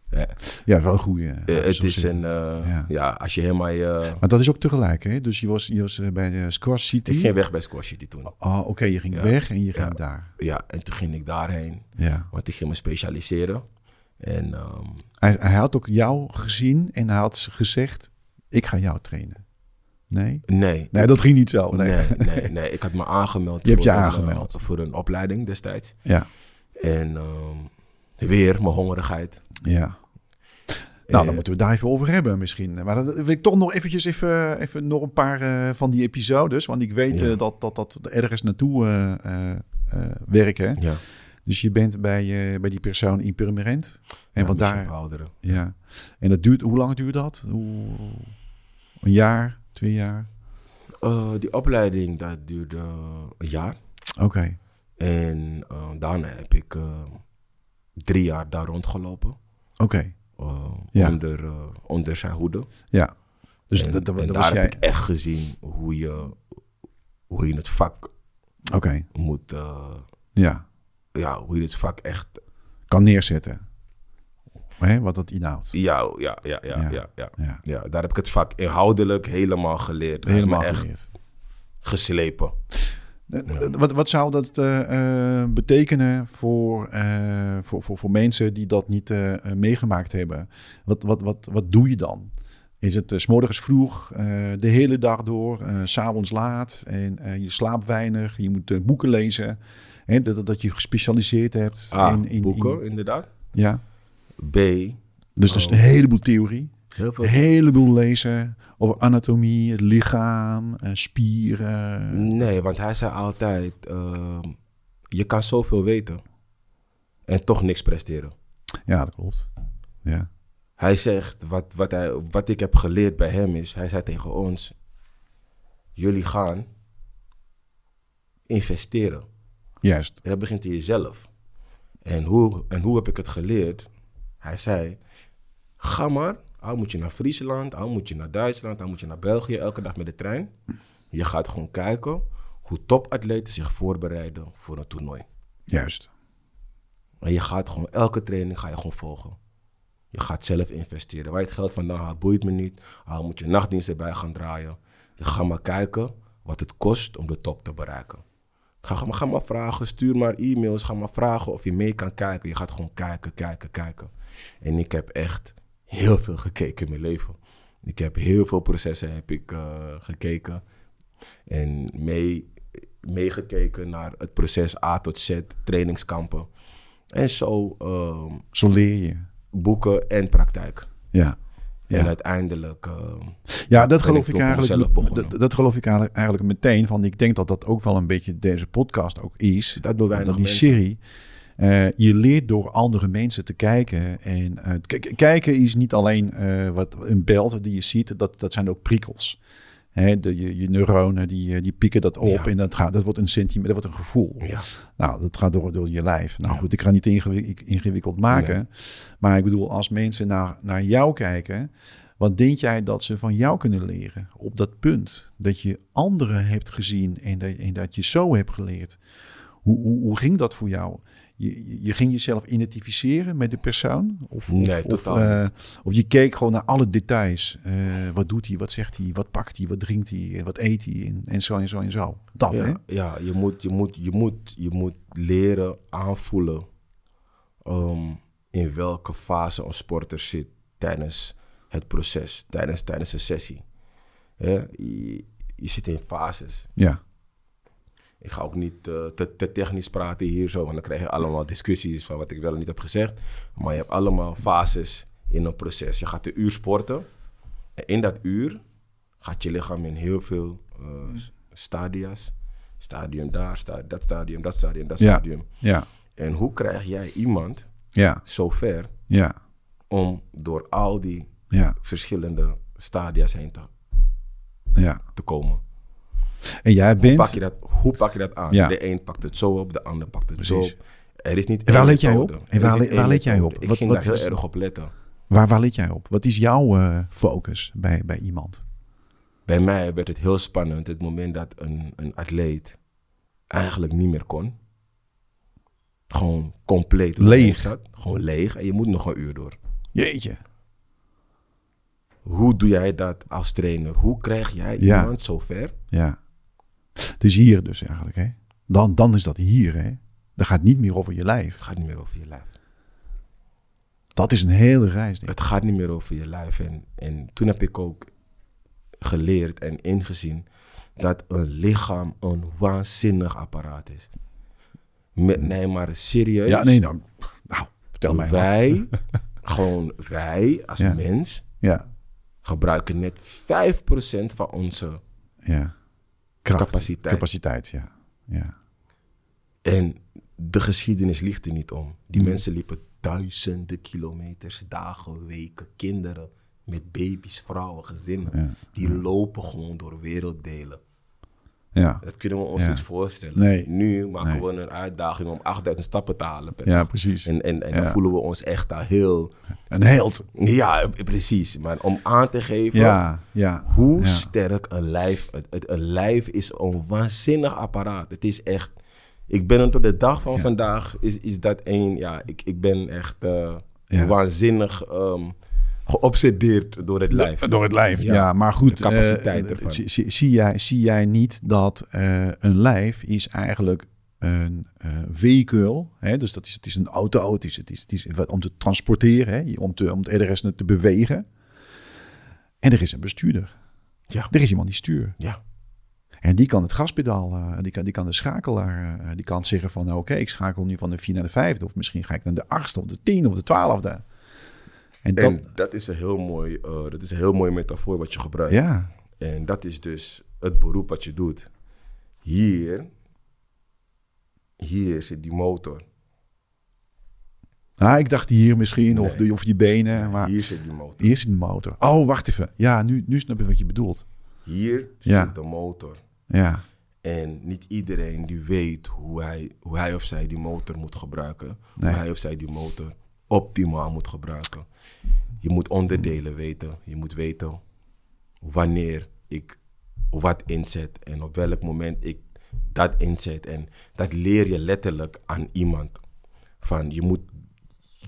Speaker 2: eh,
Speaker 1: Ja, wel een goede.
Speaker 2: eh, het is een. eh,
Speaker 1: Ja.
Speaker 2: ja. als je helemaal. je-
Speaker 1: Maar dat is ook tegelijk, hè? Dus je was, je was eh, bij de Squash
Speaker 2: ik
Speaker 1: City.
Speaker 2: ging weg bij Squash City toen.
Speaker 1: Ah, oké, je ging
Speaker 2: Ja.
Speaker 1: weg en je ging
Speaker 2: Ja.
Speaker 1: daar.
Speaker 2: Ja, en toen ging ik daarheen,
Speaker 1: Ja.
Speaker 2: want ik ging me specialiseren. En ehm,
Speaker 1: Hij, hij had ook jou gezien en hij had gezegd: Ik ga jou trainen. Nee?
Speaker 2: nee,
Speaker 1: Nee, dat ging niet zo. Nee.
Speaker 2: nee, nee, nee, ik had me aangemeld.
Speaker 1: Je hebt je
Speaker 2: voor een, eh,
Speaker 1: aangemeld.
Speaker 2: voor een opleiding destijds.
Speaker 1: Ja.
Speaker 2: En ehm, weer mijn hongerigheid.
Speaker 1: ja. Nou, dan
Speaker 2: Eh,
Speaker 1: moeten we het daar even over hebben misschien. Maar dat wil ik toch nog eventjes even, even nog een paar eh, van die episodes. Want ik weet
Speaker 2: Ja.
Speaker 1: eh, dat, dat dat ergens naartoe eh, eh, eh, werken. hè.
Speaker 2: Ja,
Speaker 1: Dus je bent bij, eh, bij die persoon in Purmerend. En
Speaker 2: ja,
Speaker 1: want
Speaker 2: Michel
Speaker 1: daar,
Speaker 2: Verhaalderen.
Speaker 1: Ja, en dat duurt, hoe lang duurt dat? Hoe, een jaar, twee jaar?
Speaker 2: Eh, die opleiding, dat duurde een jaar.
Speaker 1: Oké,
Speaker 2: En eh, daarna heb ik eh, drie jaar daar rondgelopen.
Speaker 1: oké,
Speaker 2: eh,
Speaker 1: Ja.
Speaker 2: onder, eh, onder zijn hoede.
Speaker 1: ja. Dus
Speaker 2: en,
Speaker 1: dat, dat,
Speaker 2: en
Speaker 1: dat was
Speaker 2: daar
Speaker 1: jij.
Speaker 2: heb ik echt gezien hoe je, hoe je het vak
Speaker 1: Oké,
Speaker 2: moet, eh,
Speaker 1: ja.
Speaker 2: ja, hoe je het vak echt,
Speaker 1: Kan neerzetten. Hè, wat dat inhoudt.
Speaker 2: ja, ja, ja, ja,
Speaker 1: Ja.
Speaker 2: ja, ja, ja.
Speaker 1: Ja.
Speaker 2: daar heb ik het vak inhoudelijk helemaal geleerd.
Speaker 1: Helemaal
Speaker 2: echt
Speaker 1: geleerd.
Speaker 2: geslepen.
Speaker 1: Eh, Wat, wat zou dat eh, eh, betekenen voor, eh, voor, voor, voor mensen die dat niet eh, eh, meegemaakt hebben? Wat, wat, wat, wat doe je dan? Is het eh, 's morgens vroeg, eh, de hele dag door, eh, s s'avonds laat en eh, je slaapt weinig, je moet eh, boeken lezen. Hè, dat, dat- dat je gespecialiseerd hebt
Speaker 2: A,
Speaker 1: in, in
Speaker 2: Ah, boeken,
Speaker 1: in-
Speaker 2: inderdaad.
Speaker 1: ja.
Speaker 2: B,
Speaker 1: Dus dat is
Speaker 2: Oh.
Speaker 1: een heleboel theorie,
Speaker 2: heel veel
Speaker 1: een heleboel lezen over anatomie, het lichaam, eh, spieren.
Speaker 2: Nee, want hij zei altijd: ehm, je kan zoveel weten en toch niks presteren.
Speaker 1: Ja, dat klopt. Ja.
Speaker 2: Hij zegt: wat, wat, hij, wat ik heb geleerd bij hem is, hij zei tegen ons: jullie gaan investeren.
Speaker 1: Juist.
Speaker 2: En dat begint in jezelf. En hoe, en hoe heb ik het geleerd? Hij zei: Ga maar, al moet je naar Friesland, al moet je naar Duitsland, al moet je naar België, elke dag met de trein. Je gaat gewoon kijken hoe topatleten zich voorbereiden voor een toernooi.
Speaker 1: Juist.
Speaker 2: En je gaat gewoon elke training ga je gewoon volgen. Je gaat zelf investeren. Waar je het geld vandaan haalt, boeit me niet. Al moet je nachtdiensten bij gaan draaien. Je gaat maar kijken wat het kost om de top te bereiken. Ga, ga, maar, ga maar vragen, stuur maar e-mails. Ga maar vragen of je mee kan kijken. Je gaat gewoon kijken, kijken, kijken. En ik heb echt heel veel gekeken in mijn leven. Ik heb heel veel processen heb ik, eh, gekeken. En mee, meegekeken naar het proces A tot Z, trainingskampen. En zo ehm,
Speaker 1: Zo leer je.
Speaker 2: boeken en praktijk.
Speaker 1: Ja.
Speaker 2: En
Speaker 1: Ja,
Speaker 2: uiteindelijk. ehm,
Speaker 1: ja dat,
Speaker 2: ik
Speaker 1: geloof ik
Speaker 2: toch vanzelf
Speaker 1: eigenlijk,
Speaker 2: begonnen.
Speaker 1: dat, dat geloof ik eigenlijk eigenlijk meteen. Van, ik denk dat dat ook wel een beetje deze podcast ook is.
Speaker 2: dat doen
Speaker 1: Dat
Speaker 2: weinig
Speaker 1: die
Speaker 2: mensen.
Speaker 1: serie. eh, je leert door andere mensen te kijken. En eh, k- k- kijken is niet alleen eh, wat een beeld die je ziet, dat, dat zijn ook prikkels. Hè, de, je, je neuronen die, eh, die pikken dat op
Speaker 2: Ja.
Speaker 1: en dat, gaat, dat wordt een sentiment, dat wordt een gevoel.
Speaker 2: Ja.
Speaker 1: Nou, dat gaat door, door je lijf. Nou
Speaker 2: Ja.
Speaker 1: goed, ik ga niet ingewi- ingewikkeld maken. Maar ik bedoel, als mensen naar, naar jou kijken, wat denk jij dat ze van jou kunnen leren op dat punt? Dat je anderen hebt gezien en dat, en dat je zo hebt geleerd. Hoe, hoe, hoe ging dat voor jou? Je, je- je ging jezelf identificeren met de persoon? Of, of,
Speaker 2: Nee,
Speaker 1: of,
Speaker 2: totaal
Speaker 1: eh, of je keek gewoon naar alle details. Eh, wat doet hij, wat zegt hij, wat pakt hij, wat drinkt hij, wat eet hij en, en zo en zo en zo. Dat, hè?
Speaker 2: Ja, ja je, moet, je, moet, je, moet, je moet leren aanvoelen ehm, in welke fase een sporter zit tijdens het proces, tijdens, tijdens een sessie. Hè, je, je zit in fases.
Speaker 1: Ja,
Speaker 2: Ik ga ook niet eh, te, te technisch praten hier zo, want dan krijg je allemaal discussies van wat ik wel en niet heb gezegd. Maar je hebt allemaal fases in een proces. Je gaat een uur sporten. En in dat uur gaat je lichaam in heel veel eh, s- stadia's. Stadium daar, sta- dat stadium, dat stadium, dat
Speaker 1: Ja.
Speaker 2: stadium.
Speaker 1: ja,
Speaker 2: En hoe krijg jij iemand
Speaker 1: ja,
Speaker 2: zover
Speaker 1: ja,
Speaker 2: om door al die
Speaker 1: ja,
Speaker 2: verschillende stadia's heen te,
Speaker 1: ja.
Speaker 2: te komen?
Speaker 1: En jij
Speaker 2: Hoe pak,
Speaker 1: bent...
Speaker 2: je dat, hoe pak je dat aan?
Speaker 1: Ja.
Speaker 2: De een pakt het zo op, de ander pakt het
Speaker 1: Precies.
Speaker 2: zo op. Er is niet
Speaker 1: En waar
Speaker 2: één
Speaker 1: let jij
Speaker 2: methode.
Speaker 1: op? En
Speaker 2: Er is
Speaker 1: waar
Speaker 2: niet
Speaker 1: le-
Speaker 2: één
Speaker 1: waar let jij
Speaker 2: methode.
Speaker 1: op?
Speaker 2: Ik
Speaker 1: Wat-
Speaker 2: ging
Speaker 1: wat
Speaker 2: daar
Speaker 1: is-
Speaker 2: heel erg op letten.
Speaker 1: Waar, waar let jij op? Wat is jouw eh, focus bij, bij iemand?
Speaker 2: Bij mij werd het heel spannend het moment dat een, een atleet eigenlijk niet meer kon. Gewoon compleet op de
Speaker 1: Leeg.
Speaker 2: bank Zat. Gewoon leeg. En je moet nog een uur door.
Speaker 1: Jeetje.
Speaker 2: Hoe doe jij dat als trainer? Hoe krijg jij
Speaker 1: Ja.
Speaker 2: iemand zover?
Speaker 1: Ja. Het is hier dus eigenlijk, hè? Dan, dan is dat hier, hè? Dat gaat niet meer over je lijf.
Speaker 2: Het gaat niet meer over je lijf.
Speaker 1: Dat is een hele reis, denk ik.
Speaker 2: Het gaat niet meer over je lijf. En, en toen heb ik ook geleerd en ingezien dat een lichaam een waanzinnig apparaat is. Met, nee, maar serieus.
Speaker 1: Ja, nee, nou, pff, nou vertel mij. wat.
Speaker 2: wij, gewoon wij als
Speaker 1: Ja.
Speaker 2: mens,
Speaker 1: Ja,
Speaker 2: gebruiken net 5% van onze.
Speaker 1: ja. Kracht.
Speaker 2: Capaciteit.
Speaker 1: Capaciteit, ja. Ja,
Speaker 2: En de geschiedenis ligt er niet om. Die
Speaker 1: Hmm.
Speaker 2: mensen liepen duizenden kilometers, dagen, weken, kinderen, met baby's, vrouwen, gezinnen.
Speaker 1: ja.
Speaker 2: Die lopen gewoon door werelddelen.
Speaker 1: Ja.
Speaker 2: Dat kunnen we ons
Speaker 1: Ja.
Speaker 2: niet voorstellen.
Speaker 1: Nee.
Speaker 2: Nu
Speaker 1: Nee.
Speaker 2: maken we een uitdaging om 8000 stappen te halen. per
Speaker 1: ja,
Speaker 2: dag.
Speaker 1: precies.
Speaker 2: En, en, en
Speaker 1: Ja.
Speaker 2: dan voelen we ons echt daar heel...
Speaker 1: Een held.
Speaker 2: Ja, eh, precies. Maar om aan te geven
Speaker 1: Ja, ja.
Speaker 2: hoe
Speaker 1: Ja.
Speaker 2: sterk een lijf... Het, het- een lijf is een waanzinnig apparaat. Het is echt... Ik ben er tot de dag van vandaag is, is dat één... Ja, ik, ik ben echt eh,
Speaker 1: Ja.
Speaker 2: waanzinnig ehm, geobsedeerd door het lijf.
Speaker 1: Door het lijf, ja.
Speaker 2: Ja.
Speaker 1: maar goed,
Speaker 2: De capaciteit
Speaker 1: eh,
Speaker 2: ervan.
Speaker 1: zie, zie- zie jij, zie jij niet dat eh, een lijf is eigenlijk een eh vehicle, hè? dus dat is, het is een auto, het is, het is, het is wat, om te transporteren, hè? Om, te, om het RS te bewegen. En er is een bestuurder.
Speaker 2: Ja.
Speaker 1: Er is iemand die stuurt.
Speaker 2: Ja.
Speaker 1: En die kan het gaspedaal, eh, die, kan, die kan de schakelaar, eh, die kan zeggen van nou, oké, ik schakel nu van de 4 naar de 5, of misschien ga ik naar de 8 of de 10 of de 12. En dat,
Speaker 2: En dat is, een heel mooi, eh, dat is een heel mooie metafoor wat je gebruikt.
Speaker 1: ja,
Speaker 2: En dat is dus het beroep wat je doet. Hier, hier zit die motor.
Speaker 1: Nou, ik dacht hier misschien, of,
Speaker 2: Nee.
Speaker 1: de, of je benen, maar
Speaker 2: Hier zit die motor.
Speaker 1: Ah. hier zit de motor. Oh, wacht even. Ja, nu, nu snap ik wat je bedoelt.
Speaker 2: Hier
Speaker 1: Ja.
Speaker 2: zit de motor.
Speaker 1: Ja,
Speaker 2: En niet iedereen die weet hoe hij, hoe hij of zij die motor moet gebruiken.
Speaker 1: Nee.
Speaker 2: Hoe hij of zij die motor optimaal moet gebruiken. Je moet onderdelen weten. Je moet weten wanneer ik wat inzet en op welk moment ik dat inzet. En dat leer je letterlijk aan iemand. Van je moet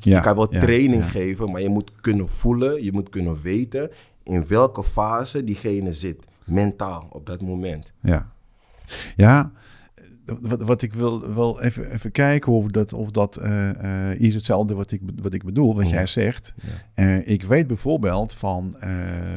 Speaker 1: ja
Speaker 2: je kan wel
Speaker 1: ja,
Speaker 2: training
Speaker 1: ja.
Speaker 2: geven, maar je moet kunnen voelen, je moet kunnen weten in welke fase diegene zit, mentaal op dat moment.
Speaker 1: Ja, ja eh, wat, wat ik wil wel even, even kijken of dat, of dat eh, eh, is hetzelfde wat ik, be- wat ik bedoel, wat
Speaker 2: Oh. Ja.
Speaker 1: jij zegt. Eh, ik weet bijvoorbeeld van eh,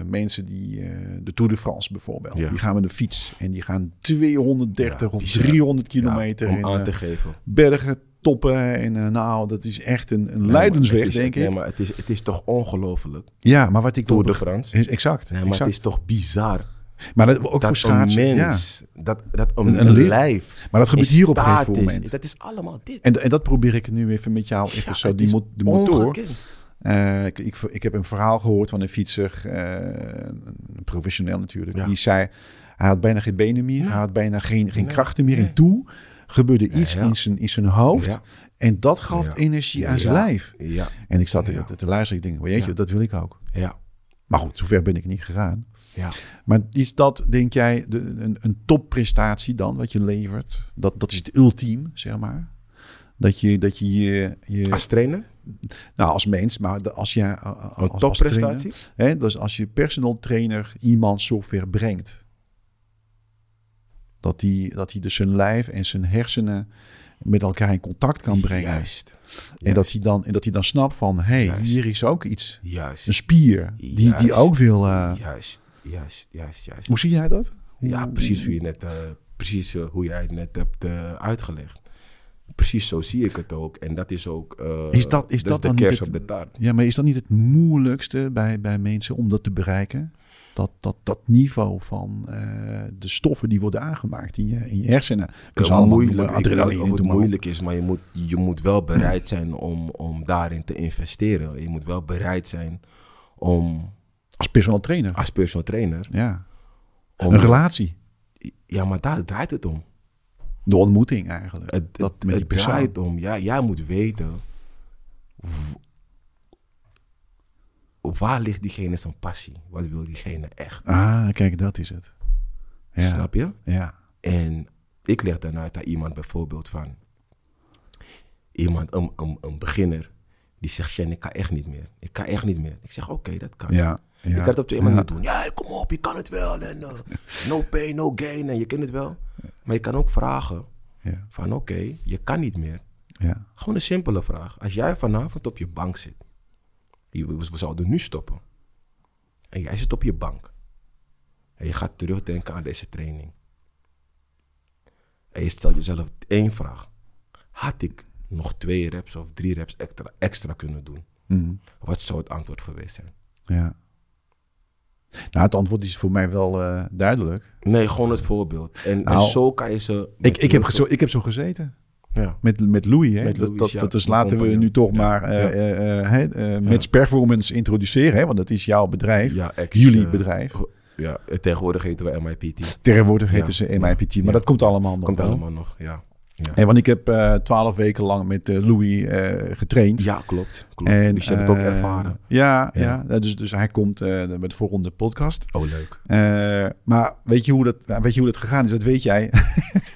Speaker 1: mensen die eh, de Tour de France bijvoorbeeld,
Speaker 2: Ja.
Speaker 1: die gaan met een fiets en die gaan 230
Speaker 2: Ja,
Speaker 1: of
Speaker 2: bizar.
Speaker 1: 300
Speaker 2: Ja,
Speaker 1: kilometer in
Speaker 2: om aan
Speaker 1: eh,
Speaker 2: te geven.
Speaker 1: bergen, toppen en eh, nou, dat is echt een, een
Speaker 2: Nee, maar
Speaker 1: leidensweg,
Speaker 2: het is-
Speaker 1: denk ik.
Speaker 2: Nee, maar het is, het is toch ongelooflijk,
Speaker 1: Ja, maar wat ik
Speaker 2: Tour
Speaker 1: wil
Speaker 2: de
Speaker 1: beg-
Speaker 2: France.
Speaker 1: is- Exact.
Speaker 2: Nee, maar
Speaker 1: exact.
Speaker 2: het is toch bizar
Speaker 1: maar dat, ook voor
Speaker 2: dat een
Speaker 1: schaatsen. ja.
Speaker 2: mens, dat, dat een,
Speaker 1: Een- een
Speaker 2: een
Speaker 1: lichaam.
Speaker 2: lijf
Speaker 1: Maar dat gebeurt
Speaker 2: in
Speaker 1: hier op een
Speaker 2: staat
Speaker 1: gegeven
Speaker 2: is.
Speaker 1: moment.
Speaker 2: Dat is allemaal dit.
Speaker 1: En, en dat probeer ik nu even met jou, even
Speaker 2: Ja,
Speaker 1: zo,
Speaker 2: het
Speaker 1: die,
Speaker 2: is
Speaker 1: mo- de motor.
Speaker 2: ongekend.
Speaker 1: Eh, ik, ik, ik heb een verhaal gehoord van een fietser, eh, een professioneel natuurlijk,
Speaker 2: Ja.
Speaker 1: die zei, hij had bijna geen benen meer, hij had bijna geen, geen
Speaker 2: Nee,
Speaker 1: krachten meer. En
Speaker 2: nee.
Speaker 1: toen gebeurde iets
Speaker 2: ja.
Speaker 1: in, zijn, in zijn hoofd
Speaker 2: Ja.
Speaker 1: en dat gaf
Speaker 2: Ja.
Speaker 1: energie aan zijn
Speaker 2: Ja.
Speaker 1: lijf.
Speaker 2: Ja,
Speaker 1: En ik zat
Speaker 2: Ja.
Speaker 1: te, te luisteren, ik denk, weet je,
Speaker 2: Ja.
Speaker 1: dat wil ik ook.
Speaker 2: ja,
Speaker 1: Maar goed, zover ben ik niet gegaan.
Speaker 2: ja.
Speaker 1: Maar is dat, denk jij, de, een, een topprestatie dan, wat je levert? Dat, dat is het ultiem, zeg maar. Dat je dat je, je, je-
Speaker 2: Als trainer,
Speaker 1: nou als mens, maar de- als je eh, als,
Speaker 2: een
Speaker 1: als
Speaker 2: topprestatie.
Speaker 1: trainer, hè, dus als je personal trainer iemand zover brengt, dat die, dat die dus zijn lijf en zijn hersenen met elkaar in contact kan brengen.
Speaker 2: Juist.
Speaker 1: En, dat
Speaker 2: Juist.
Speaker 1: hij dan, en dat hij dan snapt van, hé, hey,
Speaker 2: Juist.
Speaker 1: hier is ook iets,
Speaker 2: Juist.
Speaker 1: een spier, die, die
Speaker 2: Juist.
Speaker 1: ook wil... eh,
Speaker 2: Juist, juist, juist, juist.
Speaker 1: hoe zie jij dat? Hoe-
Speaker 2: Ja, precies hoe, je net, eh, precies, eh, hoe jij het net hebt eh, uitgelegd. Precies zo zie ik het ook. En dat is ook eh,
Speaker 1: Is dat- is dat
Speaker 2: de
Speaker 1: dan niet
Speaker 2: kers
Speaker 1: het-
Speaker 2: op de taart.
Speaker 1: Ja, maar is dat niet het moeilijkste bij, bij mensen om dat te bereiken? Dat, dat, dat niveau van eh, de stoffen die worden aangemaakt in je, in je hersenen. Dat is
Speaker 2: Eh,
Speaker 1: allemaal
Speaker 2: moeilijk.
Speaker 1: noemen,
Speaker 2: ik weet niet
Speaker 1: adrenaline,
Speaker 2: of het
Speaker 1: noem maar op. Hm.
Speaker 2: moeilijk is, maar je moet, je moet wel bereid zijn om, om daarin te investeren. Je moet wel bereid zijn om
Speaker 1: Als personal trainer.
Speaker 2: als personal trainer.
Speaker 1: Ja.
Speaker 2: Ah. Om,
Speaker 1: Een relatie.
Speaker 2: ja, maar daar draait het om.
Speaker 1: De ontmoeting eigenlijk.
Speaker 2: Het,
Speaker 1: dat
Speaker 2: het,
Speaker 1: met die
Speaker 2: het
Speaker 1: persoon.
Speaker 2: draait om. Ja, jij moet weten. w- Waar ligt diegene zijn passie? Wat wil diegene echt?
Speaker 1: Ah, kijk, dat is het. Ja.
Speaker 2: Snap je?
Speaker 1: Ja.
Speaker 2: En ik leg dan uit aan iemand bijvoorbeeld van... Iemand, een, een, een beginner, die zegt... Shen, ik kan echt niet meer. Ik kan echt niet meer. Ik zeg, oké, dat kan.
Speaker 1: Ja. ja.
Speaker 2: Ah. Ik kan het op twee
Speaker 1: Ja.
Speaker 2: manieren doen. Ja, kom op, je kan het wel. En, eh, no pain, no gain. En je kent het wel. Maar je kan ook vragen
Speaker 1: Ja.
Speaker 2: van... Oké, je kan niet meer.
Speaker 1: Ja.
Speaker 2: Gewoon een simpele vraag. Als jij vanavond op je bank zit, je- we we zouden nu stoppen. En jij zit op je bank. En je gaat terugdenken aan deze training. En je stelt jezelf één vraag. Had ik nog twee reps of drie reps extra, extra kunnen doen?
Speaker 1: Mhm.
Speaker 2: Wat zou het antwoord geweest zijn?
Speaker 1: ja. Nou, het antwoord is voor mij wel eh, duidelijk.
Speaker 2: Nee, gewoon het voorbeeld. En, en
Speaker 1: Nou,
Speaker 2: zo kan je ze...
Speaker 1: Ik, ik, heb, zo, ik heb zo gezeten.
Speaker 2: Ja,
Speaker 1: Met, met Louis, hè?
Speaker 2: Met
Speaker 1: dat,
Speaker 2: Louis,
Speaker 1: dat,
Speaker 2: ja.
Speaker 1: dat is
Speaker 2: Met
Speaker 1: laten we
Speaker 2: Compagnon.
Speaker 1: nu toch
Speaker 2: Ja.
Speaker 1: maar eh,
Speaker 2: Ja.
Speaker 1: eh, eh, hè, eh, met performance introduceren, hè? want dat is jouw bedrijf,
Speaker 2: ja ex,
Speaker 1: jullie
Speaker 2: eh,
Speaker 1: bedrijf.
Speaker 2: Ja, en tegenwoordig heten we MIPT.
Speaker 1: Tegenwoordig heten
Speaker 2: Ja.
Speaker 1: ze MIPT, maar
Speaker 2: Ja.
Speaker 1: dat komt allemaal nog
Speaker 2: Komt
Speaker 1: wel.
Speaker 2: allemaal nog, ja.
Speaker 1: En want ik heb eh, twaalf weken lang met eh, Louis eh, getraind.
Speaker 2: Ja, klopt. klopt.
Speaker 1: En,
Speaker 2: dus je hebt het ook
Speaker 1: eh,
Speaker 2: ervaren.
Speaker 1: Ja, ja.
Speaker 2: Ja.
Speaker 1: Dus, dus hij komt eh, met de volgende podcast.
Speaker 2: Oh, leuk.
Speaker 1: Eh, maar weet je, hoe dat, weet je hoe dat gegaan is? Dat weet jij.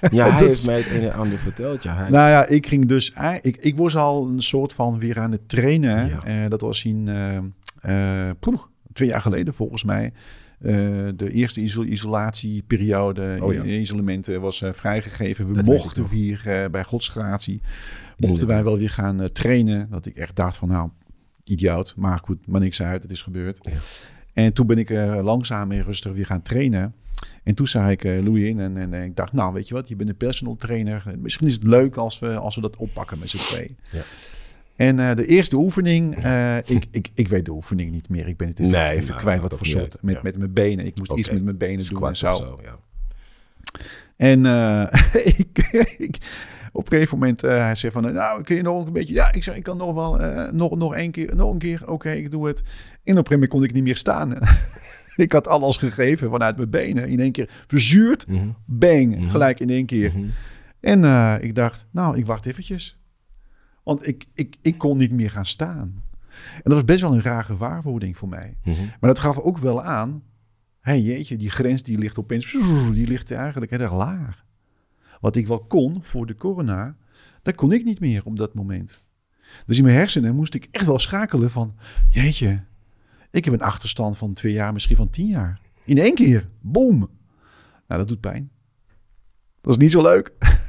Speaker 2: Ja,
Speaker 1: Dat
Speaker 2: hij
Speaker 1: is-
Speaker 2: heeft mij het een en ander verteld. Ja, hij...
Speaker 1: nou ja, ik ging dus... ei- Ik, ik was al een soort van weer aan het trainen. hè.
Speaker 2: Ja.
Speaker 1: Eh, dat was in... eh, eh, poeh, twee jaar geleden volgens mij. Eh, de eerste iso- isolatieperiode,
Speaker 2: Oh ja.
Speaker 1: i- isolement eh, was eh, vrijgegeven. We
Speaker 2: Dat weet ik
Speaker 1: mochten
Speaker 2: nog.
Speaker 1: weer eh, bij godsgratie, mochten
Speaker 2: Inderdaad.
Speaker 1: wij wel weer gaan eh, trainen. Dat ik echt dacht van nou, idioot, maar goed, maar niks uit, het is gebeurd.
Speaker 2: Ja.
Speaker 1: En toen ben ik eh, langzaam en rustig weer gaan trainen. En toen zag ik eh Louis in en, en, eh, ik dacht, nou weet je wat, je bent een personal trainer. Misschien is het leuk als we, als we dat oppakken met z'n twee.
Speaker 2: Ja.
Speaker 1: En eh, de eerste oefening, eh, ik, ik, ik weet de oefening niet meer. Ik ben het even,
Speaker 2: Nee,
Speaker 1: even
Speaker 2: nou,
Speaker 1: kwijt
Speaker 2: dat
Speaker 1: wat voor
Speaker 2: maakt
Speaker 1: soort.
Speaker 2: niet
Speaker 1: Met,
Speaker 2: uit,
Speaker 1: met mijn benen. Ik moest
Speaker 2: Oké.
Speaker 1: iets met mijn benen doen en
Speaker 2: Squat
Speaker 1: zo.
Speaker 2: of zo, ja.
Speaker 1: En eh, ik, ik, op een gegeven moment, eh, hij zei van, eh, nou, kun je nog een beetje? Ja, ik, zei, ik kan nog wel, eh, nog, nog één keer, nog een keer. Oké, ik doe het. En op een gegeven moment kon ik niet meer staan. ik had alles gegeven vanuit mijn benen. In één keer verzuurd,
Speaker 2: Mhm,
Speaker 1: bang,
Speaker 2: Mhm.
Speaker 1: gelijk in één keer.
Speaker 2: mhm.
Speaker 1: En eh, ik dacht, nou, ik wacht eventjes. Want ik, ik, ik kon niet meer gaan staan. En dat was best wel een rare gewaarwording voor mij.
Speaker 2: Mhm.
Speaker 1: Maar dat gaf ook wel aan. Hé hey, jeetje, die grens die ligt opeens. Die ligt eigenlijk heel erg laag. Wat ik wel kon voor de corona, dat kon ik niet meer op dat moment. Dus in mijn hersenen moest ik echt wel schakelen van. Jeetje, ik heb een achterstand van twee jaar, misschien van tien jaar. In één keer, boom. Nou, dat doet pijn. Dat is niet zo leuk.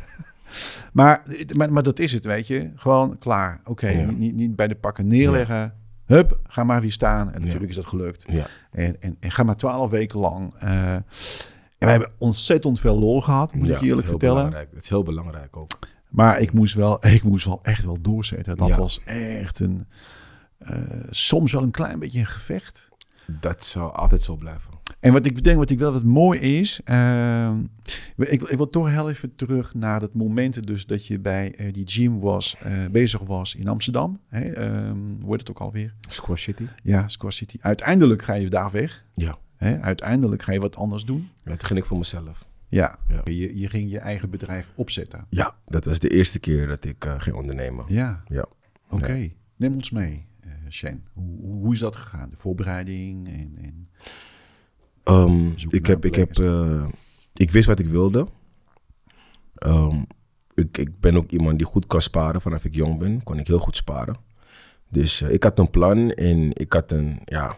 Speaker 1: maar, maar, maar dat is het, weet je. Gewoon klaar. Oké,
Speaker 2: Ja.
Speaker 1: niet, niet, niet bij de pakken neerleggen. Hup, ga maar weer staan. En
Speaker 2: Ja.
Speaker 1: natuurlijk is dat gelukt.
Speaker 2: Ja.
Speaker 1: En, en, en ga maar twaalf weken lang. eh, en we hebben ontzettend veel lol gehad, moet
Speaker 2: Ja,
Speaker 1: ik je
Speaker 2: het is
Speaker 1: eerlijk
Speaker 2: heel
Speaker 1: vertellen.
Speaker 2: belangrijk. Het is heel belangrijk ook.
Speaker 1: Maar ik moest, wel, ik moest wel echt wel doorzetten. Dat
Speaker 2: Ja.
Speaker 1: was echt een... eh, soms wel een klein beetje een gevecht.
Speaker 2: Dat zou altijd zo blijven.
Speaker 1: En wat ik denk, wat ik wel wat mooi is, ehm, ik, ik wil toch heel even terug naar dat moment dus dat je bij eh, die gym was, eh, bezig was in Amsterdam. Hè, ehm, hoe heet het ook alweer?
Speaker 2: Squash City.
Speaker 1: Ja, Squash City. Uiteindelijk ga je daar weg.
Speaker 2: Ja.
Speaker 1: Hè? Uiteindelijk ga je wat anders doen.
Speaker 2: Dat ging ik voor mezelf.
Speaker 1: Ja,
Speaker 2: Ja.
Speaker 1: Je, je ging je eigen bedrijf opzetten.
Speaker 2: Ja, dat was de eerste keer dat ik eh, ging ondernemen.
Speaker 1: Ja,
Speaker 2: Ja.
Speaker 1: oké. Neem ons mee, eh Shen. Hoe, hoe is dat gegaan? De voorbereiding en... en...
Speaker 2: Ehm,
Speaker 1: Zoek
Speaker 2: ik,
Speaker 1: naar
Speaker 2: heb, ik, heb,
Speaker 1: plekken.
Speaker 2: eh, ik wist wat ik wilde. Ehm, ik, ik ben ook iemand die goed kan sparen. Vanaf ik jong ben, kon ik heel goed sparen. Dus eh, ik had een plan en ik had een, ja...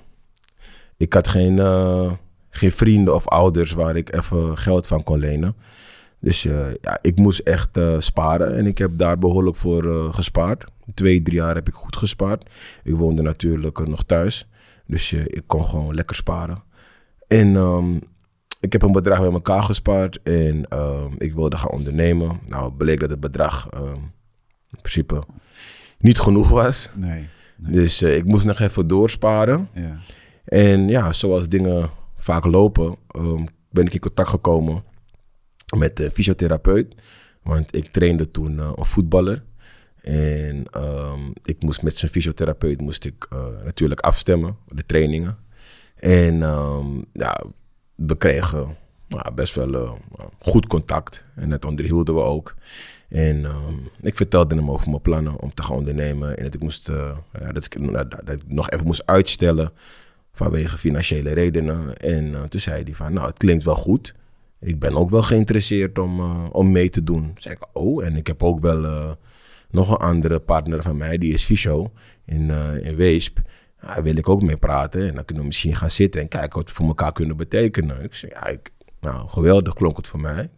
Speaker 2: Ik had geen, eh, geen vrienden of ouders waar ik even geld van kon lenen. Dus eh, ja, ik moest echt eh, sparen en ik heb daar behoorlijk voor eh, gespaard. Twee, drie jaar heb ik goed gespaard. Ik woonde natuurlijk eh, nog thuis, dus eh, ik kon gewoon lekker sparen. En ehm, ik heb een bedrag bij elkaar gespaard en ehm, ik wilde gaan ondernemen. Nou, bleek dat het bedrag ehm, in principe niet genoeg was.
Speaker 1: Nee. Nee.
Speaker 2: Dus eh, ik moest nog even doorsparen.
Speaker 1: Ja.
Speaker 2: En ja, zoals dingen vaak lopen, ehm, ben ik in contact gekomen met de fysiotherapeut. Want ik trainde toen eh, een voetballer. En ehm, ik moest met zijn fysiotherapeut moest ik, eh, natuurlijk afstemmen, de trainingen. En ehm, ja, we kregen nou, best wel eh, goed contact. En dat onderhielden we ook. En ehm, ik vertelde hem over mijn plannen om te gaan ondernemen. En dat ik, moest, eh, ja, dat ik, dat, dat ik nog even moest uitstellen vanwege financiële redenen. En eh, toen zei hij van, nou, het klinkt wel goed. Ik ben ook wel geïnteresseerd om, eh, om mee te doen. Toen zei ik, oh, en ik heb ook wel eh, nog een andere partner van mij, die is fysio in, eh, in Weesp. Ja, Daar wil ik ook mee praten en dan kunnen we misschien gaan zitten en kijken wat we voor elkaar kunnen betekenen. Ik zei, ja, ik, nou, geweldig klonk het voor mij.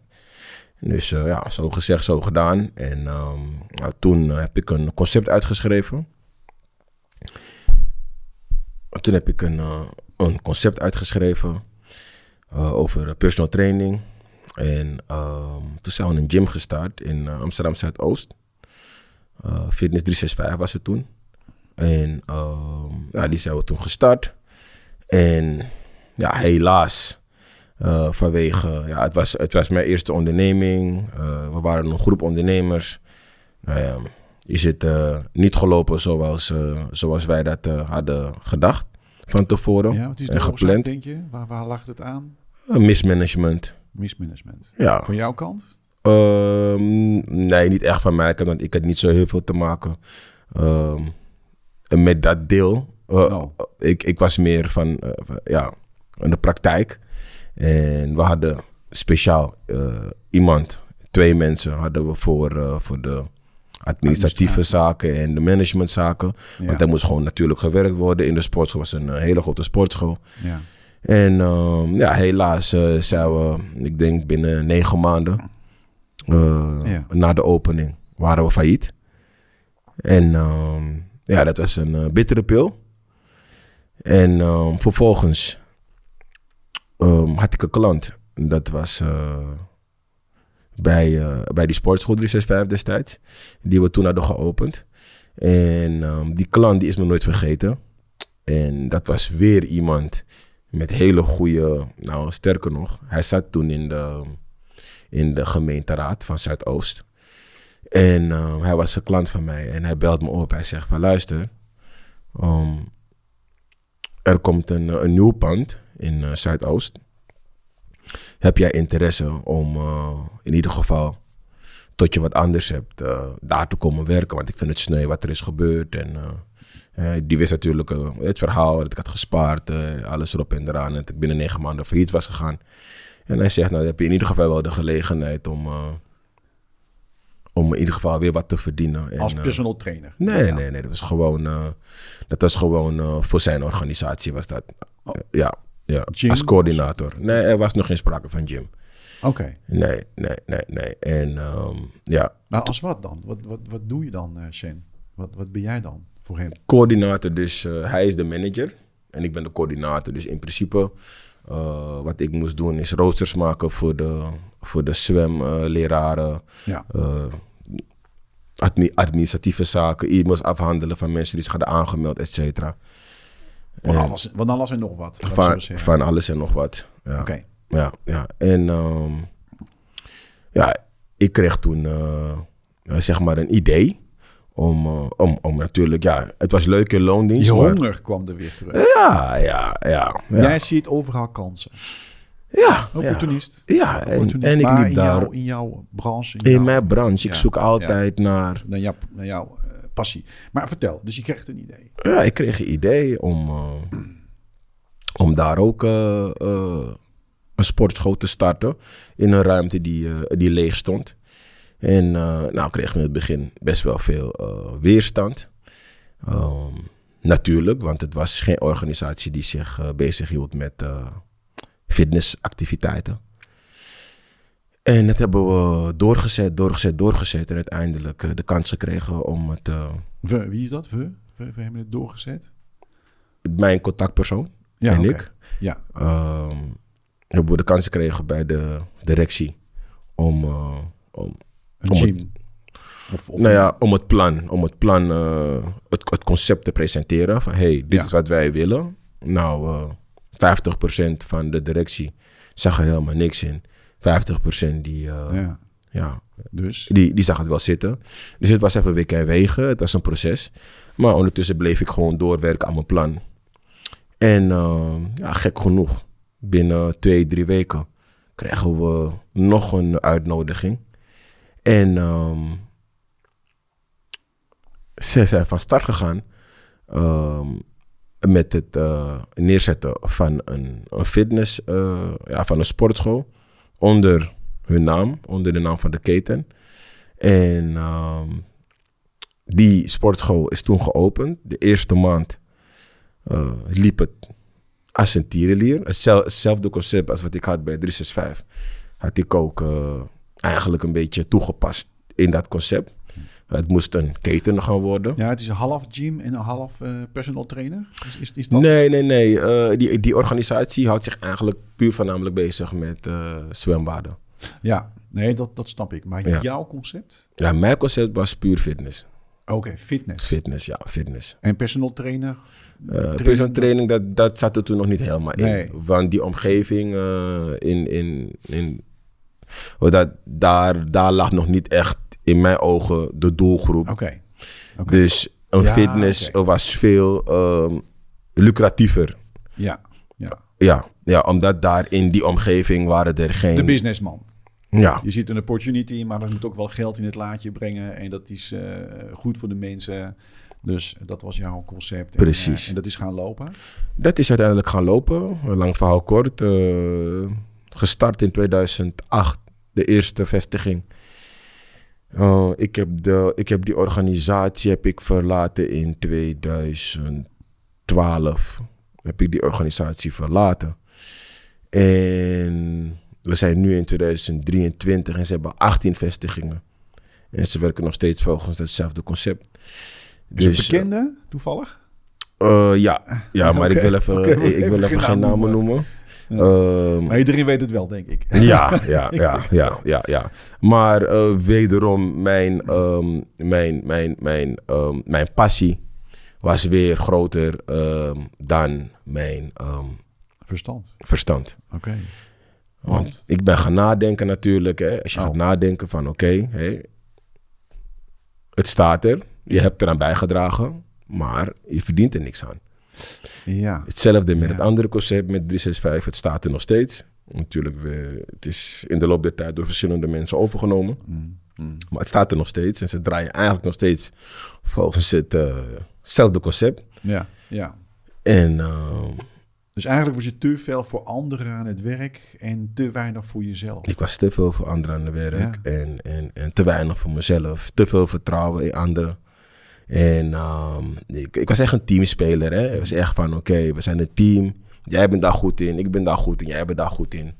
Speaker 2: Dus eh, ja, zo gezegd, zo gedaan. En ehm, nou, toen eh, heb ik een concept uitgeschreven. En Toen heb ik een, eh, een concept uitgeschreven eh, over personal training. En ehm, toen zijn we een gym gestart in eh, Amsterdam Zuidoost. Eh, Fitness 365 was het toen. En ehm, ja, die zijn we toen gestart. En ja, helaas. eh, vanwege, ja, het was, het was mijn eerste onderneming. Eh, we waren een groep ondernemers. Nou ja, is het eh, niet gelopen zoals, eh, zoals wij dat eh, hadden gedacht. van tevoren.
Speaker 1: Ja, wat is
Speaker 2: en
Speaker 1: de oorzaak,
Speaker 2: gepland.
Speaker 1: denk je? Waar, waar lag het aan? Oh.
Speaker 2: Een mismanagement.
Speaker 1: Mismanagement.
Speaker 2: Ja.
Speaker 1: Van jouw kant?
Speaker 2: Ehm, nee, niet echt van mij, want ik had niet zo heel veel te maken ehm, met dat deel. Eh,
Speaker 1: Nou,
Speaker 2: ik, ik was meer van, eh, van, ja, in de praktijk. En we hadden speciaal eh, iemand, twee mensen hadden we voor, eh, voor de administratieve
Speaker 1: Administratie.
Speaker 2: zaken en de managementzaken.
Speaker 1: ja.
Speaker 2: Want daar moest gewoon natuurlijk gewerkt worden. In de sportschool was een eh, hele grote sportschool.
Speaker 1: ja.
Speaker 2: En ehm, ja, helaas eh, zijn we, ik denk binnen negen maanden eh,
Speaker 1: Ja.
Speaker 2: na de opening, waren we failliet. En ehm, ja, dat was een eh, bittere pil. En ehm, vervolgens ehm, had ik een klant. Dat was eh, bij, eh, bij die sportschool 365 destijds, die we toen hadden geopend. En ehm, die klant die is me nooit vergeten. En dat was weer iemand met hele goede, nou sterker nog, hij zat toen in de, in de gemeenteraad van Zuidoost. En ehm, hij was een klant van mij en hij belt me op. Hij zegt van luister, ehm, er komt een, eh, een nieuw pand in eh, Zuidoost. Heb jij interesse om eh, in ieder geval tot je wat anders hebt eh, daar te komen werken? Want ik vind het sneu wat er is gebeurd en... eh, eh, die wist natuurlijk eh, het verhaal dat ik had gespaard, eh, alles erop en eraan. En dat ik binnen negen maanden failliet was gegaan. En hij zegt, nou dan heb je in ieder geval wel de gelegenheid om, eh, om in ieder geval weer wat te verdienen. En,
Speaker 1: Als
Speaker 2: eh,
Speaker 1: personal trainer?
Speaker 2: Nee,
Speaker 1: Ja.
Speaker 2: nee, nee. Dat was gewoon, eh, dat was gewoon eh, voor zijn organisatie was dat.
Speaker 1: Oh.
Speaker 2: Eh, ja, ja.
Speaker 1: Gym?
Speaker 2: als coördinator. Nee, er was nog geen sprake van Jim.
Speaker 1: Oké.
Speaker 2: Nee, nee, nee, nee. En ehm, ja,
Speaker 1: Maar als wat dan? Wat, wat, wat doe je dan, eh Shen? Wat, wat ben jij dan voor hem?
Speaker 2: coördinator, dus eh, hij is de manager en ik ben de coördinator. Dus in principe, eh, wat ik moest doen is roosters maken voor de, voor de zwemleraren, eh,
Speaker 1: Ja.
Speaker 2: administratieve zaken, e-mails afhandelen van mensen die zich hadden aangemeld, et cetera.
Speaker 1: Van
Speaker 2: En
Speaker 1: alles, van alles en nog wat. laat ik zo
Speaker 2: Van,
Speaker 1: zeggen.
Speaker 2: van alles en nog wat. Ja.
Speaker 1: Oké.
Speaker 2: Ja, ja. En ehm, ja, ik kreeg toen eh, eh, zeg maar een idee om, eh, om, om natuurlijk, ja, het was leuk in loondienst.
Speaker 1: Je
Speaker 2: maar-
Speaker 1: honger kwam er weer terug.
Speaker 2: Ja, ja, ja. Ja,
Speaker 1: Jij ziet overal kansen.
Speaker 2: ja, ja.
Speaker 1: Opportunist.
Speaker 2: Ja, en,
Speaker 1: Opportunist.
Speaker 2: en ik
Speaker 1: Maar
Speaker 2: liep
Speaker 1: in
Speaker 2: daar
Speaker 1: Jouw, in jouw branche. In,
Speaker 2: in
Speaker 1: jouw-
Speaker 2: mijn branche. Ik
Speaker 1: Ja,
Speaker 2: zoek altijd naar...
Speaker 1: Naar jouw, naar jouw eh, passie. Maar vertel, dus je krijgt een idee.
Speaker 2: Ja, ik kreeg een idee om, eh, om daar ook eh, eh, een sportschool te starten. In een ruimte die, eh, die leeg stond. En eh, nou kreeg ik in het begin best wel veel eh, weerstand. Ehm, natuurlijk, want het was geen organisatie die zich bezig bezighield met eh, fitnessactiviteiten. En dat hebben we doorgezet, doorgezet, doorgezet. En uiteindelijk eh, de kans gekregen om het, eh,
Speaker 1: We, wie is dat? We? We, we hebben het doorgezet.
Speaker 2: mijn contactpersoon
Speaker 1: Ja,
Speaker 2: en
Speaker 1: oké.
Speaker 2: ik.
Speaker 1: Ja.
Speaker 2: ehm, hebben we de kans gekregen bij de directie om, eh, om,
Speaker 1: Een
Speaker 2: Om het-
Speaker 1: gym. Of, of
Speaker 2: nou ja, om het plan, om het, plan eh, het, het concept te presenteren. Van hey, dit
Speaker 1: Ja.
Speaker 2: is wat wij willen. Nou, eh 50% van de directie zag er helemaal niks in. 50% die, eh,
Speaker 1: ja.
Speaker 2: ja,
Speaker 1: Dus.
Speaker 2: die, die zag het wel zitten. Dus het was even wikken en wegen. Het was een proces. Maar ondertussen bleef ik gewoon doorwerken aan mijn plan. En eh, ja, gek genoeg, binnen twee, drie weken kregen we nog een uitnodiging. En ehm, ze zijn van start gegaan ehm, met het eh, neerzetten van een, een fitness, eh, ja, van een sportschool. Onder hun naam, onder de naam van de keten. En ehm, die sportschool is toen geopend. De eerste maand eh, liep het als een tierenlier. Hetzel- Hetzelfde concept als wat ik had bij 365. Had ik ook eh, eigenlijk een beetje toegepast in dat concept. Het moest een keten gaan worden.
Speaker 1: Ja, het is een half gym en een half eh, personal trainer. Is, is, is dat?
Speaker 2: Nee, nee, nee. Eh, die, die organisatie houdt zich eigenlijk puur voornamelijk bezig met eh, zwembaden.
Speaker 1: Ja, nee, dat, dat snap ik. Maar
Speaker 2: Ja.
Speaker 1: jouw concept?
Speaker 2: Ja, mijn concept was puur fitness.
Speaker 1: Oké, fitness.
Speaker 2: Fitness, ja, fitness.
Speaker 1: En personal trainer?
Speaker 2: Eh
Speaker 1: Trainer-
Speaker 2: personal training, dat, dat zat er toen nog niet helemaal in.
Speaker 1: Nee.
Speaker 2: Want die omgeving eh, in, in, in oh, dat, daar, daar lag nog niet echt in mijn ogen de doelgroep.
Speaker 1: Oké. Ah, Oké.
Speaker 2: Dus een
Speaker 1: Ja,
Speaker 2: fitness
Speaker 1: oké.
Speaker 2: was veel ehm, lucratiever
Speaker 1: Ja, ja.
Speaker 2: Ja, ja, omdat daar in die omgeving waren er geen...
Speaker 1: De businessman.
Speaker 2: Ja,
Speaker 1: Je ziet een opportunity, maar dat moet ook wel geld in het laadje brengen. En dat is eh, goed voor de mensen. Dus dat was jouw concept. En,
Speaker 2: Precies.
Speaker 1: eh, en dat is gaan lopen.
Speaker 2: dat is uiteindelijk gaan lopen. Lang verhaal kort. eh, gestart in 2008, de eerste vestiging. Eh, ik, heb de, ik heb die organisatie heb ik verlaten in 2012. Heb ik die organisatie verlaten. En we zijn nu in 2023 en ze hebben 18 vestigingen. En ze werken nog steeds volgens hetzelfde concept.
Speaker 1: Dus,
Speaker 2: eh,
Speaker 1: een bekende, toevallig.
Speaker 2: eh, ja, ja maar ik
Speaker 1: Oké,
Speaker 2: wil even,
Speaker 1: oké,
Speaker 2: ik,
Speaker 1: even
Speaker 2: wil even
Speaker 1: geen
Speaker 2: geen
Speaker 1: naam
Speaker 2: namen noemen. Ehm,
Speaker 1: Maar iedereen weet het wel, denk ik.
Speaker 2: ja, ja, ja, ja, ja, ja. Maar eh, wederom, mijn, ehm, mijn, mijn, mijn, ehm, mijn passie was weer groter ehm, dan mijn ehm,
Speaker 1: Verstand.
Speaker 2: verstand.
Speaker 1: Oké.
Speaker 2: Want ik ben gaan nadenken natuurlijk. Hè. Als je gaat
Speaker 1: Oh.
Speaker 2: nadenken van oké, hè, het staat er. Je hebt eraan bijgedragen, maar je verdient er niks aan.
Speaker 1: Ja.
Speaker 2: Hetzelfde met
Speaker 1: Ja.
Speaker 2: het andere concept met 365. Het staat er nog steeds. Natuurlijk, we, het is in de loop der tijd door verschillende mensen overgenomen.
Speaker 1: Mm, mm.
Speaker 2: Maar het staat er nog steeds. En ze draaien eigenlijk nog steeds volgens hetzelfde concept.
Speaker 1: Ja, ja.
Speaker 2: En ehm,
Speaker 1: Dus eigenlijk was je te veel voor anderen aan het werk en te weinig voor jezelf.
Speaker 2: ik was te veel voor anderen aan het werk.
Speaker 1: Ja.
Speaker 2: En, en, en te weinig voor mezelf. Te veel vertrouwen in anderen. En ehm, ik, ik was echt een teamspeler. Hè? Ik was echt van, oké, we zijn een team. Jij bent daar goed in, ik ben daar goed in, jij bent daar goed in.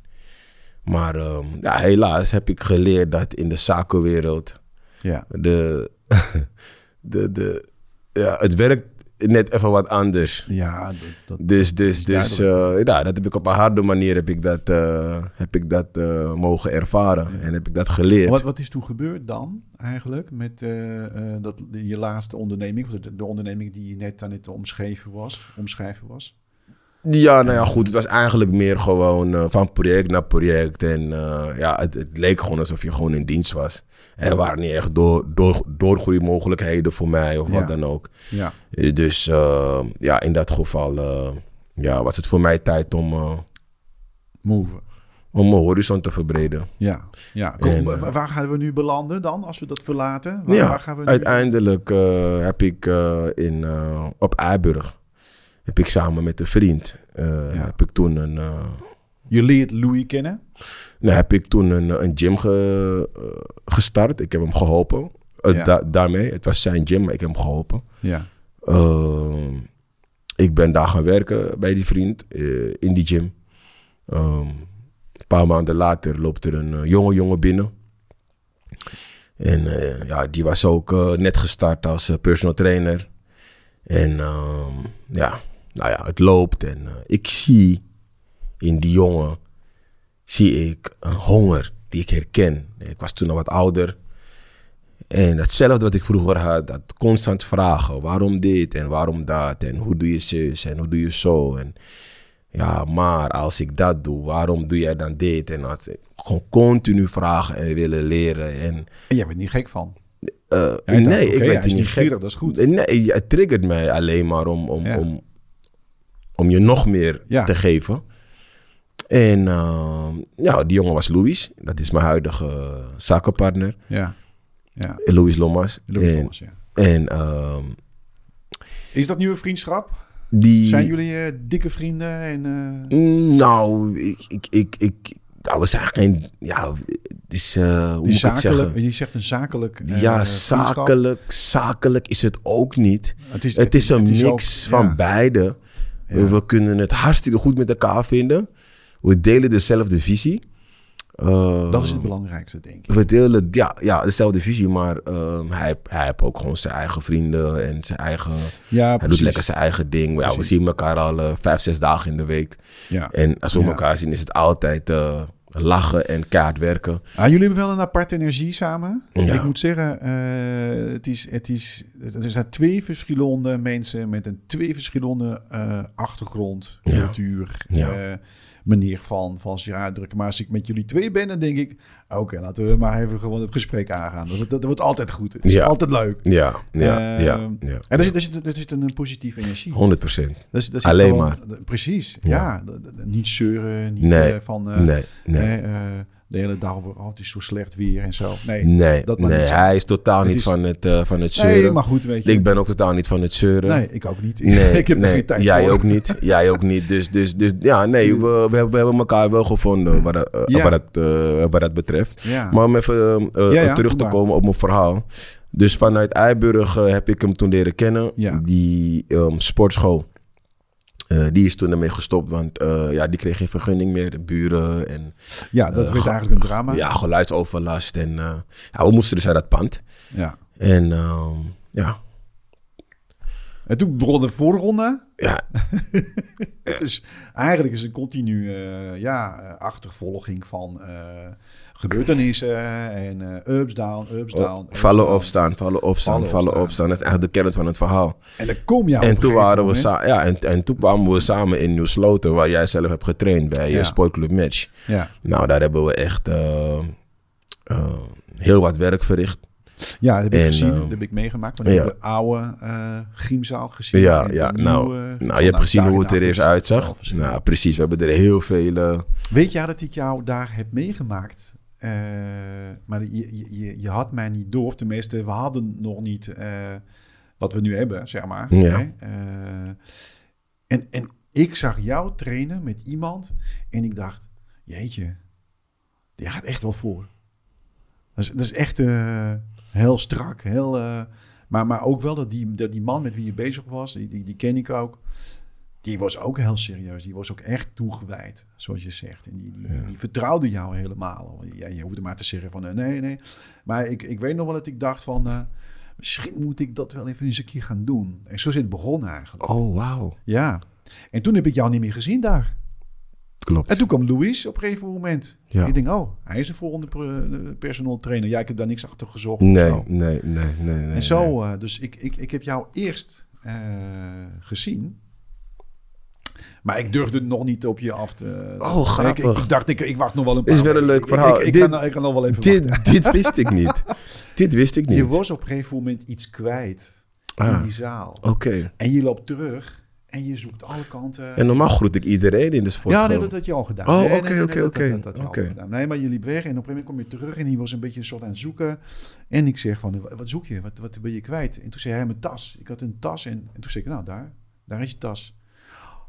Speaker 2: Maar ehm, ja, helaas heb ik geleerd dat in de zakenwereld
Speaker 1: Ja.
Speaker 2: de, de, de, ja, het werkt net even wat anders.
Speaker 1: Ja, dat, dat-
Speaker 2: Dus, dus,
Speaker 1: is
Speaker 2: dus eh, ja, dat heb ik op een harde manier heb ik dat, eh, heb ik dat eh, mogen ervaren en heb ik dat geleerd.
Speaker 1: Wat, wat is toen gebeurd dan eigenlijk met eh, eh, dat, je laatste onderneming? of De, de onderneming die je net aan het omschreven was. Omschrijven was.
Speaker 2: Ja, nou ja, goed. Het was eigenlijk meer gewoon eh, van project naar project. En eh, ja, het, het leek gewoon alsof je gewoon in dienst was. Er waren niet echt door, door, doorgroeimogelijkheden voor mij of
Speaker 1: Ja.
Speaker 2: wat dan ook.
Speaker 1: Ja.
Speaker 2: Eh, Dus eh, ja, in dat geval eh, ja, was het voor mij tijd om, eh,
Speaker 1: Move.
Speaker 2: om mijn horizon te verbreden.
Speaker 1: Ja. ja. Kom,
Speaker 2: En,
Speaker 1: wa-
Speaker 2: eh,
Speaker 1: waar, gaan we nu belanden dan als we dat verlaten? Waar,
Speaker 2: Ja,
Speaker 1: waar gaan we nu-
Speaker 2: Uiteindelijk eh, heb ik eh, in, eh, op Eiburg, heb ik samen met een vriend, eh,
Speaker 1: Ja.
Speaker 2: heb ik toen een... eh,
Speaker 1: Je leert Louis kennen.
Speaker 2: Nou, heb ik toen een, een gym ge- eh, gestart. Ik heb hem geholpen. Eh,
Speaker 1: Ja.
Speaker 2: da- daarmee. Het was zijn gym, maar ik heb hem geholpen.
Speaker 1: Ja.
Speaker 2: Ehm, ik ben daar gaan werken bij die vriend eh, in die gym. Ehm, een paar maanden later loopt er een eh, jonge jongen binnen. En eh, ja, die was ook eh, net gestart als eh, personal trainer. En ehm, ja, nou ja, het loopt. En eh, ik zie in die jongen, zie ik een honger die ik herken. Ik was toen al wat ouder. En hetzelfde wat ik vroeger had, dat constant vragen. Waarom dit en waarom dat en hoe doe je zus en hoe doe je zo. En ja, maar als ik dat doe, waarom doe jij dan dit? En dat, eh, gewoon continu vragen en willen leren. En,
Speaker 1: En jij bent niet gek van.
Speaker 2: eh,
Speaker 1: Jij dacht,
Speaker 2: nee,
Speaker 1: oké,
Speaker 2: ik
Speaker 1: hij is
Speaker 2: werd hier niet gek.
Speaker 1: nieuwsgierig, Dat is goed.
Speaker 2: Nee, ja, het triggert mij alleen maar om, om,
Speaker 1: Ja.
Speaker 2: om, om je nog meer
Speaker 1: Ja.
Speaker 2: te geven. En ehm, ja, die jongen was Louis. Dat is mijn huidige zakenpartner.
Speaker 1: Ja. Ja.
Speaker 2: Louis Lomas.
Speaker 1: Louis
Speaker 2: en
Speaker 1: Thomas, ja.
Speaker 2: en ehm,
Speaker 1: Is dat nu een vriendschap?
Speaker 2: die...
Speaker 1: Zijn jullie eh, dikke vrienden? En, eh,
Speaker 2: Mm, Nou, ik... ik, ik, ik nou, we zijn geen... Ja, het is... eh, hoe
Speaker 1: die
Speaker 2: moet ik het
Speaker 1: zakelijk,
Speaker 2: zeggen?
Speaker 1: je zegt een zakelijk. eh,
Speaker 2: ja,
Speaker 1: vriendschap.
Speaker 2: zakelijk, zakelijk is het ook niet.
Speaker 1: Het is,
Speaker 2: Het is een
Speaker 1: het is ook-
Speaker 2: mix
Speaker 1: ja.
Speaker 2: van beide. We, we kunnen het hartstikke goed met elkaar vinden. We delen dezelfde visie. Eh,
Speaker 1: Dat is het belangrijkste, denk ik.
Speaker 2: We delen ja, ja, dezelfde visie, maar ehm, hij, hij heeft ook gewoon zijn eigen vrienden en zijn eigen.
Speaker 1: Ja,
Speaker 2: Hij doet lekker zijn eigen ding. Ja, we
Speaker 1: Precies.
Speaker 2: zien elkaar al eh, vijf, zes dagen in de week.
Speaker 1: Ja.
Speaker 2: En als we
Speaker 1: Ja.
Speaker 2: elkaar zien, is het altijd eh, Lachen en kaart werken.
Speaker 1: Ah, jullie hebben wel een aparte energie samen.
Speaker 2: Ja.
Speaker 1: Ik moet zeggen, eh, het is, het is, er zijn twee verschillende mensen met een twee verschillende eh, achtergrond,
Speaker 2: Ja.
Speaker 1: cultuur,
Speaker 2: Ja.
Speaker 1: eh, manier van, van zich uitdrukken. Maar als ik met jullie twee ben, dan denk ik, oké, laten we maar even gewoon het gesprek aangaan. Dat, wordt- dat wordt altijd goed. Het is
Speaker 2: Ja.
Speaker 1: altijd leuk.
Speaker 2: Ja, ja,
Speaker 1: Eh,
Speaker 2: ja. ja.
Speaker 1: En er zit, er zit, er zit een positieve energie.
Speaker 2: 100 procent.
Speaker 1: Dat is, dat is
Speaker 2: Alleen
Speaker 1: gewoon-
Speaker 2: maar.
Speaker 1: d- Precies, ja.
Speaker 2: Ja.
Speaker 1: D- d- Niet zeuren, niet
Speaker 2: Nee.
Speaker 1: eh, van eh,
Speaker 2: Nee, nee,
Speaker 1: hè, eh, de hele dag over, oh, het is zo slecht weer en zo. Nee,
Speaker 2: nee.
Speaker 1: dat maar
Speaker 2: nee.
Speaker 1: niet zo.
Speaker 2: Hij is totaal
Speaker 1: Het
Speaker 2: niet
Speaker 1: is-
Speaker 2: van het, eh, van het
Speaker 1: nee
Speaker 2: zeuren.
Speaker 1: maar goed, weet je.
Speaker 2: Ik ben ook totaal niet van het zeuren.
Speaker 1: nee, ik ook niet.
Speaker 2: Nee,
Speaker 1: ik heb
Speaker 2: nee,
Speaker 1: er geen tijd
Speaker 2: jij
Speaker 1: voor.
Speaker 2: ook niet. Jij ook niet. Dus, dus, dus ja, nee, we, we, hebben, we hebben elkaar wel gevonden wat, dat- eh,
Speaker 1: Ja.
Speaker 2: wat, dat, eh, wat dat betreft.
Speaker 1: Ja.
Speaker 2: Maar om even eh, eh,
Speaker 1: Ja, ja,
Speaker 2: terug
Speaker 1: doe
Speaker 2: te
Speaker 1: maar.
Speaker 2: komen op mijn verhaal. Dus vanuit Eiburg eh, heb ik hem toen leren kennen.
Speaker 1: Ja.
Speaker 2: Die ehm, sportschool, eh, die is toen ermee gestopt. Want eh, ja, die kreeg geen vergunning meer. De buren en
Speaker 1: ja, dat
Speaker 2: eh,
Speaker 1: werd
Speaker 2: ge-
Speaker 1: eigenlijk een drama.
Speaker 2: ja, geluidsoverlast. En eh, ja, we moesten dus uit dat pand.
Speaker 1: Ja.
Speaker 2: En ehm, ja,
Speaker 1: En toen begon de voorronde.
Speaker 2: Ja.
Speaker 1: het is, eigenlijk is een continu eh, ja, eh, achtervolging van eh, gebeurtenissen en eh, ups, down, ups, down. ups,
Speaker 2: Oh, vallen
Speaker 1: down.
Speaker 2: opstaan, vallen opstaan,
Speaker 1: Vallen
Speaker 2: vallen,
Speaker 1: opstaan.
Speaker 2: opstaan. Dat is eigenlijk de kern van het verhaal.
Speaker 1: En dan kom je op
Speaker 2: en
Speaker 1: een
Speaker 2: toen
Speaker 1: gegeven
Speaker 2: waren we
Speaker 1: moment.
Speaker 2: sa- ja, en, en toen kwamen we samen in Nieuw Sloten, waar jij zelf hebt getraind bij eh,
Speaker 1: Ja.
Speaker 2: Sportclub Match.
Speaker 1: Ja.
Speaker 2: Nou, daar hebben we echt eh, eh, heel wat werk verricht.
Speaker 1: ja, dat heb ik
Speaker 2: En,
Speaker 1: gezien,
Speaker 2: ehm,
Speaker 1: dat heb ik meegemaakt. Maar ik
Speaker 2: ja.
Speaker 1: heb de oude eh giemzaal gezien.
Speaker 2: Ja,
Speaker 1: en de
Speaker 2: ja, nou,
Speaker 1: nieuwe,
Speaker 2: Nou, je hebt gezien
Speaker 1: daar
Speaker 2: hoe het
Speaker 1: in
Speaker 2: er eerst
Speaker 1: Apeldoorn
Speaker 2: uitzag.
Speaker 1: zelf gezien.
Speaker 2: Nou, precies. We hebben er heel veel... eh,
Speaker 1: Weet jij dat ik jou daar heb meegemaakt? Eh, maar je, je- je, je had mij niet door. Of tenminste, we hadden nog niet eh, wat we nu hebben, zeg maar.
Speaker 2: Ja.
Speaker 1: Hè? Eh, en, en ik zag jou trainen met iemand. En ik dacht, jeetje, die gaat echt wel voor. Dat is, dat is echt eh, heel strak. Heel, eh, maar, maar ook wel dat die, dat die man met wie je bezig was, die, die, die ken ik ook. Die was ook heel serieus. Die was ook echt toegewijd, zoals je zegt. En die, die, die vertrouwde jou helemaal. Ja, je hoefde maar te zeggen van eh, nee, nee. Maar ik, ik weet nog wel dat ik dacht van... eh, misschien moet ik dat wel even eens een keer gaan doen. En zo is het begonnen eigenlijk.
Speaker 2: Oh, wauw.
Speaker 1: Ja. En toen heb ik jou niet meer gezien daar.
Speaker 2: Klopt.
Speaker 1: En toen kwam Louis op een gegeven moment.
Speaker 2: Ja.
Speaker 1: Ik denk, oh, hij is de volgende per- personal trainer. Ja, ik heb daar niks achter gezocht.
Speaker 2: Nee,
Speaker 1: Zo.
Speaker 2: nee, nee, nee. nee
Speaker 1: En zo, eh, dus ik, ik, ik heb jou eerst eh, gezien. Maar ik durfde nog niet op je af te...
Speaker 2: Oh, grappig.
Speaker 1: Ik, ik, ik dacht, ik, ik wacht nog wel een paar
Speaker 2: Is wel een
Speaker 1: weken.
Speaker 2: leuk verhaal.
Speaker 1: Ik, ik, ik,
Speaker 2: Dit-
Speaker 1: ga nou- ik ga nog wel even wachten.
Speaker 2: Dit, dit wist ik niet. Dit wist ik niet.
Speaker 1: Je was op een gegeven moment iets kwijt in
Speaker 2: Ah,
Speaker 1: die zaal.
Speaker 2: Oké.
Speaker 1: En je loopt terug en je zoekt alle kanten.
Speaker 2: En normaal groet ik iedereen in de sportschool.
Speaker 1: ja, nee, dat had je al gedaan.
Speaker 2: Oh,
Speaker 1: Nee, nee,
Speaker 2: oké,
Speaker 1: nee, nee,
Speaker 2: oké,
Speaker 1: dat- dat-
Speaker 2: oké,
Speaker 1: dat had je al
Speaker 2: oké.
Speaker 1: gedaan. Nee, maar je liep weg en op een gegeven moment kom je terug en hij was een beetje een soort aan het zoeken. En ik zeg van, wat zoek je? Wat, wat ben je kwijt? En toen zei hij, mijn tas. Ik had een tas en, en toen zei ik, nou daar, daar is je tas.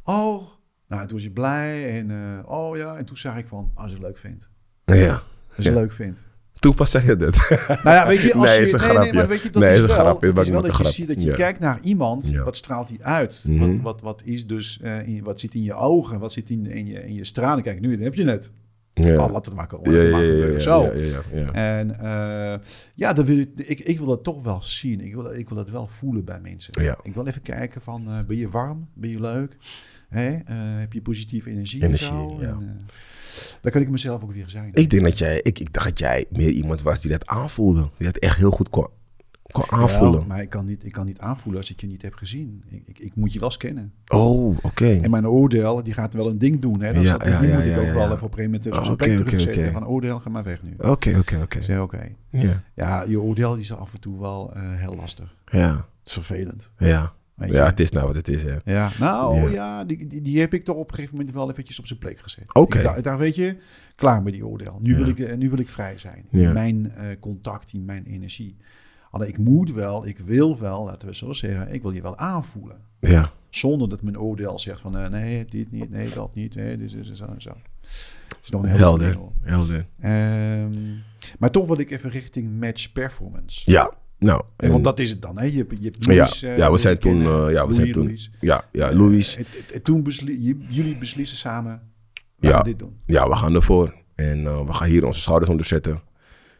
Speaker 1: Oh, nou toen was je blij en eh, oh ja. En toen zag ik van, "Ah, als je het leuk vindt.
Speaker 2: Ja.
Speaker 1: Als je
Speaker 2: Ja.
Speaker 1: het leuk vindt.
Speaker 2: Toen pas zei je dat.
Speaker 1: Nou ja, weet je, als
Speaker 2: Nee,
Speaker 1: je,
Speaker 2: is een
Speaker 1: nee,
Speaker 2: grapje.
Speaker 1: Nee, maar weet je, dat
Speaker 2: Nee,
Speaker 1: is,
Speaker 2: is een
Speaker 1: wel,
Speaker 2: grapje.
Speaker 1: het
Speaker 2: Maak
Speaker 1: is
Speaker 2: ik
Speaker 1: wel
Speaker 2: een
Speaker 1: dat je,
Speaker 2: grap.
Speaker 1: ziet, dat je
Speaker 2: Ja.
Speaker 1: kijkt naar iemand,
Speaker 2: Ja.
Speaker 1: wat straalt hij uit?
Speaker 2: Mhm.
Speaker 1: wat, wat, wat is dus, eh, in- wat zit in je ogen? Wat zit in, in, je, in je stralen? Kijk, nu heb je het.
Speaker 2: Ja.
Speaker 1: Oh, laat het maar komen.
Speaker 2: Ja,
Speaker 1: Laat het maar
Speaker 2: ja, ja,
Speaker 1: gebeuren.
Speaker 2: ja,
Speaker 1: Zo.
Speaker 2: ja, ja, ja.
Speaker 1: En eh, ja, dat wil ik, ik, ik wil dat toch wel zien. Ik wil, ik wil dat wel voelen bij mensen.
Speaker 2: Ja.
Speaker 1: Ik wil even kijken van, eh, ben je warm? Ben je leuk? Hè? Eh, heb je positieve energie?
Speaker 2: Energie,
Speaker 1: en zo?
Speaker 2: ja.
Speaker 1: En, eh, daar kan ik mezelf ook weer zijn.
Speaker 2: Ik denk dat jij, ik, ik dacht dat jij meer iemand was die dat aanvoelde. Die dat echt heel goed kon, kon aanvoelen.
Speaker 1: Wel, maar ik kan, niet, ik kan niet aanvoelen als ik je niet heb gezien. Ik, ik, ik moet je wel eens kennen.
Speaker 2: oh, oké.
Speaker 1: En mijn oordeel, die gaat wel een ding doen. Hè? Dat
Speaker 2: Ja,
Speaker 1: is dat- die
Speaker 2: ja, ja,
Speaker 1: moet ik
Speaker 2: ja,
Speaker 1: ook
Speaker 2: ja.
Speaker 1: wel even op een gegeven moment even
Speaker 2: Oh,
Speaker 1: op zijn
Speaker 2: oké,
Speaker 1: plek
Speaker 2: oké,
Speaker 1: terugzetten.
Speaker 2: oké. Oh.
Speaker 1: Van oordeel, ga maar weg nu. Ik
Speaker 2: Oké, oké, oké.
Speaker 1: zei, oké.
Speaker 2: Ja,
Speaker 1: Ja, je oordeel die is af en toe wel eh, heel lastig.
Speaker 2: ja,
Speaker 1: Het is vervelend.
Speaker 2: ja.
Speaker 1: Weet
Speaker 2: Ja,
Speaker 1: je?
Speaker 2: het is nou wat het is, hè.
Speaker 1: Ja, nou ja,
Speaker 2: Ja.
Speaker 1: die, die, die heb ik toch op een gegeven moment wel eventjes op zijn plek gezet.
Speaker 2: Oké.
Speaker 1: Ik dacht- Daar weet je, klaar met die oordeel. Nu,
Speaker 2: Ja.
Speaker 1: wil, ik, eh, nu wil ik vrij zijn.
Speaker 2: Ja.
Speaker 1: Mijn eh, contact, in mijn energie. Alleen ik moet wel, ik wil wel, laten we zo zeggen, ik wil je wel aanvoelen.
Speaker 2: Ja.
Speaker 1: Zonder dat mijn oordeel zegt van eh, nee, dit niet, nee, dat niet, nee, dit is zo en zo. Het is nog een heel
Speaker 2: Helder,
Speaker 1: ding, hoor.
Speaker 2: helder.
Speaker 1: Ehm, maar toch wil ik even richting match performance.
Speaker 2: Ja, nou. en-
Speaker 1: Want dat is het dan, hè? Je, hebt- je hebt
Speaker 2: ja,
Speaker 1: Louis, eh,
Speaker 2: ja, we
Speaker 1: leren
Speaker 2: zijn toen,
Speaker 1: kennen.
Speaker 2: eh, ja, we
Speaker 1: Louis,
Speaker 2: zijn toen,
Speaker 1: Louis.
Speaker 2: ja, ja, Louis,
Speaker 1: Eh, het- het- het- toen besli- j- jullie beslissen samen, we
Speaker 2: Ja.
Speaker 1: gaan dit doen.
Speaker 2: ja, we gaan ervoor. En eh, we gaan hier onze schouders onder zetten.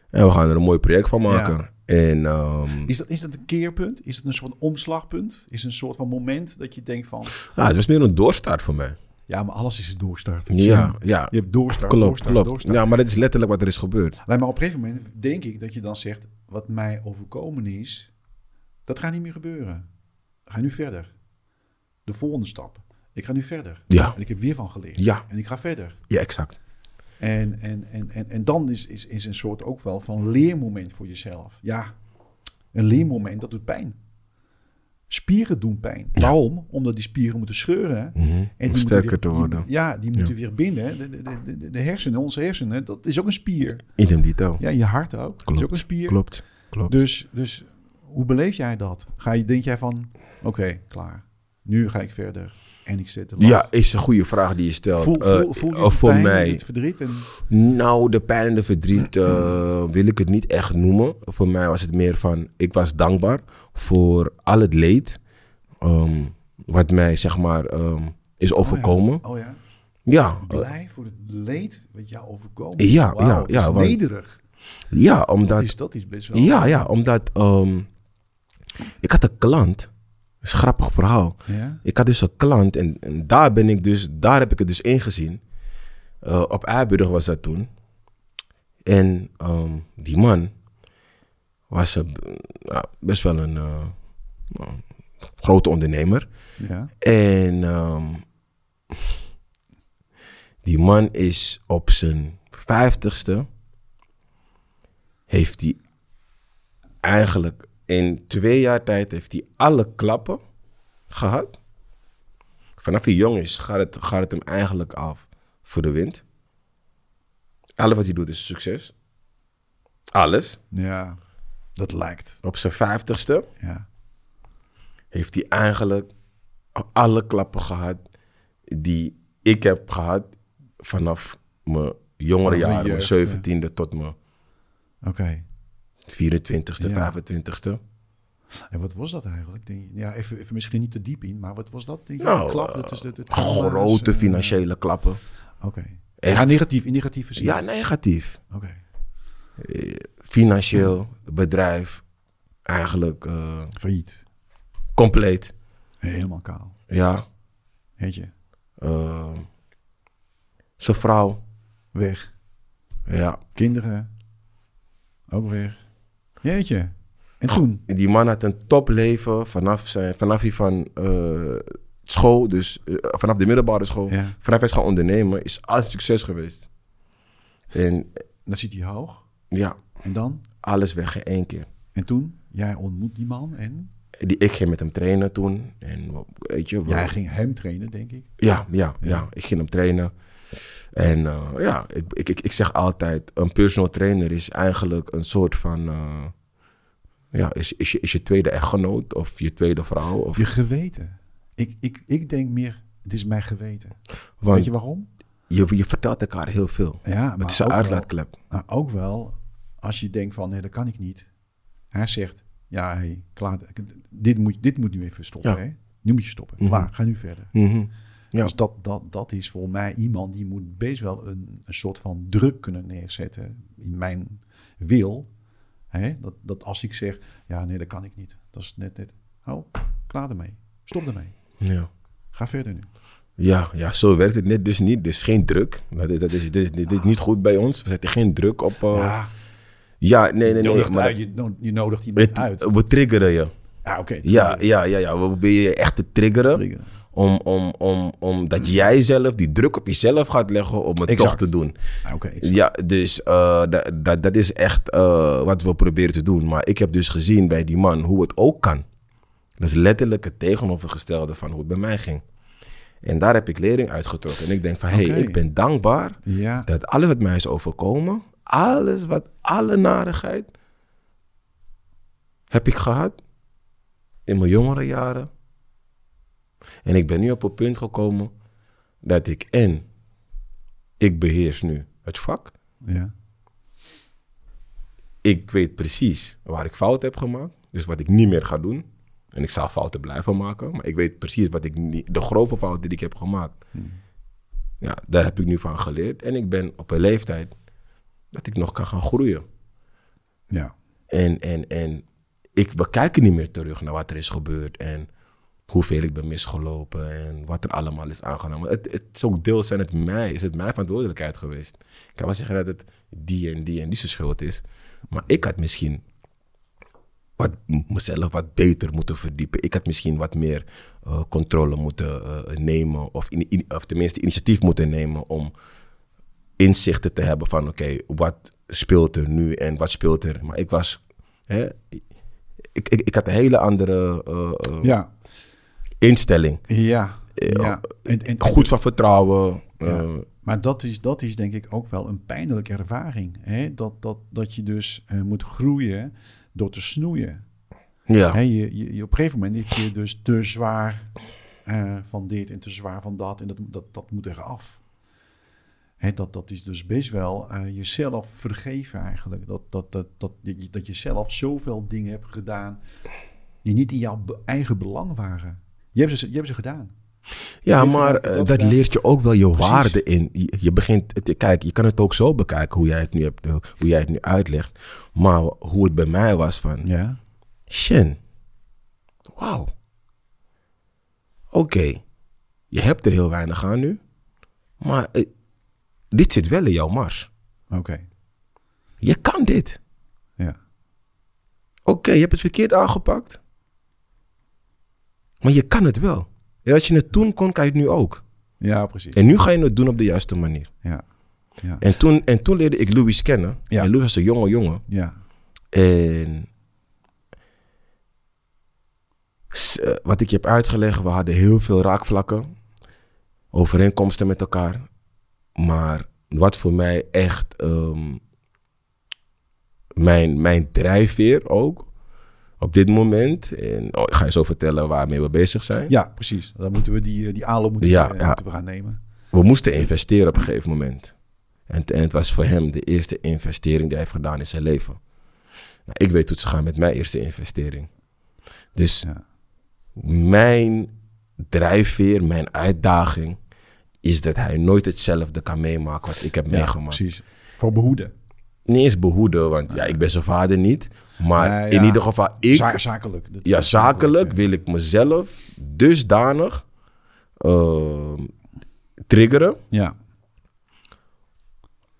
Speaker 2: En we gaan er een mooi project van maken. En, ehm,
Speaker 1: Is dat, is dat een keerpunt? Is dat een soort omslagpunt? Is het een soort van moment dat je denkt van...
Speaker 2: ah, het was meer een doorstart voor mij.
Speaker 1: Ja, maar alles is een doorstart.
Speaker 2: Ja, ja.
Speaker 1: Je hebt doorstart,
Speaker 2: Klopt,
Speaker 1: doorstart,
Speaker 2: klopt.
Speaker 1: doorstart.
Speaker 2: Ja, maar dat is letterlijk wat er is gebeurd.
Speaker 1: Nee, maar op een gegeven moment denk ik dat je dan zegt... wat mij overkomen is, dat gaat niet meer gebeuren. Ga nu verder. De volgende stap. Ik ga nu verder.
Speaker 2: Ja.
Speaker 1: En ik heb weer van geleerd.
Speaker 2: Ja.
Speaker 1: En ik ga verder.
Speaker 2: Ja, exact.
Speaker 1: En, en, en, en, en dan is, is, is een soort ook wel van leermoment voor jezelf. Ja, een leermoment, dat doet pijn. Spieren doen pijn. Waarom? Omdat die spieren moeten scheuren.
Speaker 2: Mhm.
Speaker 1: die
Speaker 2: Om
Speaker 1: moeten
Speaker 2: sterker
Speaker 1: weer-
Speaker 2: te
Speaker 1: die-
Speaker 2: worden.
Speaker 1: ja, die moeten weer binden. De, de, de- de, de hersenen, onze hersenen, dat is ook een spier.
Speaker 2: Idem dito.
Speaker 1: Ja, je hart ook. Dat is ook een spier.
Speaker 2: Klopt, klopt.
Speaker 1: Dus, dus hoe beleef jij dat? Ga je, denk jij van, oké, klaar. Nu ga ik verder. En ik zet de lat.
Speaker 2: ja, is een goede vraag die je stelt.
Speaker 1: voel,
Speaker 2: Eh,
Speaker 1: voel, voel je
Speaker 2: eh,
Speaker 1: die
Speaker 2: voor
Speaker 1: pijn en
Speaker 2: mij.
Speaker 1: dit verdriet? En,
Speaker 2: Nou, de pijn en de verdriet eh, wil ik het niet echt noemen. Voor mij was het meer van, ik was dankbaar voor al het leed ehm, wat mij zeg maar ehm, is overkomen.
Speaker 1: Oh ja.
Speaker 2: ja. eh,
Speaker 1: blij voor het leed wat jou overkomen is.
Speaker 2: Ja,
Speaker 1: Wauw,
Speaker 2: ja,
Speaker 1: dat
Speaker 2: ja,
Speaker 1: is
Speaker 2: want-
Speaker 1: nederig.
Speaker 2: ja,
Speaker 1: Dat
Speaker 2: omdat
Speaker 1: is, dat is best wel...
Speaker 2: Ja, ja, omdat ehm, ik had een klant. Dat is een grappig verhaal.
Speaker 1: Ja?
Speaker 2: Ik had dus een klant en, en daar ben ik dus, daar heb ik het dus ingezien. Eh, op Eiburg was dat toen. En ehm, die man was een, ja, best wel een eh, nou, grote ondernemer.
Speaker 1: Ja.
Speaker 2: En ehm, die man is op zijn vijftigste. Heeft hij eigenlijk in twee jaar tijd heeft hij alle klappen gehad. Vanaf hij jong is gaat het, gaat het hem eigenlijk af voor de wind. Alles wat hij doet is succes. Alles.
Speaker 1: Ja, dat lijkt.
Speaker 2: Op zijn vijftigste
Speaker 1: Ja.
Speaker 2: heeft hij eigenlijk alle klappen gehad die ik heb gehad vanaf mijn jongere
Speaker 1: Vanaf je
Speaker 2: jaren,
Speaker 1: jeugd,
Speaker 2: mijn 17e tot mijn
Speaker 1: Oké.
Speaker 2: 24e,
Speaker 1: Ja.
Speaker 2: 25e.
Speaker 1: En wat was dat eigenlijk? Denk je? Ja, even, even misschien niet te diep in, maar wat was dat? Denk je?
Speaker 2: Nou,
Speaker 1: Klap, dat is de, de trauma's,
Speaker 2: Grote
Speaker 1: eh,
Speaker 2: financiële klappen.
Speaker 1: Oké.
Speaker 2: Echt.
Speaker 1: Ja, negatief, in negatieve zin.
Speaker 2: Ja, negatief.
Speaker 1: Oké.
Speaker 2: Eh, Financieel, bedrijf, eigenlijk eh,
Speaker 1: Failliet.
Speaker 2: compleet.
Speaker 1: Helemaal kaal.
Speaker 2: Ja.
Speaker 1: Weet je.
Speaker 2: eh, zijn vrouw,
Speaker 1: Weg.
Speaker 2: ja.
Speaker 1: Kinderen. Ook weg. Jeetje. En toen?
Speaker 2: Die man had een topleven vanaf, zijn, vanaf hij van eh, school, dus eh, vanaf de middelbare school,
Speaker 1: Ja.
Speaker 2: vanaf hij is gaan ondernemen, is alles succes geweest. En eh,
Speaker 1: Dan zit hij hoog.
Speaker 2: ja,
Speaker 1: En dan?
Speaker 2: alles weg in één keer.
Speaker 1: En toen? Jij ontmoet die man en?
Speaker 2: Die, ik ging met hem trainen toen. En we- weet je, we-
Speaker 1: Jij ging hem trainen, denk ik.
Speaker 2: ja, ja, ja, ik ging hem trainen. En eh, ja, ik, ik, ik, ik zeg altijd, een personal trainer is eigenlijk een soort van, eh, ja, is, is, je, is je tweede echtgenoot of je tweede vrouw. Of,
Speaker 1: Je geweten. Ik, ik, ik denk meer, het is mijn geweten. Weet
Speaker 2: want
Speaker 1: je waarom?
Speaker 2: je, je vertelt elkaar heel veel.
Speaker 1: Ja, maar
Speaker 2: Het is een
Speaker 1: ook
Speaker 2: uitlaatklep.
Speaker 1: wel- maar ook wel, als je denkt van, nee, dat kan ik niet. Hij zegt, ja, hey, klaar, dit moet, dit moet nu even stoppen.
Speaker 2: Ja.
Speaker 1: Hè? Nu moet je stoppen.
Speaker 2: Mhm.
Speaker 1: Klaar, ga nu verder.
Speaker 2: Ja.
Speaker 1: Dus dat, dat, dat is voor mij iemand die moet best wel een, een soort van druk kunnen neerzetten in mijn wil. Hè? Dat, dat als ik zeg, ja, nee, dat kan ik niet. Dat is net, net, oh, klaar ermee. Stop ermee.
Speaker 2: Ja.
Speaker 1: Ga verder nu.
Speaker 2: Ja, ja, zo werkt het net dus niet. Dus geen druk. Dat is, dat is, dit is, dit is niet goed bij ons. We zetten geen druk op. eh, ja.
Speaker 1: Ja,
Speaker 2: nee, nee,
Speaker 1: Oh, je,
Speaker 2: nee.
Speaker 1: nodigt
Speaker 2: maar
Speaker 1: uit, je, no- je nodigt iemand
Speaker 2: het-
Speaker 1: uit.
Speaker 2: we triggeren je.
Speaker 1: Ja, oké.
Speaker 2: Ja, ja, ja, ja. We proberen je echt te triggeren.
Speaker 1: Trigger.
Speaker 2: Om, om, om, omdat jij zelf die druk op jezelf gaat leggen om het
Speaker 1: Exact.
Speaker 2: toch te doen.
Speaker 1: Ah, oké.
Speaker 2: Ja, dus eh, da- da- dat is echt eh, wat we proberen te doen. Maar ik heb dus gezien bij die man hoe het ook kan. Dat is letterlijk het tegenovergestelde van hoe het bij mij ging. En daar heb ik lering uitgetrokken. En ik denk van, hé,
Speaker 1: Oké.
Speaker 2: hey, ik ben dankbaar
Speaker 1: Ja,
Speaker 2: dat alles wat mij is overkomen, alles wat, alle narigheid, heb ik gehad in mijn jongere jaren. En ik ben nu op een punt gekomen dat ik en, ik beheers nu het vak.
Speaker 1: ja.
Speaker 2: Ik weet precies waar ik fout heb gemaakt, dus wat ik niet meer ga doen. En ik zal fouten blijven maken, maar ik weet precies wat ik niet, de grove fouten die ik heb gemaakt. Ja, daar heb ik nu van geleerd. En ik ben op een leeftijd dat ik nog kan gaan groeien.
Speaker 1: ja.
Speaker 2: En, en, en ik, we kijken niet meer terug naar wat er is gebeurd en hoeveel ik ben misgelopen en wat er allemaal is aangenomen. Het, het is ook deels aan het mij, is het mijn verantwoordelijkheid geweest. Ik kan wel zeggen dat het die en die en die zijn schuld is. Maar ik had misschien wat, mezelf wat beter moeten verdiepen. Ik had misschien wat meer eh, controle moeten eh, nemen. Of, in, in- of tenminste initiatief moeten nemen om inzichten te hebben van oké, wat speelt er nu en wat speelt er. Maar ik was. Hè, ik, ik, ik had een hele andere eh, eh,
Speaker 1: Ja,
Speaker 2: instelling.
Speaker 1: ja.
Speaker 2: Eh,
Speaker 1: ja. En, en,
Speaker 2: Goed van vertrouwen. eh,
Speaker 1: Maar dat is, dat is denk ik ook wel een pijnlijke ervaring. Hè? Dat, dat, dat je dus eh, moet groeien door te snoeien.
Speaker 2: ja.
Speaker 1: Hè? Je, je, je- op een gegeven moment heb je dus te zwaar eh, van dit en te zwaar van dat. En dat, dat, dat moet eraf. Hè, dat, dat is dus best wel eh, jezelf vergeven eigenlijk. Dat, dat, dat, dat, je- dat je zelf zoveel dingen hebt gedaan die niet in jouw be- eigen belang waren. Je hebt ze, je hebt ze gedaan.
Speaker 2: Ja,
Speaker 1: Dit
Speaker 2: maar
Speaker 1: gaat-
Speaker 2: eh,
Speaker 1: dat
Speaker 2: dat
Speaker 1: gaat-
Speaker 2: leert je ook wel je
Speaker 1: Precies.
Speaker 2: waarde in. Je, je begint, het- kijk, je kan het ook zo bekijken hoe jij het nu, hebt, eh, hoe jij het nu uitlegt. Maar hoe het bij mij was van,
Speaker 1: Ja.
Speaker 2: Shen, wauw. Oké, je hebt er heel weinig aan nu. Maar eh, dit zit wel in jouw mars.
Speaker 1: Oké.
Speaker 2: Je kan dit.
Speaker 1: Ja.
Speaker 2: Oké, je hebt het verkeerd aangepakt. Maar je kan het wel. En als je het toen kon, kan je het nu ook.
Speaker 1: ja, precies.
Speaker 2: En nu ga je het doen op de juiste manier.
Speaker 1: Ja. Ja.
Speaker 2: En toen, en toen leerde ik Louis kennen.
Speaker 1: Ja.
Speaker 2: En Louis was een jonge jongen.
Speaker 1: ja.
Speaker 2: En s- eh, wat ik je heb uitgelegd, we hadden heel veel raakvlakken. Overeenkomsten met elkaar. Maar wat voor mij echt ehm, mijn, mijn drijfveer ook op dit moment. En oh, ik ga je zo vertellen waarmee we bezig zijn.
Speaker 1: Ja, precies. Dan moeten we die, eh, die aanloop moeten,
Speaker 2: Ja,
Speaker 1: eh,
Speaker 2: ja.
Speaker 1: moeten we gaan nemen.
Speaker 2: We moesten investeren op een gegeven moment. En, en het was voor hem de eerste investering die hij heeft gedaan in zijn leven. Nou, ik weet hoe het is gegaan met mijn eerste investering. Dus
Speaker 1: Ja.
Speaker 2: mijn drijfveer, mijn uitdaging is dat hij nooit hetzelfde kan meemaken wat ik heb meegemaakt.
Speaker 1: precies. Voor behoeden.
Speaker 2: Niet eens behoeden, want ja, ik ben zijn vader niet. Maar
Speaker 1: Ja, ja.
Speaker 2: in ieder geval, ik,
Speaker 1: Za- zakelijk. Dat-
Speaker 2: ja, zakelijk wil ik mezelf dusdanig ehm, triggeren
Speaker 1: Ja.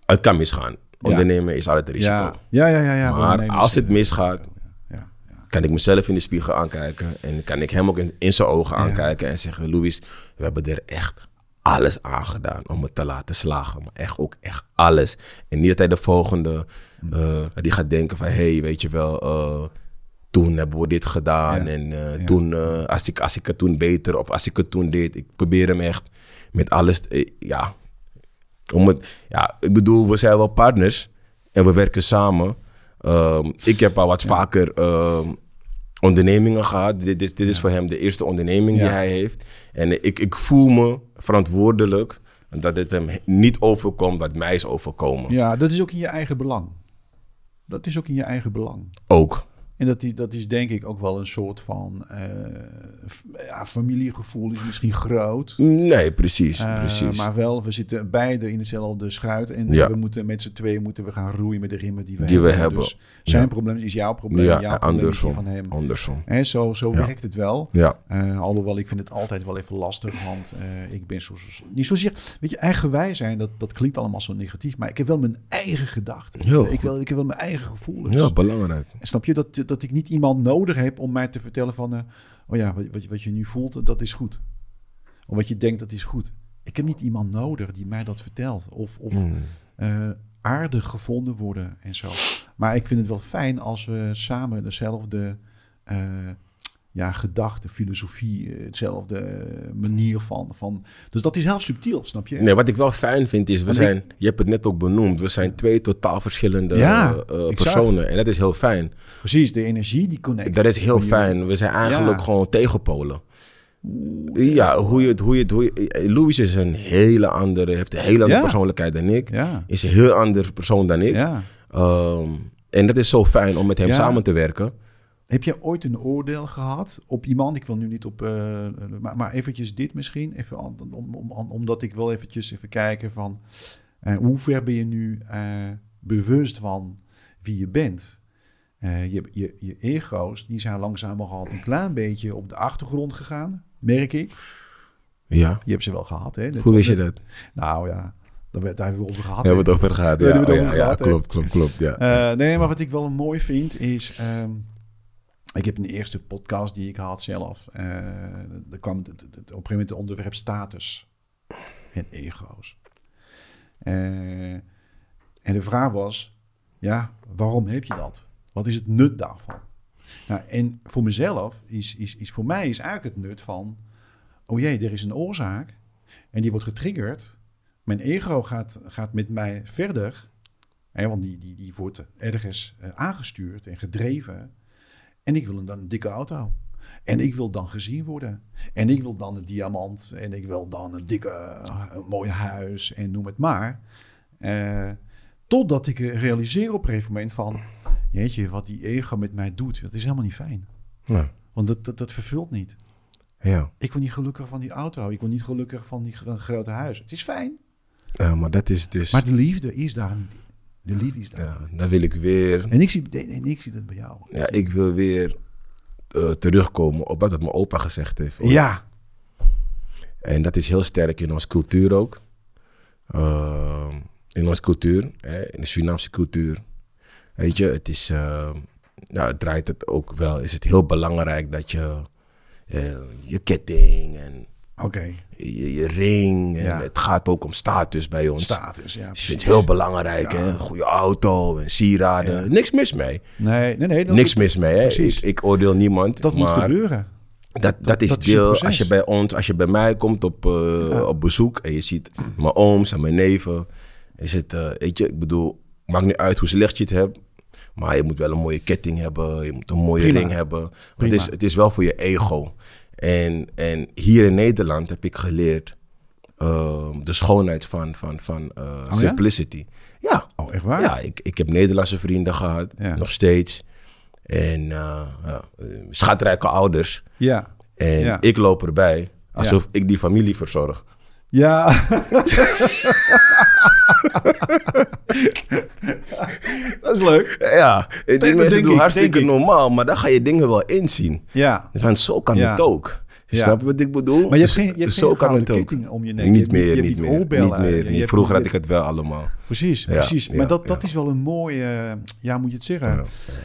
Speaker 2: Het kan misgaan.
Speaker 1: Ja.
Speaker 2: Ondernemen is altijd een risico.
Speaker 1: Ja. Ja, ja, ja. ja.
Speaker 2: maar
Speaker 1: Ondernemers,
Speaker 2: als het
Speaker 1: eh,
Speaker 2: misgaat,
Speaker 1: Ja.
Speaker 2: kan ik mezelf in de spiegel aankijken. En kan ik hem ook in, in zijn ogen aankijken en zeggen: Louis, we hebben er echt alles aan gedaan om het te laten slagen. Maar echt ook echt alles. En niet dat hij de volgende,
Speaker 1: Mm.
Speaker 2: eh, die gaat denken van... hé, hey, weet je wel, eh, toen hebben we dit gedaan.
Speaker 1: Ja.
Speaker 2: En eh,
Speaker 1: Ja.
Speaker 2: toen, eh, als, ik, als ik het toen beter of als ik het toen deed... Ik probeer hem echt met alles, eh, ja, om het, ja, ik bedoel, we zijn wel partners en we werken samen. Ehm, ik heb al wat vaker ehm, ondernemingen gehad. Dit, dit, dit is voor hem de eerste onderneming die
Speaker 1: Ja.
Speaker 2: hij heeft. En ik, ik voel me verantwoordelijk dat het hem niet overkomt wat mij is overkomen.
Speaker 1: ja, dat is ook in je eigen belang. Dat is ook in je eigen belang.
Speaker 2: Ook.
Speaker 1: En dat, die, dat is denk ik ook wel een soort van eh, f- ja, familiegevoel is misschien groot.
Speaker 2: Nee, precies.
Speaker 1: Eh,
Speaker 2: precies.
Speaker 1: Maar wel, we zitten beide in hetzelfde schuit. En
Speaker 2: Ja.
Speaker 1: we moeten met z'n tweeën moeten we gaan roeien met de riemen die we
Speaker 2: Die we
Speaker 1: hebben.
Speaker 2: hebben.
Speaker 1: Dus zijn
Speaker 2: Ja.
Speaker 1: probleem is jouw probleem.
Speaker 2: ja,
Speaker 1: jouw
Speaker 2: en
Speaker 1: probleem is die
Speaker 2: andersom.
Speaker 1: van hem.
Speaker 2: Andersom.
Speaker 1: Hè, zo zo
Speaker 2: Ja.
Speaker 1: werkt het wel.
Speaker 2: Ja.
Speaker 1: Eh, alhoewel, ik vind het altijd wel even lastig, want eh, ik ben zo, zo- niet zozeer... Weet je, eigenwijs zijn, dat, dat klinkt allemaal zo negatief, maar ik heb wel mijn eigen gedachten.
Speaker 2: Heel
Speaker 1: ik,
Speaker 2: goed.
Speaker 1: wil, ik heb wel mijn eigen gevoelens.
Speaker 2: Ja, belangrijk.
Speaker 1: En Snap je, dat, dat ik niet iemand nodig heb om mij te vertellen van... eh, oh ja, wat, wat, wat je nu voelt, dat is goed. Of wat je denkt, dat is goed. Ik heb niet iemand nodig die mij dat vertelt. Of, of
Speaker 2: Mm.
Speaker 1: eh, aardig gevonden worden en zo. Maar ik vind het wel fijn als we samen dezelfde eh, ja, gedachte, filosofie, eh, hetzelfde eh, manier van, van. Dus dat is heel subtiel, snap je?
Speaker 2: Nee, wat ik wel fijn vind is, we
Speaker 1: Want
Speaker 2: zijn, je hebt het net ook benoemd, we zijn twee totaal verschillende
Speaker 1: Ja,
Speaker 2: eh, eh,
Speaker 1: exact.
Speaker 2: personen. En dat is heel fijn.
Speaker 1: Precies, de energie die connect.
Speaker 2: Dat is heel
Speaker 1: Van jullie.
Speaker 2: fijn. We zijn eigenlijk
Speaker 1: Ja.
Speaker 2: gewoon tegenpolen. Ja, hoe je het, hoe je het, hoe je, eh, Louis is een hele andere, heeft een hele andere
Speaker 1: Ja.
Speaker 2: persoonlijkheid dan ik.
Speaker 1: Ja,
Speaker 2: Is een heel ander persoon dan ik.
Speaker 1: ja.
Speaker 2: Ehm, en dat is zo fijn om met hem
Speaker 1: Ja.
Speaker 2: samen te werken.
Speaker 1: Heb jij ooit een oordeel gehad op iemand? Ik wil nu niet op, eh, eh, maar, maar eventjes dit misschien. Even an- om, om, om- omdat ik wil eventjes even kijken van eh, hoe ver ben je nu eh, bewust van wie je bent? Eh, je, je, je ego's, die zijn langzamerhand een klein beetje op de achtergrond gegaan, merk ik.
Speaker 2: Ja,
Speaker 1: Je hebt ze wel gehad, hè? Net
Speaker 2: hoe wist je
Speaker 1: onder-
Speaker 2: dat?
Speaker 1: Nou ja, daar, werd- daar hebben we over gehad.
Speaker 2: We hebben
Speaker 1: hè?
Speaker 2: we het over gehad.
Speaker 1: Ja,
Speaker 2: Ja,
Speaker 1: die hebben we
Speaker 2: ja,
Speaker 1: het over
Speaker 2: ja,
Speaker 1: gehad, hè?
Speaker 2: klopt, klopt, klopt. Ja.
Speaker 1: Eh, nee, maar wat ik wel mooi vind is... ehm, ik heb een eerste podcast die ik had zelf. eh er kwam het- het- het- op een gegeven moment het onderwerp status en ego's. Eh, en de vraag was, ja, waarom heb je dat? Wat is het nut daarvan? Nou, en voor mezelf is, is, is voor mij is eigenlijk het nut van, oh jee, er is een oorzaak en die wordt getriggerd. Mijn ego gaat, gaat met mij verder, hè, want die, die, die wordt ergens eh, aangestuurd en gedreven. En ik wil een, dan een dikke auto. En ik wil dan gezien worden. En ik wil dan een diamant. En ik wil dan een dikke, eh, een mooi huis. En noem het maar. Eh, totdat ik eh, realiseer op een gegeven moment van... Jeetje, wat die ego met mij doet, dat is helemaal niet fijn.
Speaker 2: Nou,
Speaker 1: Want dat, dat, dat vervult niet.
Speaker 2: ja.
Speaker 1: Ik word niet gelukkig van die auto. Ik word niet gelukkig van die gro- grote huis. Het is fijn.
Speaker 2: Eh, maar dat is dus...
Speaker 1: Maar de liefde is daar niet. De liefde is daar
Speaker 2: ja,
Speaker 1: niet.
Speaker 2: dan wil ik weer...
Speaker 1: En ik, zie, en ik zie dat bij jou.
Speaker 2: Ja, ik wil weer eh, terugkomen op wat mijn opa gezegd heeft.
Speaker 1: Ja.
Speaker 2: En dat is heel sterk in onze cultuur ook. Ehm, in onze cultuur, hè, in de Surinaamse cultuur. Weet je, het is, ehm, nou, het draait het ook wel. Is het heel belangrijk dat je eh, je ketting en
Speaker 1: Oké.
Speaker 2: je, je ring. En
Speaker 1: Ja.
Speaker 2: Het gaat ook om status bij ons.
Speaker 1: Status, ja.
Speaker 2: Dus ik vind het heel belangrijk, hè? Goede auto en sieraden. Niks mis mee.
Speaker 1: Nee, nee, nee. dat-
Speaker 2: Niks mis mee, hè? Ik,
Speaker 1: Precies.
Speaker 2: ik oordeel niemand.
Speaker 1: dat moet
Speaker 2: maar-
Speaker 1: gebeuren.
Speaker 2: dat, dat is
Speaker 1: dat is het
Speaker 2: deel.
Speaker 1: proces.
Speaker 2: Als je bij ons, als je bij mij komt op, eh, op bezoek en je ziet mijn ooms en mijn neven, is het, eh, weet je, ik bedoel, maakt niet uit hoe slecht je het hebt, maar je moet wel een mooie ketting hebben, je moet een mooie
Speaker 1: Prima.
Speaker 2: ring hebben. Want Het
Speaker 1: Prima.
Speaker 2: is, het is wel voor je ego. En, en hier in Nederland heb ik geleerd eh, de schoonheid van, van, van eh,
Speaker 1: Oh ja?
Speaker 2: simplicity. Ja.
Speaker 1: Oh, echt waar?
Speaker 2: Ja, ik, ik heb Nederlandse vrienden gehad,
Speaker 1: Ja.
Speaker 2: nog steeds. En eh, ja, eh, schatrijke ouders.
Speaker 1: Ja.
Speaker 2: En
Speaker 1: Ja.
Speaker 2: ik loop erbij alsof ik die familie verzorg.
Speaker 1: Ja. dat is leuk.
Speaker 2: Ja, die mensen
Speaker 1: denk
Speaker 2: doen
Speaker 1: ik,
Speaker 2: hartstikke
Speaker 1: denk ik.
Speaker 2: normaal, maar dan ga je dingen wel inzien.
Speaker 1: Ja.
Speaker 2: Van zo kan
Speaker 1: Ja.
Speaker 2: het ook. Je
Speaker 1: Ja.
Speaker 2: Snap je wat ik bedoel?
Speaker 1: Maar je hebt
Speaker 2: Dus
Speaker 1: geen, je hebt
Speaker 2: zo
Speaker 1: geen
Speaker 2: kan
Speaker 1: gouden
Speaker 2: het ook.
Speaker 1: ketting om je nek. Je
Speaker 2: Niet
Speaker 1: hebt je
Speaker 2: meer,
Speaker 1: hebt
Speaker 2: niet
Speaker 1: die
Speaker 2: meer.
Speaker 1: oorbellen.
Speaker 2: Niet meer.
Speaker 1: Je hebt-
Speaker 2: Vroeger had
Speaker 1: je
Speaker 2: ik het wel allemaal.
Speaker 1: Precies,
Speaker 2: Ja,
Speaker 1: precies.
Speaker 2: ja,
Speaker 1: maar dat, dat
Speaker 2: ja.
Speaker 1: is wel een mooie, eh, ja, hoe moet je het zeggen?
Speaker 2: Ja.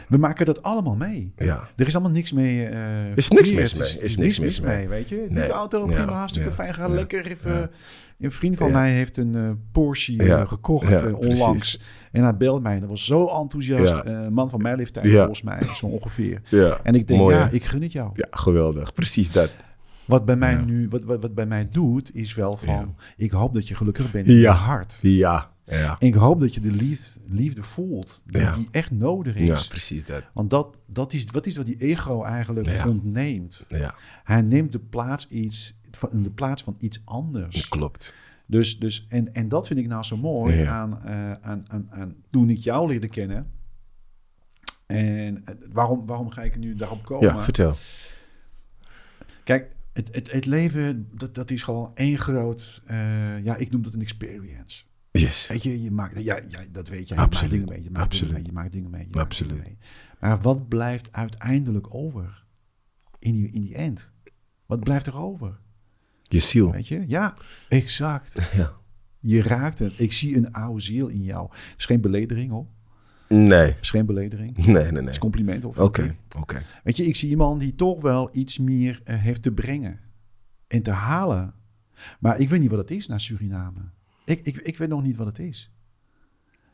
Speaker 1: We maken dat allemaal mee.
Speaker 2: Ja.
Speaker 1: Er is allemaal niks mee. eh
Speaker 2: Is niks
Speaker 1: verkeerd.
Speaker 2: mis
Speaker 1: Het
Speaker 2: mee. Is
Speaker 1: het
Speaker 2: niks mis mee.
Speaker 1: weet je.
Speaker 2: Nee.
Speaker 1: Die auto,
Speaker 2: Ja,
Speaker 1: prima, hartstikke
Speaker 2: ja,
Speaker 1: fijn. Ga
Speaker 2: ja,
Speaker 1: lekker even. Een vriend van
Speaker 2: Ja.
Speaker 1: mij heeft een eh, Porsche eh,
Speaker 2: Ja,
Speaker 1: gekocht
Speaker 2: ja,
Speaker 1: eh, onlangs.
Speaker 2: precies.
Speaker 1: En hij belde mij en dat was zo enthousiast.
Speaker 2: Ja.
Speaker 1: Eh, Een man van mijn leeftijd,
Speaker 2: Ja.
Speaker 1: volgens mij, zo ongeveer.
Speaker 2: Ja.
Speaker 1: En ik denk,
Speaker 2: Mooi,
Speaker 1: ja,
Speaker 2: hè?
Speaker 1: ik geniet jou.
Speaker 2: Ja, geweldig. Precies dat.
Speaker 1: Wat bij mij nu, wat, wat, wat bij mij doet, is wel van, ik hoop dat je gelukkig bent in je
Speaker 2: Ja.
Speaker 1: hart.
Speaker 2: Ja. Ja,
Speaker 1: En ik hoop dat je de liefde, liefde voelt, die,
Speaker 2: Ja.
Speaker 1: die echt nodig
Speaker 2: ja
Speaker 1: is.
Speaker 2: precies dat.
Speaker 1: Want dat, dat is, wat is wat die ego eigenlijk
Speaker 2: Ja.
Speaker 1: ontneemt.
Speaker 2: Ja,
Speaker 1: Hij neemt de plaats, iets, van, de plaats van iets anders.
Speaker 2: klopt.
Speaker 1: Dus, dus, en, en dat vind ik nou zo mooi
Speaker 2: Ja.
Speaker 1: aan, eh, aan, aan, aan toen ik jou leerde kennen. En eh, waarom, waarom ga ik er nu daarop komen?
Speaker 2: Ja, vertel.
Speaker 1: Kijk, het, het, het leven, dat, dat is gewoon één groot... eh, ja, ik noem dat een experience.
Speaker 2: Yes.
Speaker 1: Weet je, je maakt, ja, ja, dat weet jij. Je maakt
Speaker 2: Absoluut.
Speaker 1: dingen mee. Je maakt
Speaker 2: Absoluut.
Speaker 1: dingen mee. Je maakt dingen mee. je maakt
Speaker 2: Absoluut.
Speaker 1: dingen mee. Maar wat blijft uiteindelijk over in die, in die end? Wat blijft er over?
Speaker 2: Je ziel.
Speaker 1: Weet je? Ja, exact.
Speaker 2: Ja.
Speaker 1: Je raakt het. Ik zie een oude ziel in jou. Het is geen beledering, hoor.
Speaker 2: Nee.
Speaker 1: Het is geen beledering. Het
Speaker 2: Nee, nee, nee.
Speaker 1: is
Speaker 2: Oké.
Speaker 1: compliment. Of
Speaker 2: Oké.
Speaker 1: Weet je, ik zie iemand die toch wel iets meer eh, heeft te brengen en te halen. Maar ik weet niet wat het is naar Suriname. Ik, ik, ik weet nog niet wat het is.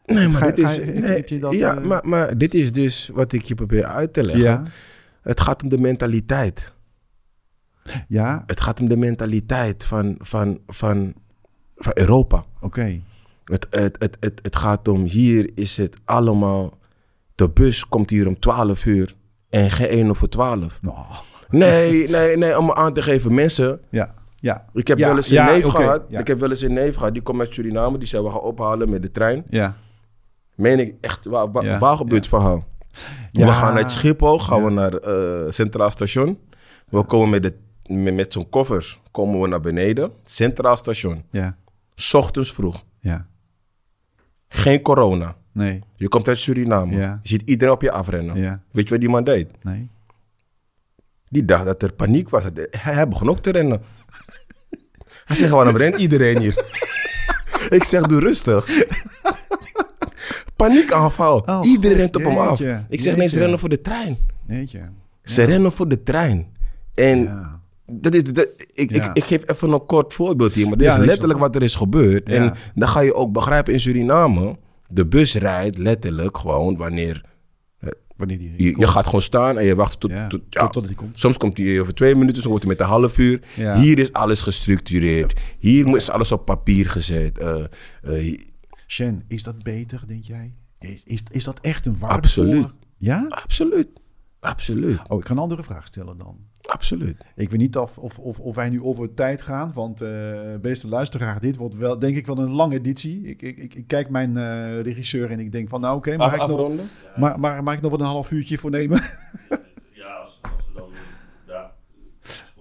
Speaker 2: Nee,
Speaker 1: Ga-
Speaker 2: maar dit
Speaker 1: ga
Speaker 2: is.
Speaker 1: je- heb-
Speaker 2: nee,
Speaker 1: heb je dat,
Speaker 2: ja,
Speaker 1: eh,
Speaker 2: maar, maar dit is dus wat ik je probeer uit te leggen.
Speaker 1: Ja,
Speaker 2: Het gaat om de mentaliteit.
Speaker 1: ja
Speaker 2: Het gaat om de mentaliteit van, van, van, van Europa.
Speaker 1: oké.
Speaker 2: Het, het, het, het, het gaat om hier is het allemaal. De bus komt hier om 12 uur en geen 1 of voor 12.
Speaker 1: Nou,
Speaker 2: Nee, nee, nee, om aan te geven, mensen.
Speaker 1: ja, ja.
Speaker 2: Ik heb
Speaker 1: Ja,
Speaker 2: wel eens een
Speaker 1: ja,
Speaker 2: neef
Speaker 1: oké,
Speaker 2: gehad.
Speaker 1: ja.
Speaker 2: Ik heb wel eens een neef gehad. Die komt uit Suriname. Die zei: We gaan ophalen met de trein.
Speaker 1: Ja,
Speaker 2: Meen ik echt, waar, waar,
Speaker 1: Ja,
Speaker 2: waar gebeurt het verhaal?
Speaker 1: Ja.
Speaker 2: We gaan uit Schiphol, gaan we naar eh, Centraal Station. We komen met, de, met, met zo'n koffers komen we naar beneden. Centraal Station.
Speaker 1: ja,
Speaker 2: S ochtends vroeg.
Speaker 1: ja.
Speaker 2: Geen corona.
Speaker 1: Nee.
Speaker 2: Je komt uit Suriname.
Speaker 1: Ja.
Speaker 2: Je ziet iedereen op je afrennen.
Speaker 1: Ja.
Speaker 2: Weet je wat die man deed?
Speaker 1: Nee.
Speaker 2: Die dacht dat er paniek was. Hij- Hij begon ook te rennen. Hij zegt, waarom rent iedereen hier? Ik zeg, doe rustig. Paniekaanval.
Speaker 1: Oh,
Speaker 2: iedereen
Speaker 1: God,
Speaker 2: rent op hem af.
Speaker 1: jeetje,
Speaker 2: Ik zeg, nee, ze
Speaker 1: jeetje.
Speaker 2: rennen voor de trein.
Speaker 1: Weet je.
Speaker 2: Ze rennen voor de trein. En
Speaker 1: Ja.
Speaker 2: dat is, dat- ik,
Speaker 1: Ja.
Speaker 2: ik, ik geef even een kort voorbeeld hier, maar dit
Speaker 1: Ja,
Speaker 2: is
Speaker 1: niks
Speaker 2: letterlijk wat er is gebeurd.
Speaker 1: Ja.
Speaker 2: En dan ga je ook begrijpen in Suriname, de bus rijdt letterlijk gewoon wanneer...
Speaker 1: Wanneer die.
Speaker 2: Je, je gaat gewoon staan en je wacht tot...
Speaker 1: Ja,
Speaker 2: tot-
Speaker 1: tot- totdat hij komt.
Speaker 2: Soms komt hij over twee minuten, soms wordt hij met een half uur.
Speaker 1: Ja.
Speaker 2: Hier is alles gestructureerd. Hier is alles op papier gezet. Eh, eh,
Speaker 1: Shen, is dat beter, denk jij? Is, is, is dat echt een waarde?
Speaker 2: Absoluut.
Speaker 1: Ja?
Speaker 2: absoluut. Absoluut.
Speaker 1: Oh, ik ga een andere vraag stellen dan.
Speaker 2: Absoluut.
Speaker 1: Ik weet niet of, of, of, of wij nu over tijd gaan, want eh, beste luisteraar, dit wordt wel, denk ik, wel een lange editie. Ik, ik, ik, ik kijk mijn eh, regisseur en ik denk van, nou oké, maar ik nog, maar, maar, mag ik nog wel een half uurtje voor nemen?
Speaker 3: Ja, als, als we dan... Ja.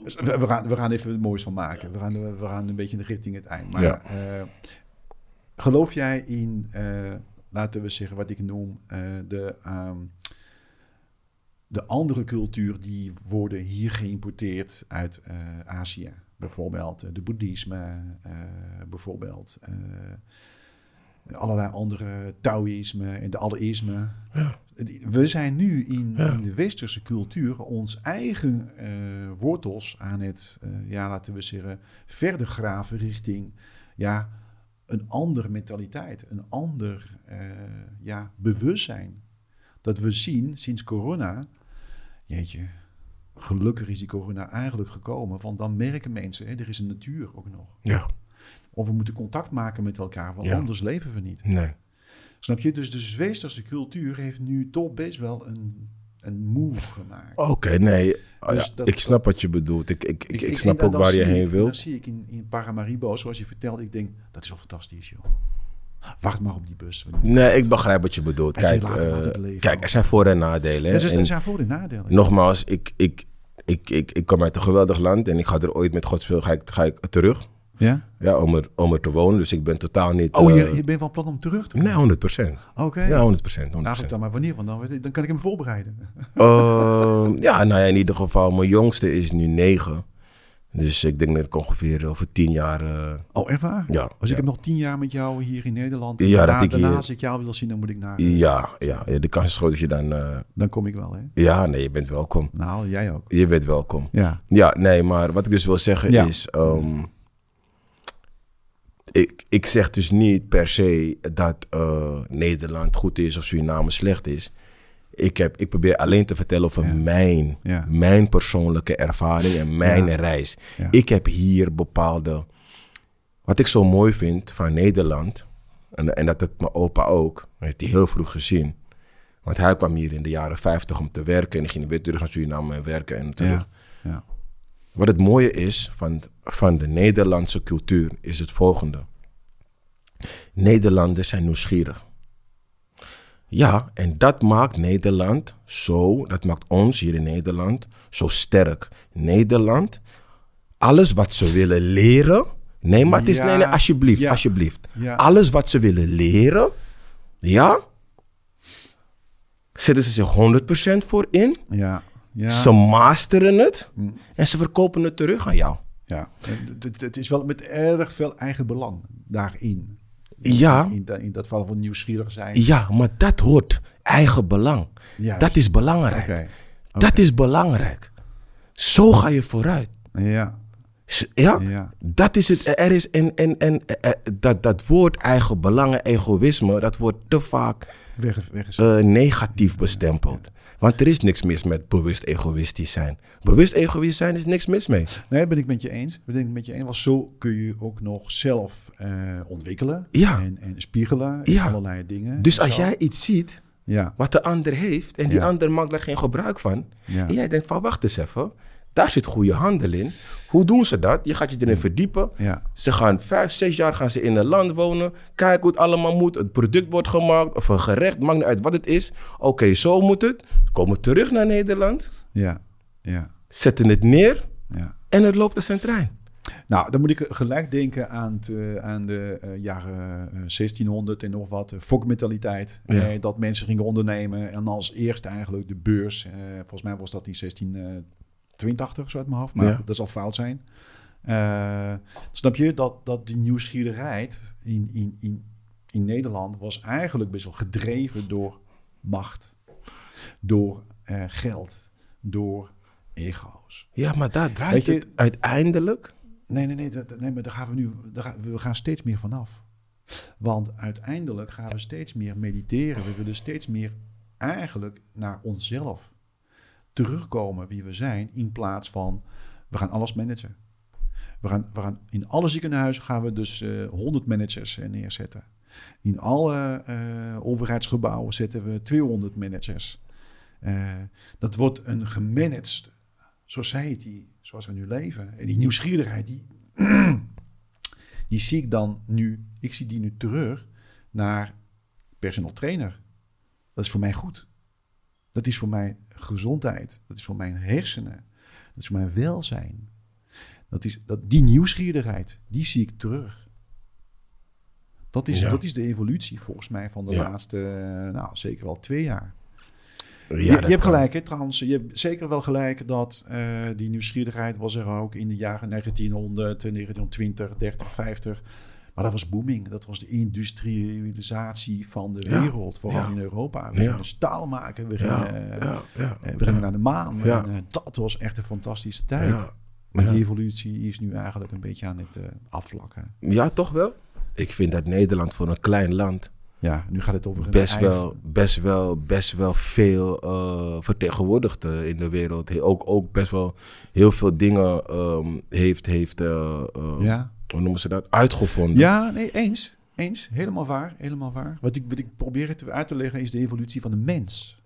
Speaker 1: Dus we, we gaan, we gaan even het moois van maken. We gaan, we gaan een beetje in de richting het eind. Maar,
Speaker 2: Ja.
Speaker 1: eh, geloof jij in, eh, laten we zeggen, wat ik noem, eh, de, ehm, de andere cultuur die worden hier geïmporteerd uit eh, Azië? Bijvoorbeeld eh, de boeddhisme, eh, bijvoorbeeld eh, allerlei andere Taoïsme en de alleïsme. Die- We zijn nu in, in de westerse cultuur ons eigen eh, wortels aan het, eh, ja, laten we zeggen, verder graven richting ja, een andere mentaliteit, een ander eh, ja, bewustzijn. Dat we zien sinds corona, jeetje, gelukkig is die corona eigenlijk gekomen, want dan merken mensen, hè, er is een natuur ook nog.
Speaker 2: Ja.
Speaker 1: Of we moeten contact maken met elkaar, want
Speaker 2: Ja.
Speaker 1: anders leven we niet.
Speaker 2: Nee.
Speaker 1: Snap je? Dus de westerse cultuur heeft nu toch best wel een, een move gemaakt.
Speaker 2: Oké, nee. Ah,
Speaker 1: Dus
Speaker 2: ja,
Speaker 1: dat-
Speaker 2: ik snap wat je bedoelt. Ik, Oh, ik, ik, ik,
Speaker 1: en
Speaker 2: snap
Speaker 1: dan-
Speaker 2: ook
Speaker 1: dan
Speaker 2: waar je
Speaker 1: zie
Speaker 2: heen
Speaker 1: ik- Dan
Speaker 2: wilt.
Speaker 1: zie ik in, in Paramaribo, zoals je vertelt, ik denk, dat is wel fantastisch, joh. Wacht maar op die bus.
Speaker 2: Nee, ik begrijp wat je bedoelt.
Speaker 1: En je
Speaker 2: Kijk,
Speaker 1: laat-
Speaker 2: eh,
Speaker 1: laat het leven.
Speaker 2: kijk er zijn voor- en nadelen. hè.
Speaker 1: Het is
Speaker 2: En
Speaker 1: zijn voor- en nadelen.
Speaker 2: nogmaals, ik, ik, ik, ik, ik kom uit een geweldig land en ik ga er ooit met Gods wil ga ik, ga ik terug
Speaker 1: Ja?
Speaker 2: ja, om, er, om er te wonen. Dus ik ben totaal niet...
Speaker 1: Oh, je,
Speaker 2: eh,
Speaker 1: je bent van plan om terug te
Speaker 2: Nee, 100 procent.
Speaker 1: Oké.
Speaker 2: Ja, 100 procent.
Speaker 1: Nou, goed dan maar wanneer, want dan, weet ik- dan kan ik hem voorbereiden.
Speaker 2: ja, nou ja, in ieder geval, mijn jongste is nu 9. Dus ik denk dat ik ongeveer over 10 jaar... eh,
Speaker 1: Oh, echt waar?
Speaker 2: Ja,
Speaker 1: Als
Speaker 2: ja.
Speaker 1: ik hem nog tien jaar met jou hier in Nederland...
Speaker 2: Ja, dat
Speaker 1: daarna-
Speaker 2: ik hier-
Speaker 1: daarna als ik jou wil zien, dan moet ik naar...
Speaker 2: ja, ja, ja, de kans is groot dat je dan... eh,
Speaker 1: Dan kom ik wel, hè?
Speaker 2: ja, nee, je bent welkom.
Speaker 1: Nou, jij ook.
Speaker 2: Je bent welkom.
Speaker 1: Ja.
Speaker 2: Ja, nee, maar wat ik dus wil zeggen
Speaker 1: Ja.
Speaker 2: is... ehm, ik, ik zeg dus niet per se dat eh, Nederland goed is of Suriname slecht is. Ik, heb, ik probeer alleen te vertellen over
Speaker 1: Ja.
Speaker 2: mijn,
Speaker 1: Ja.
Speaker 2: mijn persoonlijke ervaring en mijn
Speaker 1: Ja.
Speaker 2: reis.
Speaker 1: Ja.
Speaker 2: Ik heb hier bepaalde... Wat ik zo mooi vind van Nederland... en, en dat het mijn opa ook, hij heeft die heel vroeg gezien... want hij kwam hier in de jaren 50 om te werken... en hij ging weer terug naar Suriname en werken en terug.
Speaker 1: Ja. ja.
Speaker 2: Wat het mooie is van, van de Nederlandse cultuur is het volgende. Nederlanders zijn nieuwsgierig. Ja, en dat maakt Nederland zo, dat maakt ons hier in Nederland zo sterk. Nederland, alles wat ze willen leren. Nee, maar het is.
Speaker 1: Ja.
Speaker 2: Nee, nee, alsjeblieft,
Speaker 1: Ja.
Speaker 2: alsjeblieft.
Speaker 1: Ja.
Speaker 2: Alles wat ze willen leren, ja. Zetten ze zich 100% voor in.
Speaker 1: Ja. Ja. Hm.
Speaker 2: Ze masteren het en ze verkopen het terug aan jou.
Speaker 1: Ja, het, het- het is wel met erg veel eigen belang daarin.
Speaker 2: Ja.
Speaker 1: In, da- in dat geval van nieuwsgierig zijn.
Speaker 2: Ja, maar dat hoort eigen belang.
Speaker 1: Juist.
Speaker 2: Dat is belangrijk.
Speaker 1: Oké.
Speaker 2: Dat is belangrijk. Zo ga je vooruit.
Speaker 1: Ja.
Speaker 2: S- Ja,
Speaker 1: Ja.
Speaker 2: dat is het. Er is en, en, en eh, eh, dat, dat woord eigen belangen, egoïsme, dat wordt te vaak
Speaker 1: Weg, weg is.
Speaker 2: eh, negatief bestempeld. Want er is niks mis met bewust egoïstisch zijn. Bewust egoïstisch zijn is niks mis mee.
Speaker 1: Nee, ben ik met je eens. Ben ik met je eens. Want zo kun je ook nog zelf eh, ontwikkelen.
Speaker 2: Ja.
Speaker 1: En, en spiegelen. in
Speaker 2: Ja.
Speaker 1: Allerlei dingen.
Speaker 2: Dus
Speaker 1: en
Speaker 2: als
Speaker 1: zo.
Speaker 2: jij iets ziet
Speaker 1: Ja.
Speaker 2: wat de ander heeft en die
Speaker 1: Ja.
Speaker 2: ander maakt daar geen gebruik van.
Speaker 1: Ja.
Speaker 2: En jij denkt van wacht eens even, daar zit goede handel in. Hoe doen ze dat? Je gaat je erin verdiepen.
Speaker 1: Ja.
Speaker 2: Ze gaan vijf, zes jaar gaan ze in een land wonen. Kijken hoe het allemaal moet. Het product wordt gemaakt of een gerecht, maakt niet uit wat het is. Oké, zo moet het. Komen terug naar Nederland,
Speaker 1: Ja. Ja.
Speaker 2: zetten het neer
Speaker 1: Ja.
Speaker 2: en het loopt als een trein.
Speaker 1: Nou, dan moet ik gelijk denken aan, het, eh, aan de eh, jaren eh, 1600 en nog wat. eh, Fokmentaliteit.
Speaker 2: Ja.
Speaker 1: Eh, dat mensen gingen ondernemen. En als eerste eigenlijk de beurs. Eh, volgens mij was dat in 1682, zo uit mijn hoofd. Maar
Speaker 2: Ja.
Speaker 1: goed, dat zal fout zijn. Eh, snap je dat, dat die nieuwsgierigheid in, in, in, in Nederland was eigenlijk best wel gedreven door macht, door eh, geld, door ego's.
Speaker 2: Ja, maar daar draait
Speaker 1: Weet je-
Speaker 2: het uiteindelijk.
Speaker 1: Nee, nee, nee, dat, nee maar daar gaan we nu daar gaan, we gaan steeds meer vanaf. Want uiteindelijk gaan we steeds meer mediteren. We willen steeds meer eigenlijk naar onszelf terugkomen wie we zijn, in plaats van we gaan alles managen. We gaan, we gaan, in alle ziekenhuizen gaan we dus eh 100 managers eh, neerzetten. In alle eh, overheidsgebouwen zetten we 200 managers. Eh, dat wordt een gemanaged society zoals we nu leven.
Speaker 2: Mhm.
Speaker 1: En die nieuwsgierigheid, die, die zie ik dan nu, ik zie die nu terug naar personal trainer. Dat is voor mij goed. Dat is voor mijn gezondheid. Dat is voor mijn hersenen. Dat is voor mijn welzijn. Dat is, dat, die nieuwsgierigheid, die zie ik terug. Dat is,
Speaker 2: Ja.
Speaker 1: dat is de evolutie volgens mij van de
Speaker 2: Ja.
Speaker 1: laatste, eh, nou zeker wel twee jaar
Speaker 2: Ja,
Speaker 1: je,
Speaker 2: dat
Speaker 1: je hebt
Speaker 2: kan.
Speaker 1: gelijk, hè, trouwens. Je hebt zeker wel gelijk dat eh, die nieuwsgierigheid was er ook in de jaren eh, 1900, 1920, 30, 50. Maar dat was booming. Dat was de industrialisatie van de
Speaker 2: Ja,
Speaker 1: wereld, vooral
Speaker 2: ja.
Speaker 1: in Europa. We
Speaker 2: Ja.
Speaker 1: gingen staal maken, we
Speaker 2: Ja,
Speaker 1: gingen, eh,
Speaker 2: ja, ja.
Speaker 1: eh, we gingen naar de maan.
Speaker 2: Ja.
Speaker 1: En, eh, dat was echt een fantastische tijd.
Speaker 2: Ja.
Speaker 1: Maar
Speaker 2: Ja.
Speaker 1: die evolutie is nu eigenlijk een beetje aan het eh, afvlakken.
Speaker 2: Ja, toch wel? Ik vind dat Nederland voor een klein land
Speaker 1: Ja, nu gaat het over een
Speaker 2: best
Speaker 1: ei-
Speaker 2: wel, best wel, best wel veel eh, vertegenwoordigd eh, in de wereld. He- Ook, ook best wel heel veel dingen ehm, heeft, heeft eh, eh,
Speaker 1: Ja.
Speaker 2: hoe noemen ze dat, uitgevonden.
Speaker 1: Ja, nee, eens. Eens. Helemaal waar. Helemaal waar. Wat ik, wat ik probeer het uit te leggen is de evolutie van de mens.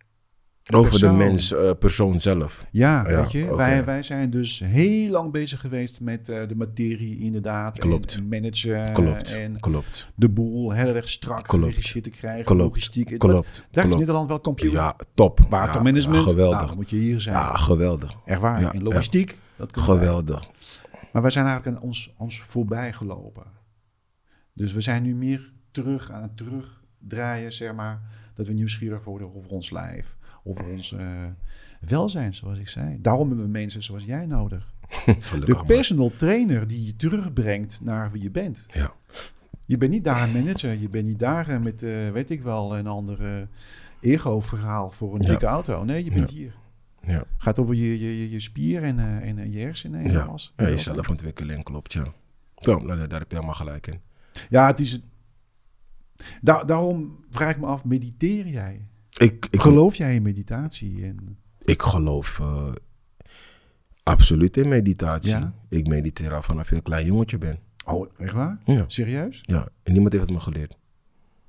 Speaker 2: Over
Speaker 1: persoon.
Speaker 2: de mens, eh, persoon zelf.
Speaker 1: Ja,
Speaker 2: Ja,
Speaker 1: weet je.
Speaker 2: oké.
Speaker 1: Wij, wij zijn dus heel lang bezig geweest met eh, de materie inderdaad. en-
Speaker 2: Klopt.
Speaker 1: En managen.
Speaker 2: Klopt,
Speaker 1: En
Speaker 2: klopt,
Speaker 1: de boel heel erg strak
Speaker 2: Klopt.
Speaker 1: geregisseerd te krijgen.
Speaker 2: Klopt.
Speaker 1: Logistiek. Dat-
Speaker 2: klopt,
Speaker 1: Daar is
Speaker 2: klopt.
Speaker 1: Nederland wel kampioen.
Speaker 2: Ja, top.
Speaker 1: Watermanagement.
Speaker 2: Ja, geweldig.
Speaker 1: Nou, dan moet je hier zijn.
Speaker 2: ja, geweldig.
Speaker 1: Echt waar.
Speaker 2: Ja,
Speaker 1: en logistiek. Dat kunnen wij.
Speaker 2: Geweldig.
Speaker 1: Maar wij zijn eigenlijk aan ons, ons voorbij gelopen. Dus we zijn nu meer terug aan het terugdraaien, zeg maar. Dat we nieuwsgierig worden over ons lijf, over ons eh, welzijn, zoals ik zei. Daarom hebben we mensen zoals jij nodig.
Speaker 2: Gelukkig
Speaker 1: De
Speaker 2: maar.
Speaker 1: personal trainer die je terugbrengt naar wie je bent.
Speaker 2: Ja.
Speaker 1: Je bent niet daar een manager, je bent niet daar eh, met, eh, weet ik wel, een andere ego-verhaal voor een
Speaker 2: Ja.
Speaker 1: dikke auto. Nee, je bent hier.
Speaker 2: Ja.
Speaker 1: Gaat over je, je, je, je spier en, eh, en eh, je hersenen en
Speaker 2: Ja.
Speaker 1: alles.
Speaker 2: Ja, jezelf ontwikkelen, klopt, ja. Zo, nou, daar daar heb je helemaal gelijk in.
Speaker 1: Ja, het is. Da- daarom vraag ik me af: mediteer jij?
Speaker 2: Ik, ik,
Speaker 1: Geloof jij in meditatie? En...
Speaker 2: Ik geloof eh, absoluut in meditatie.
Speaker 1: Ja?
Speaker 2: Ik mediteer al vanaf ik een klein jongetje ben.
Speaker 1: Oh, echt waar?
Speaker 2: Ja.
Speaker 1: Serieus?
Speaker 2: ja. En niemand heeft het me geleerd.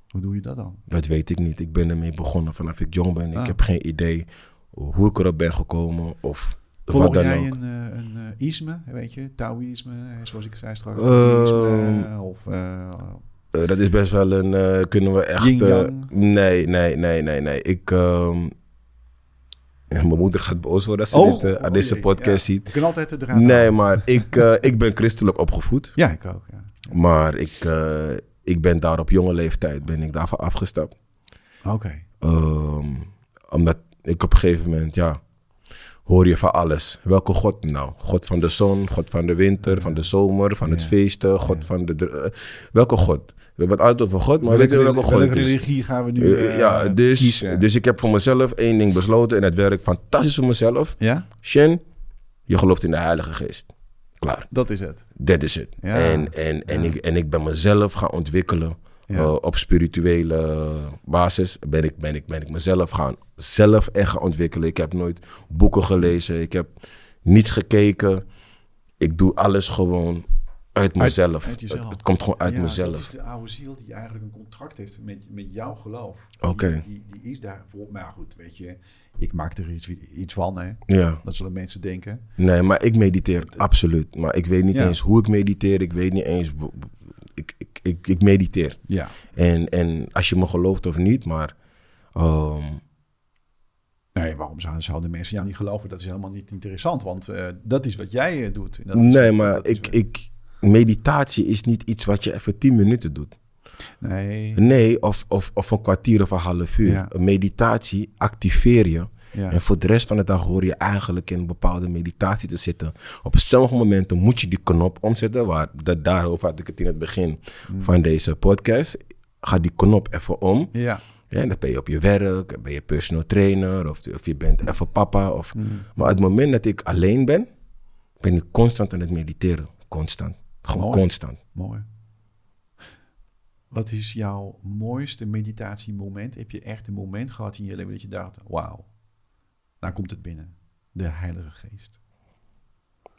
Speaker 1: Hoe doe je dat dan?
Speaker 2: Dat weet ik niet. Ik ben ermee begonnen vanaf ik jong ben.
Speaker 1: Ah.
Speaker 2: Ik heb geen idee hoe ik erop ben gekomen of
Speaker 1: Volg
Speaker 2: wat dan
Speaker 1: jij
Speaker 2: ook.
Speaker 1: een, eh, een eh, isme, weet je? Taoïsme, eh, zoals ik zei straks.
Speaker 2: Ehm,
Speaker 1: Boeddhisme, of eh,
Speaker 2: Eh, dat is best wel een. eh, kunnen we echt. eh,
Speaker 1: Yin-yang?
Speaker 2: nee, nee, nee, nee, nee. Ik. ehm, ja, mijn moeder gaat boos worden als ze
Speaker 1: Oh,
Speaker 2: dit, eh, aan
Speaker 1: oh
Speaker 2: deze
Speaker 1: jee,
Speaker 2: podcast
Speaker 1: ja.
Speaker 2: ziet.
Speaker 1: Ik kan altijd de draad
Speaker 2: Nee,
Speaker 1: halen.
Speaker 2: maar ik, eh, ik ben christelijk opgevoed.
Speaker 1: Ja, ik ook. Ja.
Speaker 2: Maar ik, eh, ik ben daar op jonge leeftijd ben ik daarvan afgestapt.
Speaker 1: Oké.
Speaker 2: Ehm, omdat ik op een gegeven moment, ja, hoor je van alles. Welke God nou? God van de zon, God van de winter, van de zomer, van het
Speaker 1: Ja.
Speaker 2: feesten, God van de... dr- eh, welke God? We hebben het altijd over God, maar weet je welke God
Speaker 1: welke
Speaker 2: het is?
Speaker 1: religie gaan we nu
Speaker 2: Eh, ja,
Speaker 1: eh,
Speaker 2: dus,
Speaker 1: kiezen?
Speaker 2: dus ik heb voor mezelf één ding besloten en het werkt fantastisch voor mezelf.
Speaker 1: Ja,
Speaker 2: Shen, je gelooft in de Heilige Geest. Klaar.
Speaker 1: dat is het.
Speaker 2: Dat is het.
Speaker 1: Ja,
Speaker 2: En, en, en, ik, en ik ben mezelf gaan ontwikkelen
Speaker 1: Ja.
Speaker 2: eh, op spirituele basis. Ben ik, ben, ik, ben ik mezelf gaan, zelf echt gaan ontwikkelen. Ik heb nooit boeken gelezen. Ik heb niets gekeken. Ik doe alles gewoon uit mezelf.
Speaker 1: uit jezelf.
Speaker 2: het, het komt gewoon uit
Speaker 1: Ja, Dat is
Speaker 2: mezelf.
Speaker 1: de oude ziel die eigenlijk een contract heeft met, met jouw geloof.
Speaker 2: Oké.
Speaker 1: Die, die, die is daarvoor. Maar goed, weet je, ik maak er iets, iets van, hè.
Speaker 2: Ja.
Speaker 1: Dat zullen mensen denken.
Speaker 2: Nee, maar ik mediteer absoluut. Maar ik weet niet
Speaker 1: Ja.
Speaker 2: eens hoe ik mediteer. Ik weet niet eens... w- w- Ik, ik, ik, ik mediteer.
Speaker 1: Ja.
Speaker 2: En, en als je me gelooft of niet, maar ehm,
Speaker 1: Nee, waarom zouden, zouden mensen jou niet geloven? Dat is helemaal niet interessant, want eh, dat is wat jij eh, doet. En dat is-
Speaker 2: nee, maar
Speaker 1: dat is
Speaker 2: ik,
Speaker 1: wat-
Speaker 2: ik, meditatie is niet iets wat je even 10 minuten doet.
Speaker 1: Nee,
Speaker 2: Nee, of, of, of een kwartier of een half uur.
Speaker 1: Ja.
Speaker 2: Een Meditatie activeer je.
Speaker 1: ja.
Speaker 2: En voor de rest van de dag hoor je eigenlijk in een bepaalde meditatie te zitten. Op sommige momenten moet je die knop omzetten. Waar, dat, daarover had ik het in het begin
Speaker 1: Mm.
Speaker 2: van deze podcast. Ga die knop even om.
Speaker 1: ja.
Speaker 2: Ja, en dan ben je op je werk, ben je personal trainer of, of je bent even papa. Of,
Speaker 1: Mm.
Speaker 2: Maar het moment dat ik alleen ben, ben ik constant aan het mediteren. Constant. Gewoon
Speaker 1: Mooi.
Speaker 2: constant.
Speaker 1: Mooi. Wat is jouw mooiste meditatiemoment? Heb je echt een moment gehad in je leven dat je dacht, wauw, nou komt het binnen. De Heilige Geest.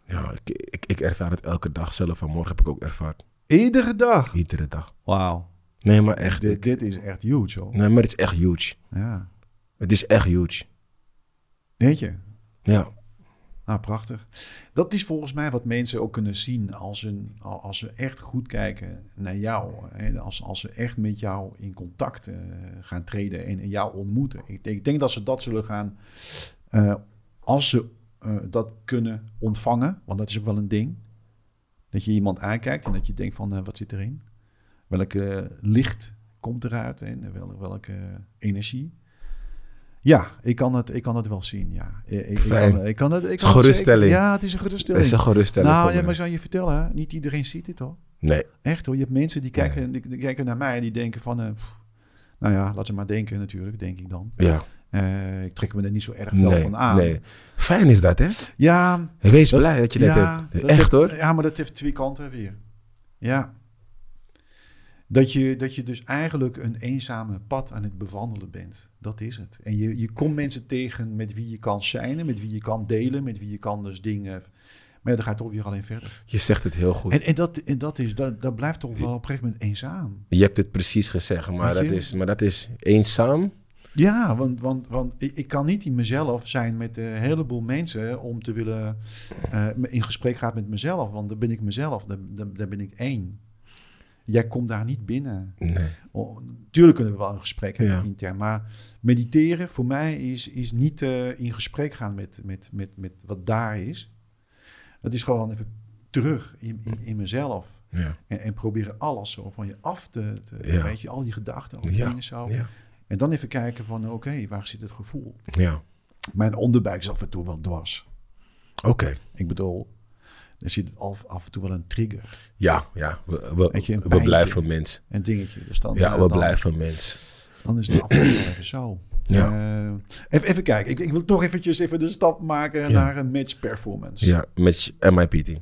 Speaker 2: Ja, ik, ik, ik ervaar het elke dag zelf. Vanmorgen heb ik ook ervaard.
Speaker 1: Iedere dag.
Speaker 2: Iedere dag.
Speaker 1: Wauw.
Speaker 2: Nee, maar echt.
Speaker 1: Dit, dit is echt huge, hoor.
Speaker 2: Nee, maar het is echt huge.
Speaker 1: Ja.
Speaker 2: Het is echt huge.
Speaker 1: Weet je?
Speaker 2: Ja.
Speaker 1: Nou, prachtig. Dat is volgens mij wat mensen ook kunnen zien als, een, al- als ze echt goed kijken naar jou. En als, als ze echt met jou in contact eh, gaan treden en, en jou ontmoeten. Ik denk, ik denk dat ze dat zullen gaan, eh, als ze eh, dat kunnen ontvangen, want dat is ook wel een ding. Dat je iemand aankijkt en dat je denkt van, eh, wat zit erin? Welke eh, licht komt eruit en eh, wel, welke energie? Ja, ik kan het, ik kan het wel zien, ja. Ik, ik, ik
Speaker 2: Fijn.
Speaker 1: kan, ik kan het, ik kan
Speaker 2: is
Speaker 1: het zeker-
Speaker 2: geruststelling.
Speaker 1: Ja, het is een
Speaker 2: Het
Speaker 1: geruststelling.
Speaker 2: is een geruststelling
Speaker 1: nou,
Speaker 2: voor
Speaker 1: ja,
Speaker 2: me.
Speaker 1: maar ik zou je vertellen, hè, niet iedereen ziet dit hoor.
Speaker 2: Nee.
Speaker 1: Echt hoor, je hebt mensen die kijken, die, die kijken naar mij en die denken van... eh, pff, nou ja, laat ze maar denken natuurlijk, denk ik dan.
Speaker 2: Ja.
Speaker 1: Eh, ik trek me er niet zo erg veel
Speaker 2: Nee.
Speaker 1: van aan.
Speaker 2: nee. Fijn is dat, hè?
Speaker 1: Ja,
Speaker 2: Wees
Speaker 1: Dat-
Speaker 2: blij dat je dat hebt.
Speaker 1: dat
Speaker 2: echt
Speaker 1: heeft-
Speaker 2: hoor.
Speaker 1: Ja, maar dat heeft twee kanten weer. Ja. Dat je, dat je dus eigenlijk een eenzame pad aan het bewandelen bent. Dat is het. En je, je komt mensen tegen met wie je kan zijn, met wie je kan delen, met wie je kan dus dingen. Maar ja, dan gaat het toch weer alleen verder.
Speaker 2: Je zegt het heel goed.
Speaker 1: En, en, dat, en dat, is, dat, dat blijft toch wel op een gegeven moment eenzaam.
Speaker 2: Je hebt het precies gezegd, maar
Speaker 1: Weet
Speaker 2: dat
Speaker 1: je?
Speaker 2: is, maar dat is eenzaam.
Speaker 1: Ja, want, want, want ik, ik kan niet in mezelf zijn met eh, een heleboel mensen om te willen eh, in gesprek gaan met mezelf. Want dan ben ik mezelf, dan, dan, dan ben ik één. Jij komt daar niet binnen.
Speaker 2: Nee.
Speaker 1: Oh, tuurlijk kunnen we wel een gesprek hebben
Speaker 2: Ja.
Speaker 1: intern. Maar mediteren voor mij is, is niet eh, in gesprek gaan met, met, met, met wat daar is. Het is gewoon even terug in, in, in mezelf.
Speaker 2: Ja.
Speaker 1: En, en proberen alles zo van je af te... te
Speaker 2: Ja.
Speaker 1: Weet je, al die gedachten, al die
Speaker 2: Ja.
Speaker 1: dingen zo.
Speaker 2: Ja.
Speaker 1: En dan even kijken van, oké, waar zit het gevoel?
Speaker 2: ja.
Speaker 1: Mijn onderbuik is af en toe wel dwars.
Speaker 2: Oké.
Speaker 1: Ik bedoel, er zit af, af en toe wel een trigger,
Speaker 2: Ja, ja. We, we,
Speaker 1: Weet je, een
Speaker 2: we
Speaker 1: pijntje.
Speaker 2: blijven mens.
Speaker 1: een dingetje. Dus dan,
Speaker 2: Ja,
Speaker 1: eh,
Speaker 2: we
Speaker 1: dan,
Speaker 2: blijven mens.
Speaker 1: Dan is het af en toe wel even zo.
Speaker 2: Ja.
Speaker 1: Eh, even, even kijken, ik, ik wil toch eventjes even de stap maken naar een match performance.
Speaker 2: Ja, met MIPT.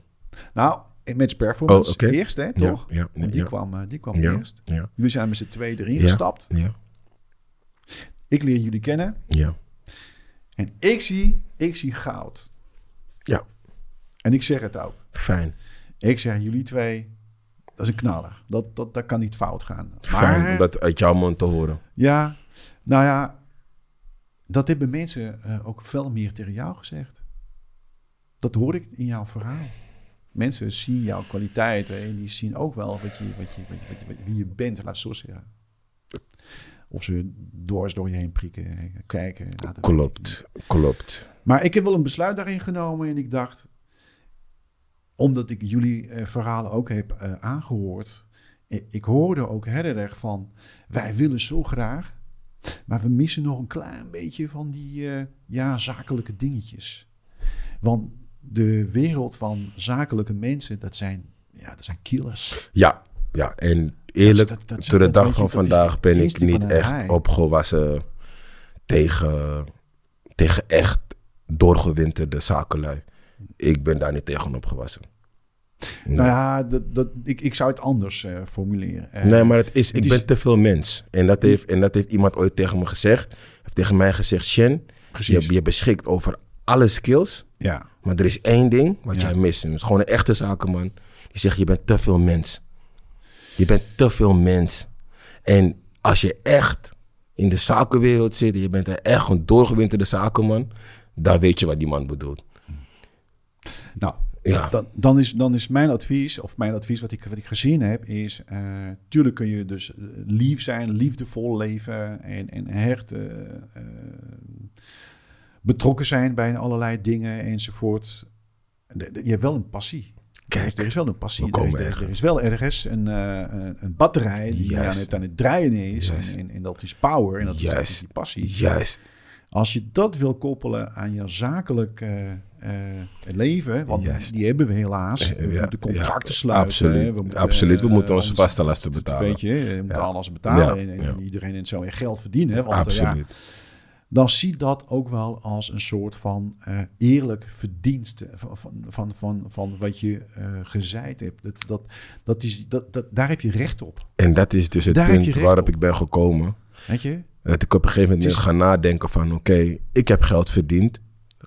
Speaker 1: Nou, een match performance
Speaker 2: Oh, oké.
Speaker 1: eerst, hè, toch?
Speaker 2: Ja, ja,
Speaker 1: Want die
Speaker 2: ja.
Speaker 1: kwam, eh, die kwam
Speaker 2: Ja,
Speaker 1: eerst.
Speaker 2: ja,
Speaker 1: Jullie zijn met z'n tweeën erin
Speaker 2: Ja.
Speaker 1: gestapt.
Speaker 2: ja,
Speaker 1: Ik leer jullie kennen.
Speaker 2: ja.
Speaker 1: En ik zie, ik zie goud.
Speaker 2: Ja.
Speaker 1: En ik zeg het ook.
Speaker 2: Fijn.
Speaker 1: Ik zeg, jullie twee, dat is een knaller. Dat, dat, dat kan niet fout gaan.
Speaker 2: Fijn om
Speaker 1: Maar,
Speaker 2: dat uit jouw mond te horen.
Speaker 1: ja, nou ja, dat hebben mensen eh, ook veel meer tegen jou gezegd. Dat hoor ik in jouw verhaal. Mensen zien jouw kwaliteiten en die zien ook wel wat je, wat je, wat je, wat je, wat je- wie je bent, laat het zo zeggen. Of ze doors door je heen prikken, eh, kijken. nou, dat weet ik niet.
Speaker 2: Klopt, klopt.
Speaker 1: Maar ik heb wel een besluit daarin genomen en ik dacht, omdat ik jullie eh, verhalen ook heb eh, aangehoord, eh, ik hoorde ook heel erg van, wij willen zo graag, maar we missen nog een klein beetje van die eh, ja, zakelijke dingetjes. Want de wereld van zakelijke mensen, dat zijn, ja, dat zijn killers.
Speaker 2: Ja, ja. En eerlijk,
Speaker 1: Dat is- dat- dat-
Speaker 2: tot de
Speaker 1: dat-
Speaker 2: dag
Speaker 1: weet je,
Speaker 2: van
Speaker 1: dat is
Speaker 2: vandaag
Speaker 1: de
Speaker 2: ben ik
Speaker 1: eerste
Speaker 2: niet
Speaker 1: van de
Speaker 2: echt
Speaker 1: haai.
Speaker 2: opgewassen tegen, tegen echt doorgewinterde zakenlui. Ik ben daar niet tegen opgewassen. Nee,
Speaker 1: Nou ja, dat, dat, ik, ik zou het anders eh, formuleren. Eh,
Speaker 2: nee maar het is,
Speaker 1: het
Speaker 2: ik
Speaker 1: is-
Speaker 2: ben te veel mens. En dat, heeft, en dat heeft iemand ooit tegen me gezegd. Heeft tegen mij gezegd, Shen, je,
Speaker 1: precies.
Speaker 2: je beschikt over alle skills.
Speaker 1: Ja,
Speaker 2: Maar er is één ding wat
Speaker 1: Ja.
Speaker 2: jij mist. En het is gewoon een echte zakenman. Die zegt, je bent te veel mens. Je bent te veel mens. En als je echt in de zakenwereld zit... en je bent er echt een doorgewinterde zakenman... dan weet je wat die man bedoelt.
Speaker 1: nou,
Speaker 2: Ja,
Speaker 1: Dan, dan, is, dan is mijn advies, of mijn advies wat ik, wat ik gezien heb, is... eh, tuurlijk kun je dus eh, lief zijn, liefdevol leven en, en hecht... eh, eh, betrokken zijn bij allerlei dingen enzovoort. De- de- Je hebt wel een passie. Dus er is wel een passie.
Speaker 2: we
Speaker 1: Er is-
Speaker 2: komen
Speaker 1: er, is- er
Speaker 2: ergens.
Speaker 1: is wel ergens een, eh, een- een batterij die
Speaker 2: Juist.
Speaker 1: aan, het, aan het draaien is.
Speaker 2: Juist.
Speaker 1: En, en, en dat is power en dat is- dat is
Speaker 2: Juist.
Speaker 1: die passie.
Speaker 2: Juist.
Speaker 1: Als je dat wil koppelen aan je zakelijk eh, eh, leven, want
Speaker 2: Juist.
Speaker 1: die hebben we helaas.
Speaker 2: Eh,
Speaker 1: We
Speaker 2: ja,
Speaker 1: moeten contracten
Speaker 2: ja,
Speaker 1: sluiten.
Speaker 2: absoluut.
Speaker 1: hè. moeten,
Speaker 2: Absoluut, we
Speaker 1: eh,
Speaker 2: moeten
Speaker 1: eh,
Speaker 2: onze
Speaker 1: anders-
Speaker 2: vaste lasten
Speaker 1: het- het-
Speaker 2: betalen.
Speaker 1: Weet je, eh, betalen als ze
Speaker 2: Ja,
Speaker 1: betalen. En, en
Speaker 2: ja.
Speaker 1: iedereen zou je geld verdienen. Want, eh, ja,
Speaker 2: Absoluut.
Speaker 1: dan zie dat ook wel als een soort van eh, eerlijk verdienste van, van, van, van, van wat je eh gezaaid hebt. Dat, dat, dat is, dat, dat, daar heb je recht op.
Speaker 2: En dat is dus het
Speaker 1: Daar heb je
Speaker 2: punt
Speaker 1: recht
Speaker 2: waarop
Speaker 1: op.
Speaker 2: ik ben gekomen.
Speaker 1: Weet je?
Speaker 2: Dat ik op een gegeven moment
Speaker 1: Het is-
Speaker 2: ben gaan nadenken van... Oké, ik heb geld verdiend.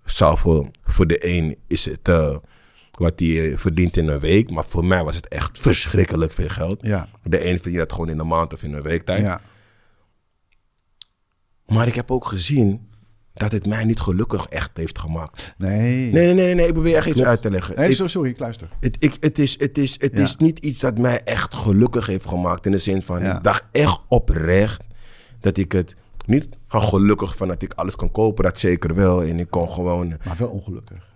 Speaker 2: Zou voor, voor de een is het eh, wat hij eh, verdient in een week. Maar voor mij was het echt verschrikkelijk veel geld.
Speaker 1: Ja,
Speaker 2: De een verdient dat gewoon in een maand of in een week tijd.
Speaker 1: ja,
Speaker 2: Maar ik heb ook gezien dat het mij niet gelukkig echt heeft gemaakt.
Speaker 1: nee.
Speaker 2: Nee, nee, nee, nee, nee, ik probeer echt iets
Speaker 1: Klopt.
Speaker 2: uit te leggen.
Speaker 1: Nee,
Speaker 2: Ik-
Speaker 1: zo- sorry, ik luister.
Speaker 2: Het, ik, het, is, het, is, het
Speaker 1: Ja.
Speaker 2: is niet iets dat mij echt gelukkig heeft gemaakt. In de zin van,
Speaker 1: Ja.
Speaker 2: ik dacht echt oprecht dat ik het niet ga gelukkig van dat ik alles kan kopen. Dat zeker wel. En ik kon gewoon...
Speaker 1: Maar wel ongelukkig.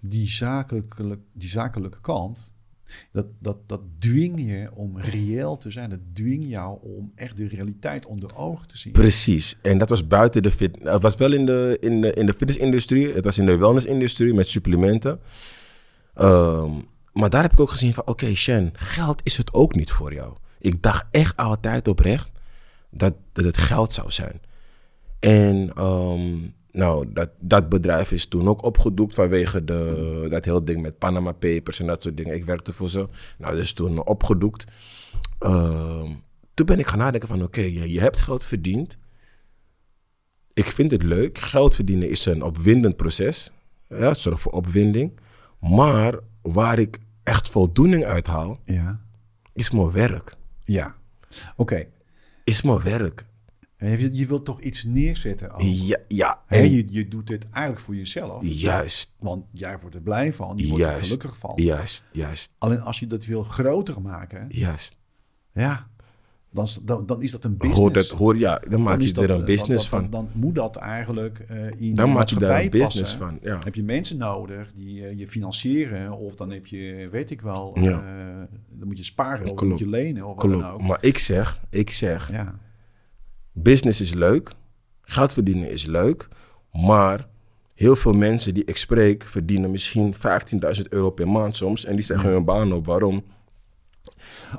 Speaker 1: Die zakelijke, die zakelijke kant, dat, dat, dat dwing je om reëel te zijn. Dat dwing jou om echt de realiteit onder ogen te zien.
Speaker 2: Precies. En dat was buiten de fit. Het was wel in de, in de, in de fitnessindustrie. Het was in de wellnessindustrie met supplementen. Ehm, maar daar heb ik ook gezien van... Oké, Shen, geld is het ook niet voor jou. Ik dacht echt altijd oprecht dat, dat het geld zou zijn. En ehm, nou, dat, dat bedrijf is toen ook opgedoekt vanwege de, dat hele ding met Panama Papers en dat soort dingen. Ik werkte voor ze. Nou, dat is toen opgedoekt. Ehm, toen ben ik gaan nadenken van oké, je, je hebt geld verdiend. Ik vind het leuk. Geld verdienen is een opwindend proces. Ja, het zorgt voor opwinding. Maar waar ik echt voldoening uit haal,
Speaker 1: Ja.
Speaker 2: is mijn werk.
Speaker 1: Ja. Oké.
Speaker 2: Is mijn werk.
Speaker 1: Je, je wilt toch iets neerzetten. ook.
Speaker 2: Ja, ja.
Speaker 1: Hè,
Speaker 2: En
Speaker 1: je, je doet dit eigenlijk voor jezelf.
Speaker 2: juist.
Speaker 1: Want jij wordt er blij van, je wordt er
Speaker 2: Juist.
Speaker 1: gelukkig van.
Speaker 2: Juist, juist,
Speaker 1: Alleen als je dat wil groter maken,
Speaker 2: juist.
Speaker 1: ja, dan, is- dan, dan is dat een business.
Speaker 2: Hoor dat, hoor, ja, dan maak
Speaker 1: Dan
Speaker 2: je
Speaker 1: is dat-
Speaker 2: er een
Speaker 1: dan-
Speaker 2: business
Speaker 1: dan,
Speaker 2: van.
Speaker 1: Dan, dan moet dat eigenlijk eh in de
Speaker 2: Dan maak je daar
Speaker 1: maatschappij
Speaker 2: een business
Speaker 1: passen.
Speaker 2: van. Ja.
Speaker 1: Heb je mensen nodig die eh, je financieren of dan heb je, weet ik wel,
Speaker 2: Ja.
Speaker 1: eh, dan moet je sparen of dan
Speaker 2: Klopt.
Speaker 1: moet je lenen of wat dan
Speaker 2: Klopt.
Speaker 1: ook.
Speaker 2: Maar ik zeg, ik zeg,
Speaker 1: Ja,
Speaker 2: business is leuk, geld verdienen is leuk, maar heel veel mensen die ik spreek verdienen misschien 15.000 euro per maand soms en die zeggen hun baan op. Waarom?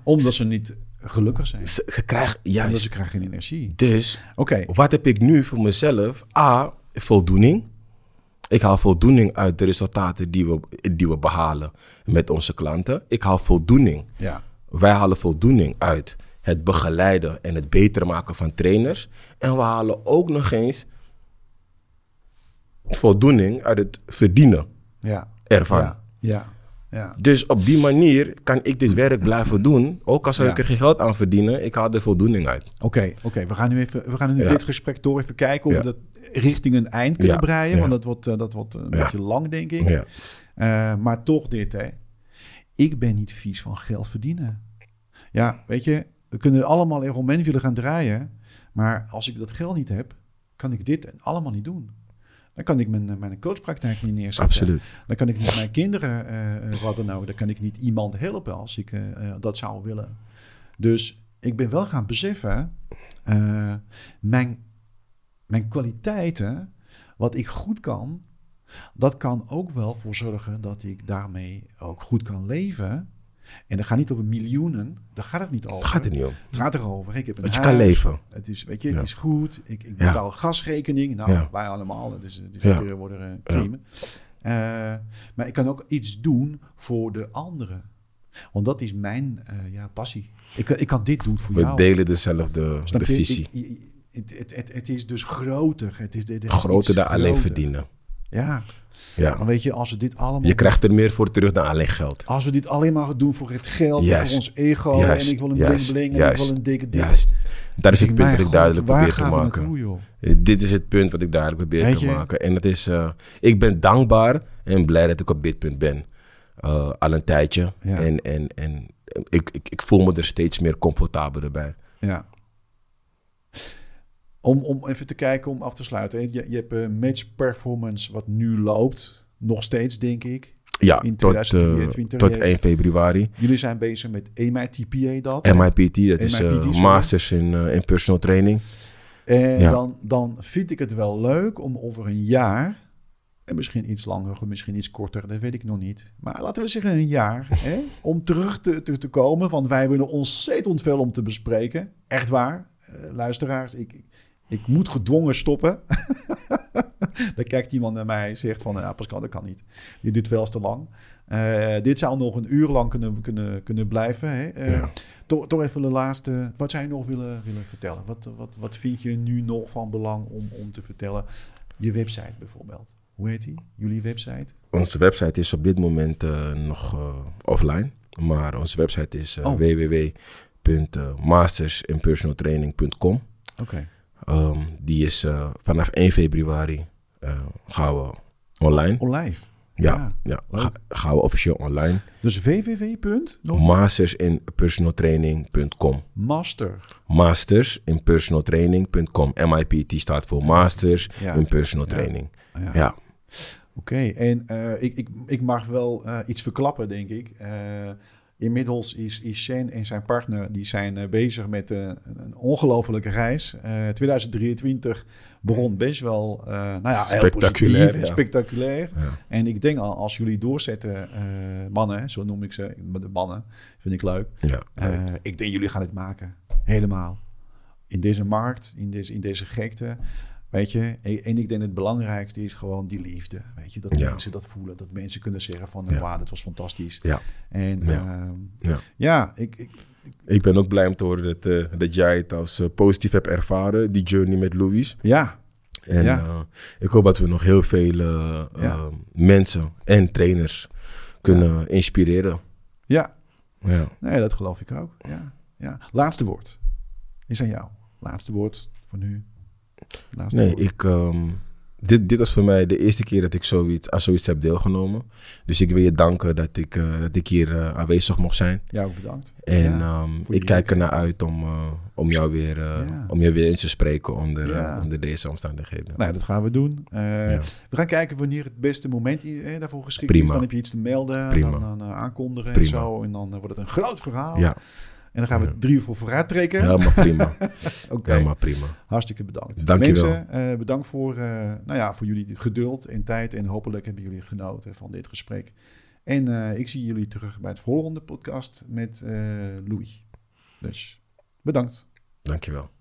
Speaker 1: omdat ze niet gelukkig zijn.
Speaker 2: Ze, ze krijgen
Speaker 1: Omdat
Speaker 2: juist.
Speaker 1: ze krijgen geen energie.
Speaker 2: Dus
Speaker 1: Oké,
Speaker 2: wat heb ik nu voor mezelf? A, voldoening. Ik haal voldoening uit de resultaten die we, die we behalen met onze klanten. Ik haal voldoening
Speaker 1: ja.
Speaker 2: Wij halen voldoening uit het begeleiden en het beter maken van trainers. En we halen ook nog eens voldoening uit het verdienen
Speaker 1: Ja.
Speaker 2: ervan.
Speaker 1: Ja. Ja. Ja.
Speaker 2: Dus op die manier kan ik dit werk blijven doen. Ook al zou ik
Speaker 1: Ja.
Speaker 2: er geen geld aan verdienen, ik haal er voldoening uit.
Speaker 1: Oké, oké. we gaan nu even, we gaan nu
Speaker 2: Ja.
Speaker 1: dit gesprek door even kijken of
Speaker 2: Ja.
Speaker 1: we dat richting een eind kunnen
Speaker 2: Ja,
Speaker 1: breien.
Speaker 2: ja.
Speaker 1: Want dat wordt, eh, dat wordt een
Speaker 2: Ja.
Speaker 1: beetje lang, denk ik.
Speaker 2: Ja.
Speaker 1: Eh, maar toch dit, hè. Ik ben niet vies van geld verdienen. Ja, weet je, we kunnen allemaal er omheen willen gaan draaien. Maar als ik dat geld niet heb, kan ik dit allemaal niet doen. Dan kan ik mijn, eh, mijn coachpraktijk niet neerzetten.
Speaker 2: Absoluut.
Speaker 1: Dan kan ik niet mijn kinderen, eh, eh, wat dan ook, dan kan ik niet iemand helpen als ik eh, eh, dat zou willen. Dus ik ben wel gaan beseffen, eh, mijn, mijn kwaliteiten, wat ik goed kan, dat kan ook wel voor zorgen dat ik daarmee ook goed kan leven. En dat gaat niet over miljoenen, daar gaat het niet over.
Speaker 2: Daar gaat het niet om.
Speaker 1: Het gaat erover, ik heb een
Speaker 2: Dat je
Speaker 1: huis,
Speaker 2: kan leven.
Speaker 1: het is, weet je, het
Speaker 2: Ja.
Speaker 1: is goed. Ik, ik
Speaker 2: Ja.
Speaker 1: betaal gasrekening. Nou,
Speaker 2: Ja.
Speaker 1: wij allemaal. Het is, het is
Speaker 2: Ja.
Speaker 1: iedere worden eh, cremen. Eh, maar ik kan ook iets doen voor de anderen. Want dat is mijn eh, ja, passie. Ik, kan- ik kan dit doen voor
Speaker 2: We
Speaker 1: jou.
Speaker 2: delen dezelfde
Speaker 1: Snap
Speaker 2: de
Speaker 1: je?
Speaker 2: visie.
Speaker 1: Ik- ik- het, het, het, het is dus groter. Het is, dit is
Speaker 2: Groter
Speaker 1: iets
Speaker 2: dan alleen
Speaker 1: groter.
Speaker 2: verdienen.
Speaker 1: Ja, maar
Speaker 2: Ja.
Speaker 1: weet je, als we dit allemaal...
Speaker 2: Je krijgt er meer voor terug dan alleen geld.
Speaker 1: Als we dit alleen maar doen voor het geld, en
Speaker 2: Juist.
Speaker 1: voor ons ego...
Speaker 2: Juist,
Speaker 1: en ik wil een bling
Speaker 2: juist,
Speaker 1: bling, en ik
Speaker 2: juist,
Speaker 1: wil een dikke dit.
Speaker 2: Juist. Dat is
Speaker 1: Ik denk,
Speaker 2: het punt dat
Speaker 1: mijn
Speaker 2: ik
Speaker 1: god,
Speaker 2: duidelijk
Speaker 1: waar
Speaker 2: probeer te
Speaker 1: gaan we
Speaker 2: maken. Eh,
Speaker 1: naartoe, joh?
Speaker 2: Dit is het punt wat ik duidelijk probeer
Speaker 1: Weet
Speaker 2: te
Speaker 1: je?
Speaker 2: maken. En dat is, eh, ik ben dankbaar en blij dat ik op dit punt ben. Eh, al een tijdje.
Speaker 1: Ja.
Speaker 2: En, en, en ik, ik, ik voel me er steeds meer comfortabeler bij.
Speaker 1: Ja. Oké, Om, om even te kijken, om af te sluiten. hè. Je, je hebt een match performance wat nu loopt. Nog steeds, denk ik.
Speaker 2: Ja,
Speaker 1: In
Speaker 2: tot, eh,
Speaker 1: 2023,
Speaker 2: tot
Speaker 1: ja.
Speaker 2: 1 februari.
Speaker 1: Jullie zijn bezig met EMI-TPA dat.
Speaker 2: MIPT, dat is eh,
Speaker 1: MIPT, sorry.
Speaker 2: Masters in, eh, in Personal Training.
Speaker 1: En
Speaker 2: Ja.
Speaker 1: dan, dan vind ik het wel leuk om over een jaar, en misschien iets langer, of misschien iets korter, dat weet ik nog niet. Maar laten we zeggen een jaar, hè, om terug te, te, te komen. Want wij hebben er ontzettend veel om te bespreken. Echt waar, Eh, luisteraars. Ik, ik, ik moet gedwongen stoppen. dan kijkt iemand naar mij en zegt van, ja, Pascal, dat kan niet. Dit duurt wel eens te lang. Eh, dit zou nog een uur lang kunnen, kunnen, kunnen blijven. Hè? Eh,
Speaker 2: Ja.
Speaker 1: toch, toch even de laatste. Wat zou je nog willen, willen vertellen? Wat, wat, wat vind je nu nog van belang om, om te vertellen? Je website bijvoorbeeld. Hoe heet die? Jullie website?
Speaker 2: Onze website is op dit moment eh, nog eh, offline. Maar onze website is eh
Speaker 1: Oh.
Speaker 2: www.mastersinpersonaltraining.com.
Speaker 1: Oké.
Speaker 2: Ehm, die is eh, vanaf 1 februari eh, gaan we online.
Speaker 1: Olive.
Speaker 2: ja,
Speaker 1: ja,
Speaker 2: ja,
Speaker 1: leuk.
Speaker 2: Ga- gaan we officieel online.
Speaker 1: Dus www. nog
Speaker 2: Mastersinpersonaltraining.com.
Speaker 1: Master.
Speaker 2: Mastersinpersonaltraining.com. MIPT staat voor Masters
Speaker 1: Ja.
Speaker 2: in Personal Training.
Speaker 1: Ja.
Speaker 2: ja.
Speaker 1: Oké, en eh, ik, ik, ik mag wel eh, iets verklappen, denk ik. Eh, inmiddels is, is Shane en zijn partner die zijn eh, bezig met eh, een- een ongelofelijke reis. Eh, 2023 begon best wel eh, nou ja, heel
Speaker 2: Spectaculair,
Speaker 1: positief en
Speaker 2: ja.
Speaker 1: spectaculair.
Speaker 2: Ja.
Speaker 1: En ik denk al, als jullie doorzetten, eh, mannen, zo noem ik ze, de mannen, vind ik leuk.
Speaker 2: Ja.
Speaker 1: Eh, ik denk, jullie gaan het maken. Helemaal. In deze markt, in deze, in deze gekte. Weet je, en en ik denk het belangrijkste is gewoon die liefde. Weet je, dat
Speaker 2: Ja.
Speaker 1: mensen dat voelen. Dat mensen kunnen zeggen van, eh,
Speaker 2: Ja.
Speaker 1: wauw, dat was fantastisch.
Speaker 2: Ja.
Speaker 1: En
Speaker 2: Ja.
Speaker 1: ja,
Speaker 2: Ja.
Speaker 1: ja ik, ik,
Speaker 2: Ik ben ook blij om te horen dat, eh, dat jij het als eh, positief hebt ervaren, die journey met Louis.
Speaker 1: ja,
Speaker 2: En
Speaker 1: Ja.
Speaker 2: eh, ik hoop dat we nog heel veel eh, eh,
Speaker 1: Ja.
Speaker 2: mensen en trainers kunnen inspireren.
Speaker 1: ja.
Speaker 2: Ja.
Speaker 1: Nee, dat geloof ik ook. Ja, ja. Laatste woord is aan jou. Laatste woord voor nu. Laatste
Speaker 2: Nee,
Speaker 1: woord.
Speaker 2: ik, ehm, dit, dit was voor mij de eerste keer dat ik zoiets, aan zoiets heb deelgenomen. Dus ik wil je danken dat ik, eh, dat ik hier eh, aanwezig mocht zijn.
Speaker 1: Jou ook bedankt.
Speaker 2: En
Speaker 1: ja.
Speaker 2: ehm,
Speaker 1: voor
Speaker 2: ik
Speaker 1: je
Speaker 2: kijk ernaar uit om, eh, om, jou weer, eh,
Speaker 1: Ja.
Speaker 2: om jou weer eens te spreken onder, eh,
Speaker 1: Ja.
Speaker 2: onder deze omstandigheden.
Speaker 1: Nou, dat gaan we doen. Eh,
Speaker 2: Ja.
Speaker 1: We gaan kijken wanneer het beste moment i- eh, daarvoor geschikt is.
Speaker 2: Prima.
Speaker 1: Dan heb je iets te melden,
Speaker 2: Prima.
Speaker 1: dan, dan, eh, aankondigen en
Speaker 2: Prima.
Speaker 1: zo. En dan eh, wordt het een groot verhaal.
Speaker 2: Ja,
Speaker 1: En dan gaan we
Speaker 2: Ja.
Speaker 1: drie uur voor vooruit trekken.
Speaker 2: helemaal prima.
Speaker 1: Oké,
Speaker 2: Helemaal prima.
Speaker 1: hartstikke bedankt.
Speaker 2: Dank je
Speaker 1: Mensen, eh, bedankt voor, eh, nou ja, voor jullie geduld en tijd. En hopelijk hebben jullie genoten van dit gesprek. En eh, ik zie jullie terug bij het volgende podcast met eh, Louis. Dus bedankt.
Speaker 2: Dankjewel.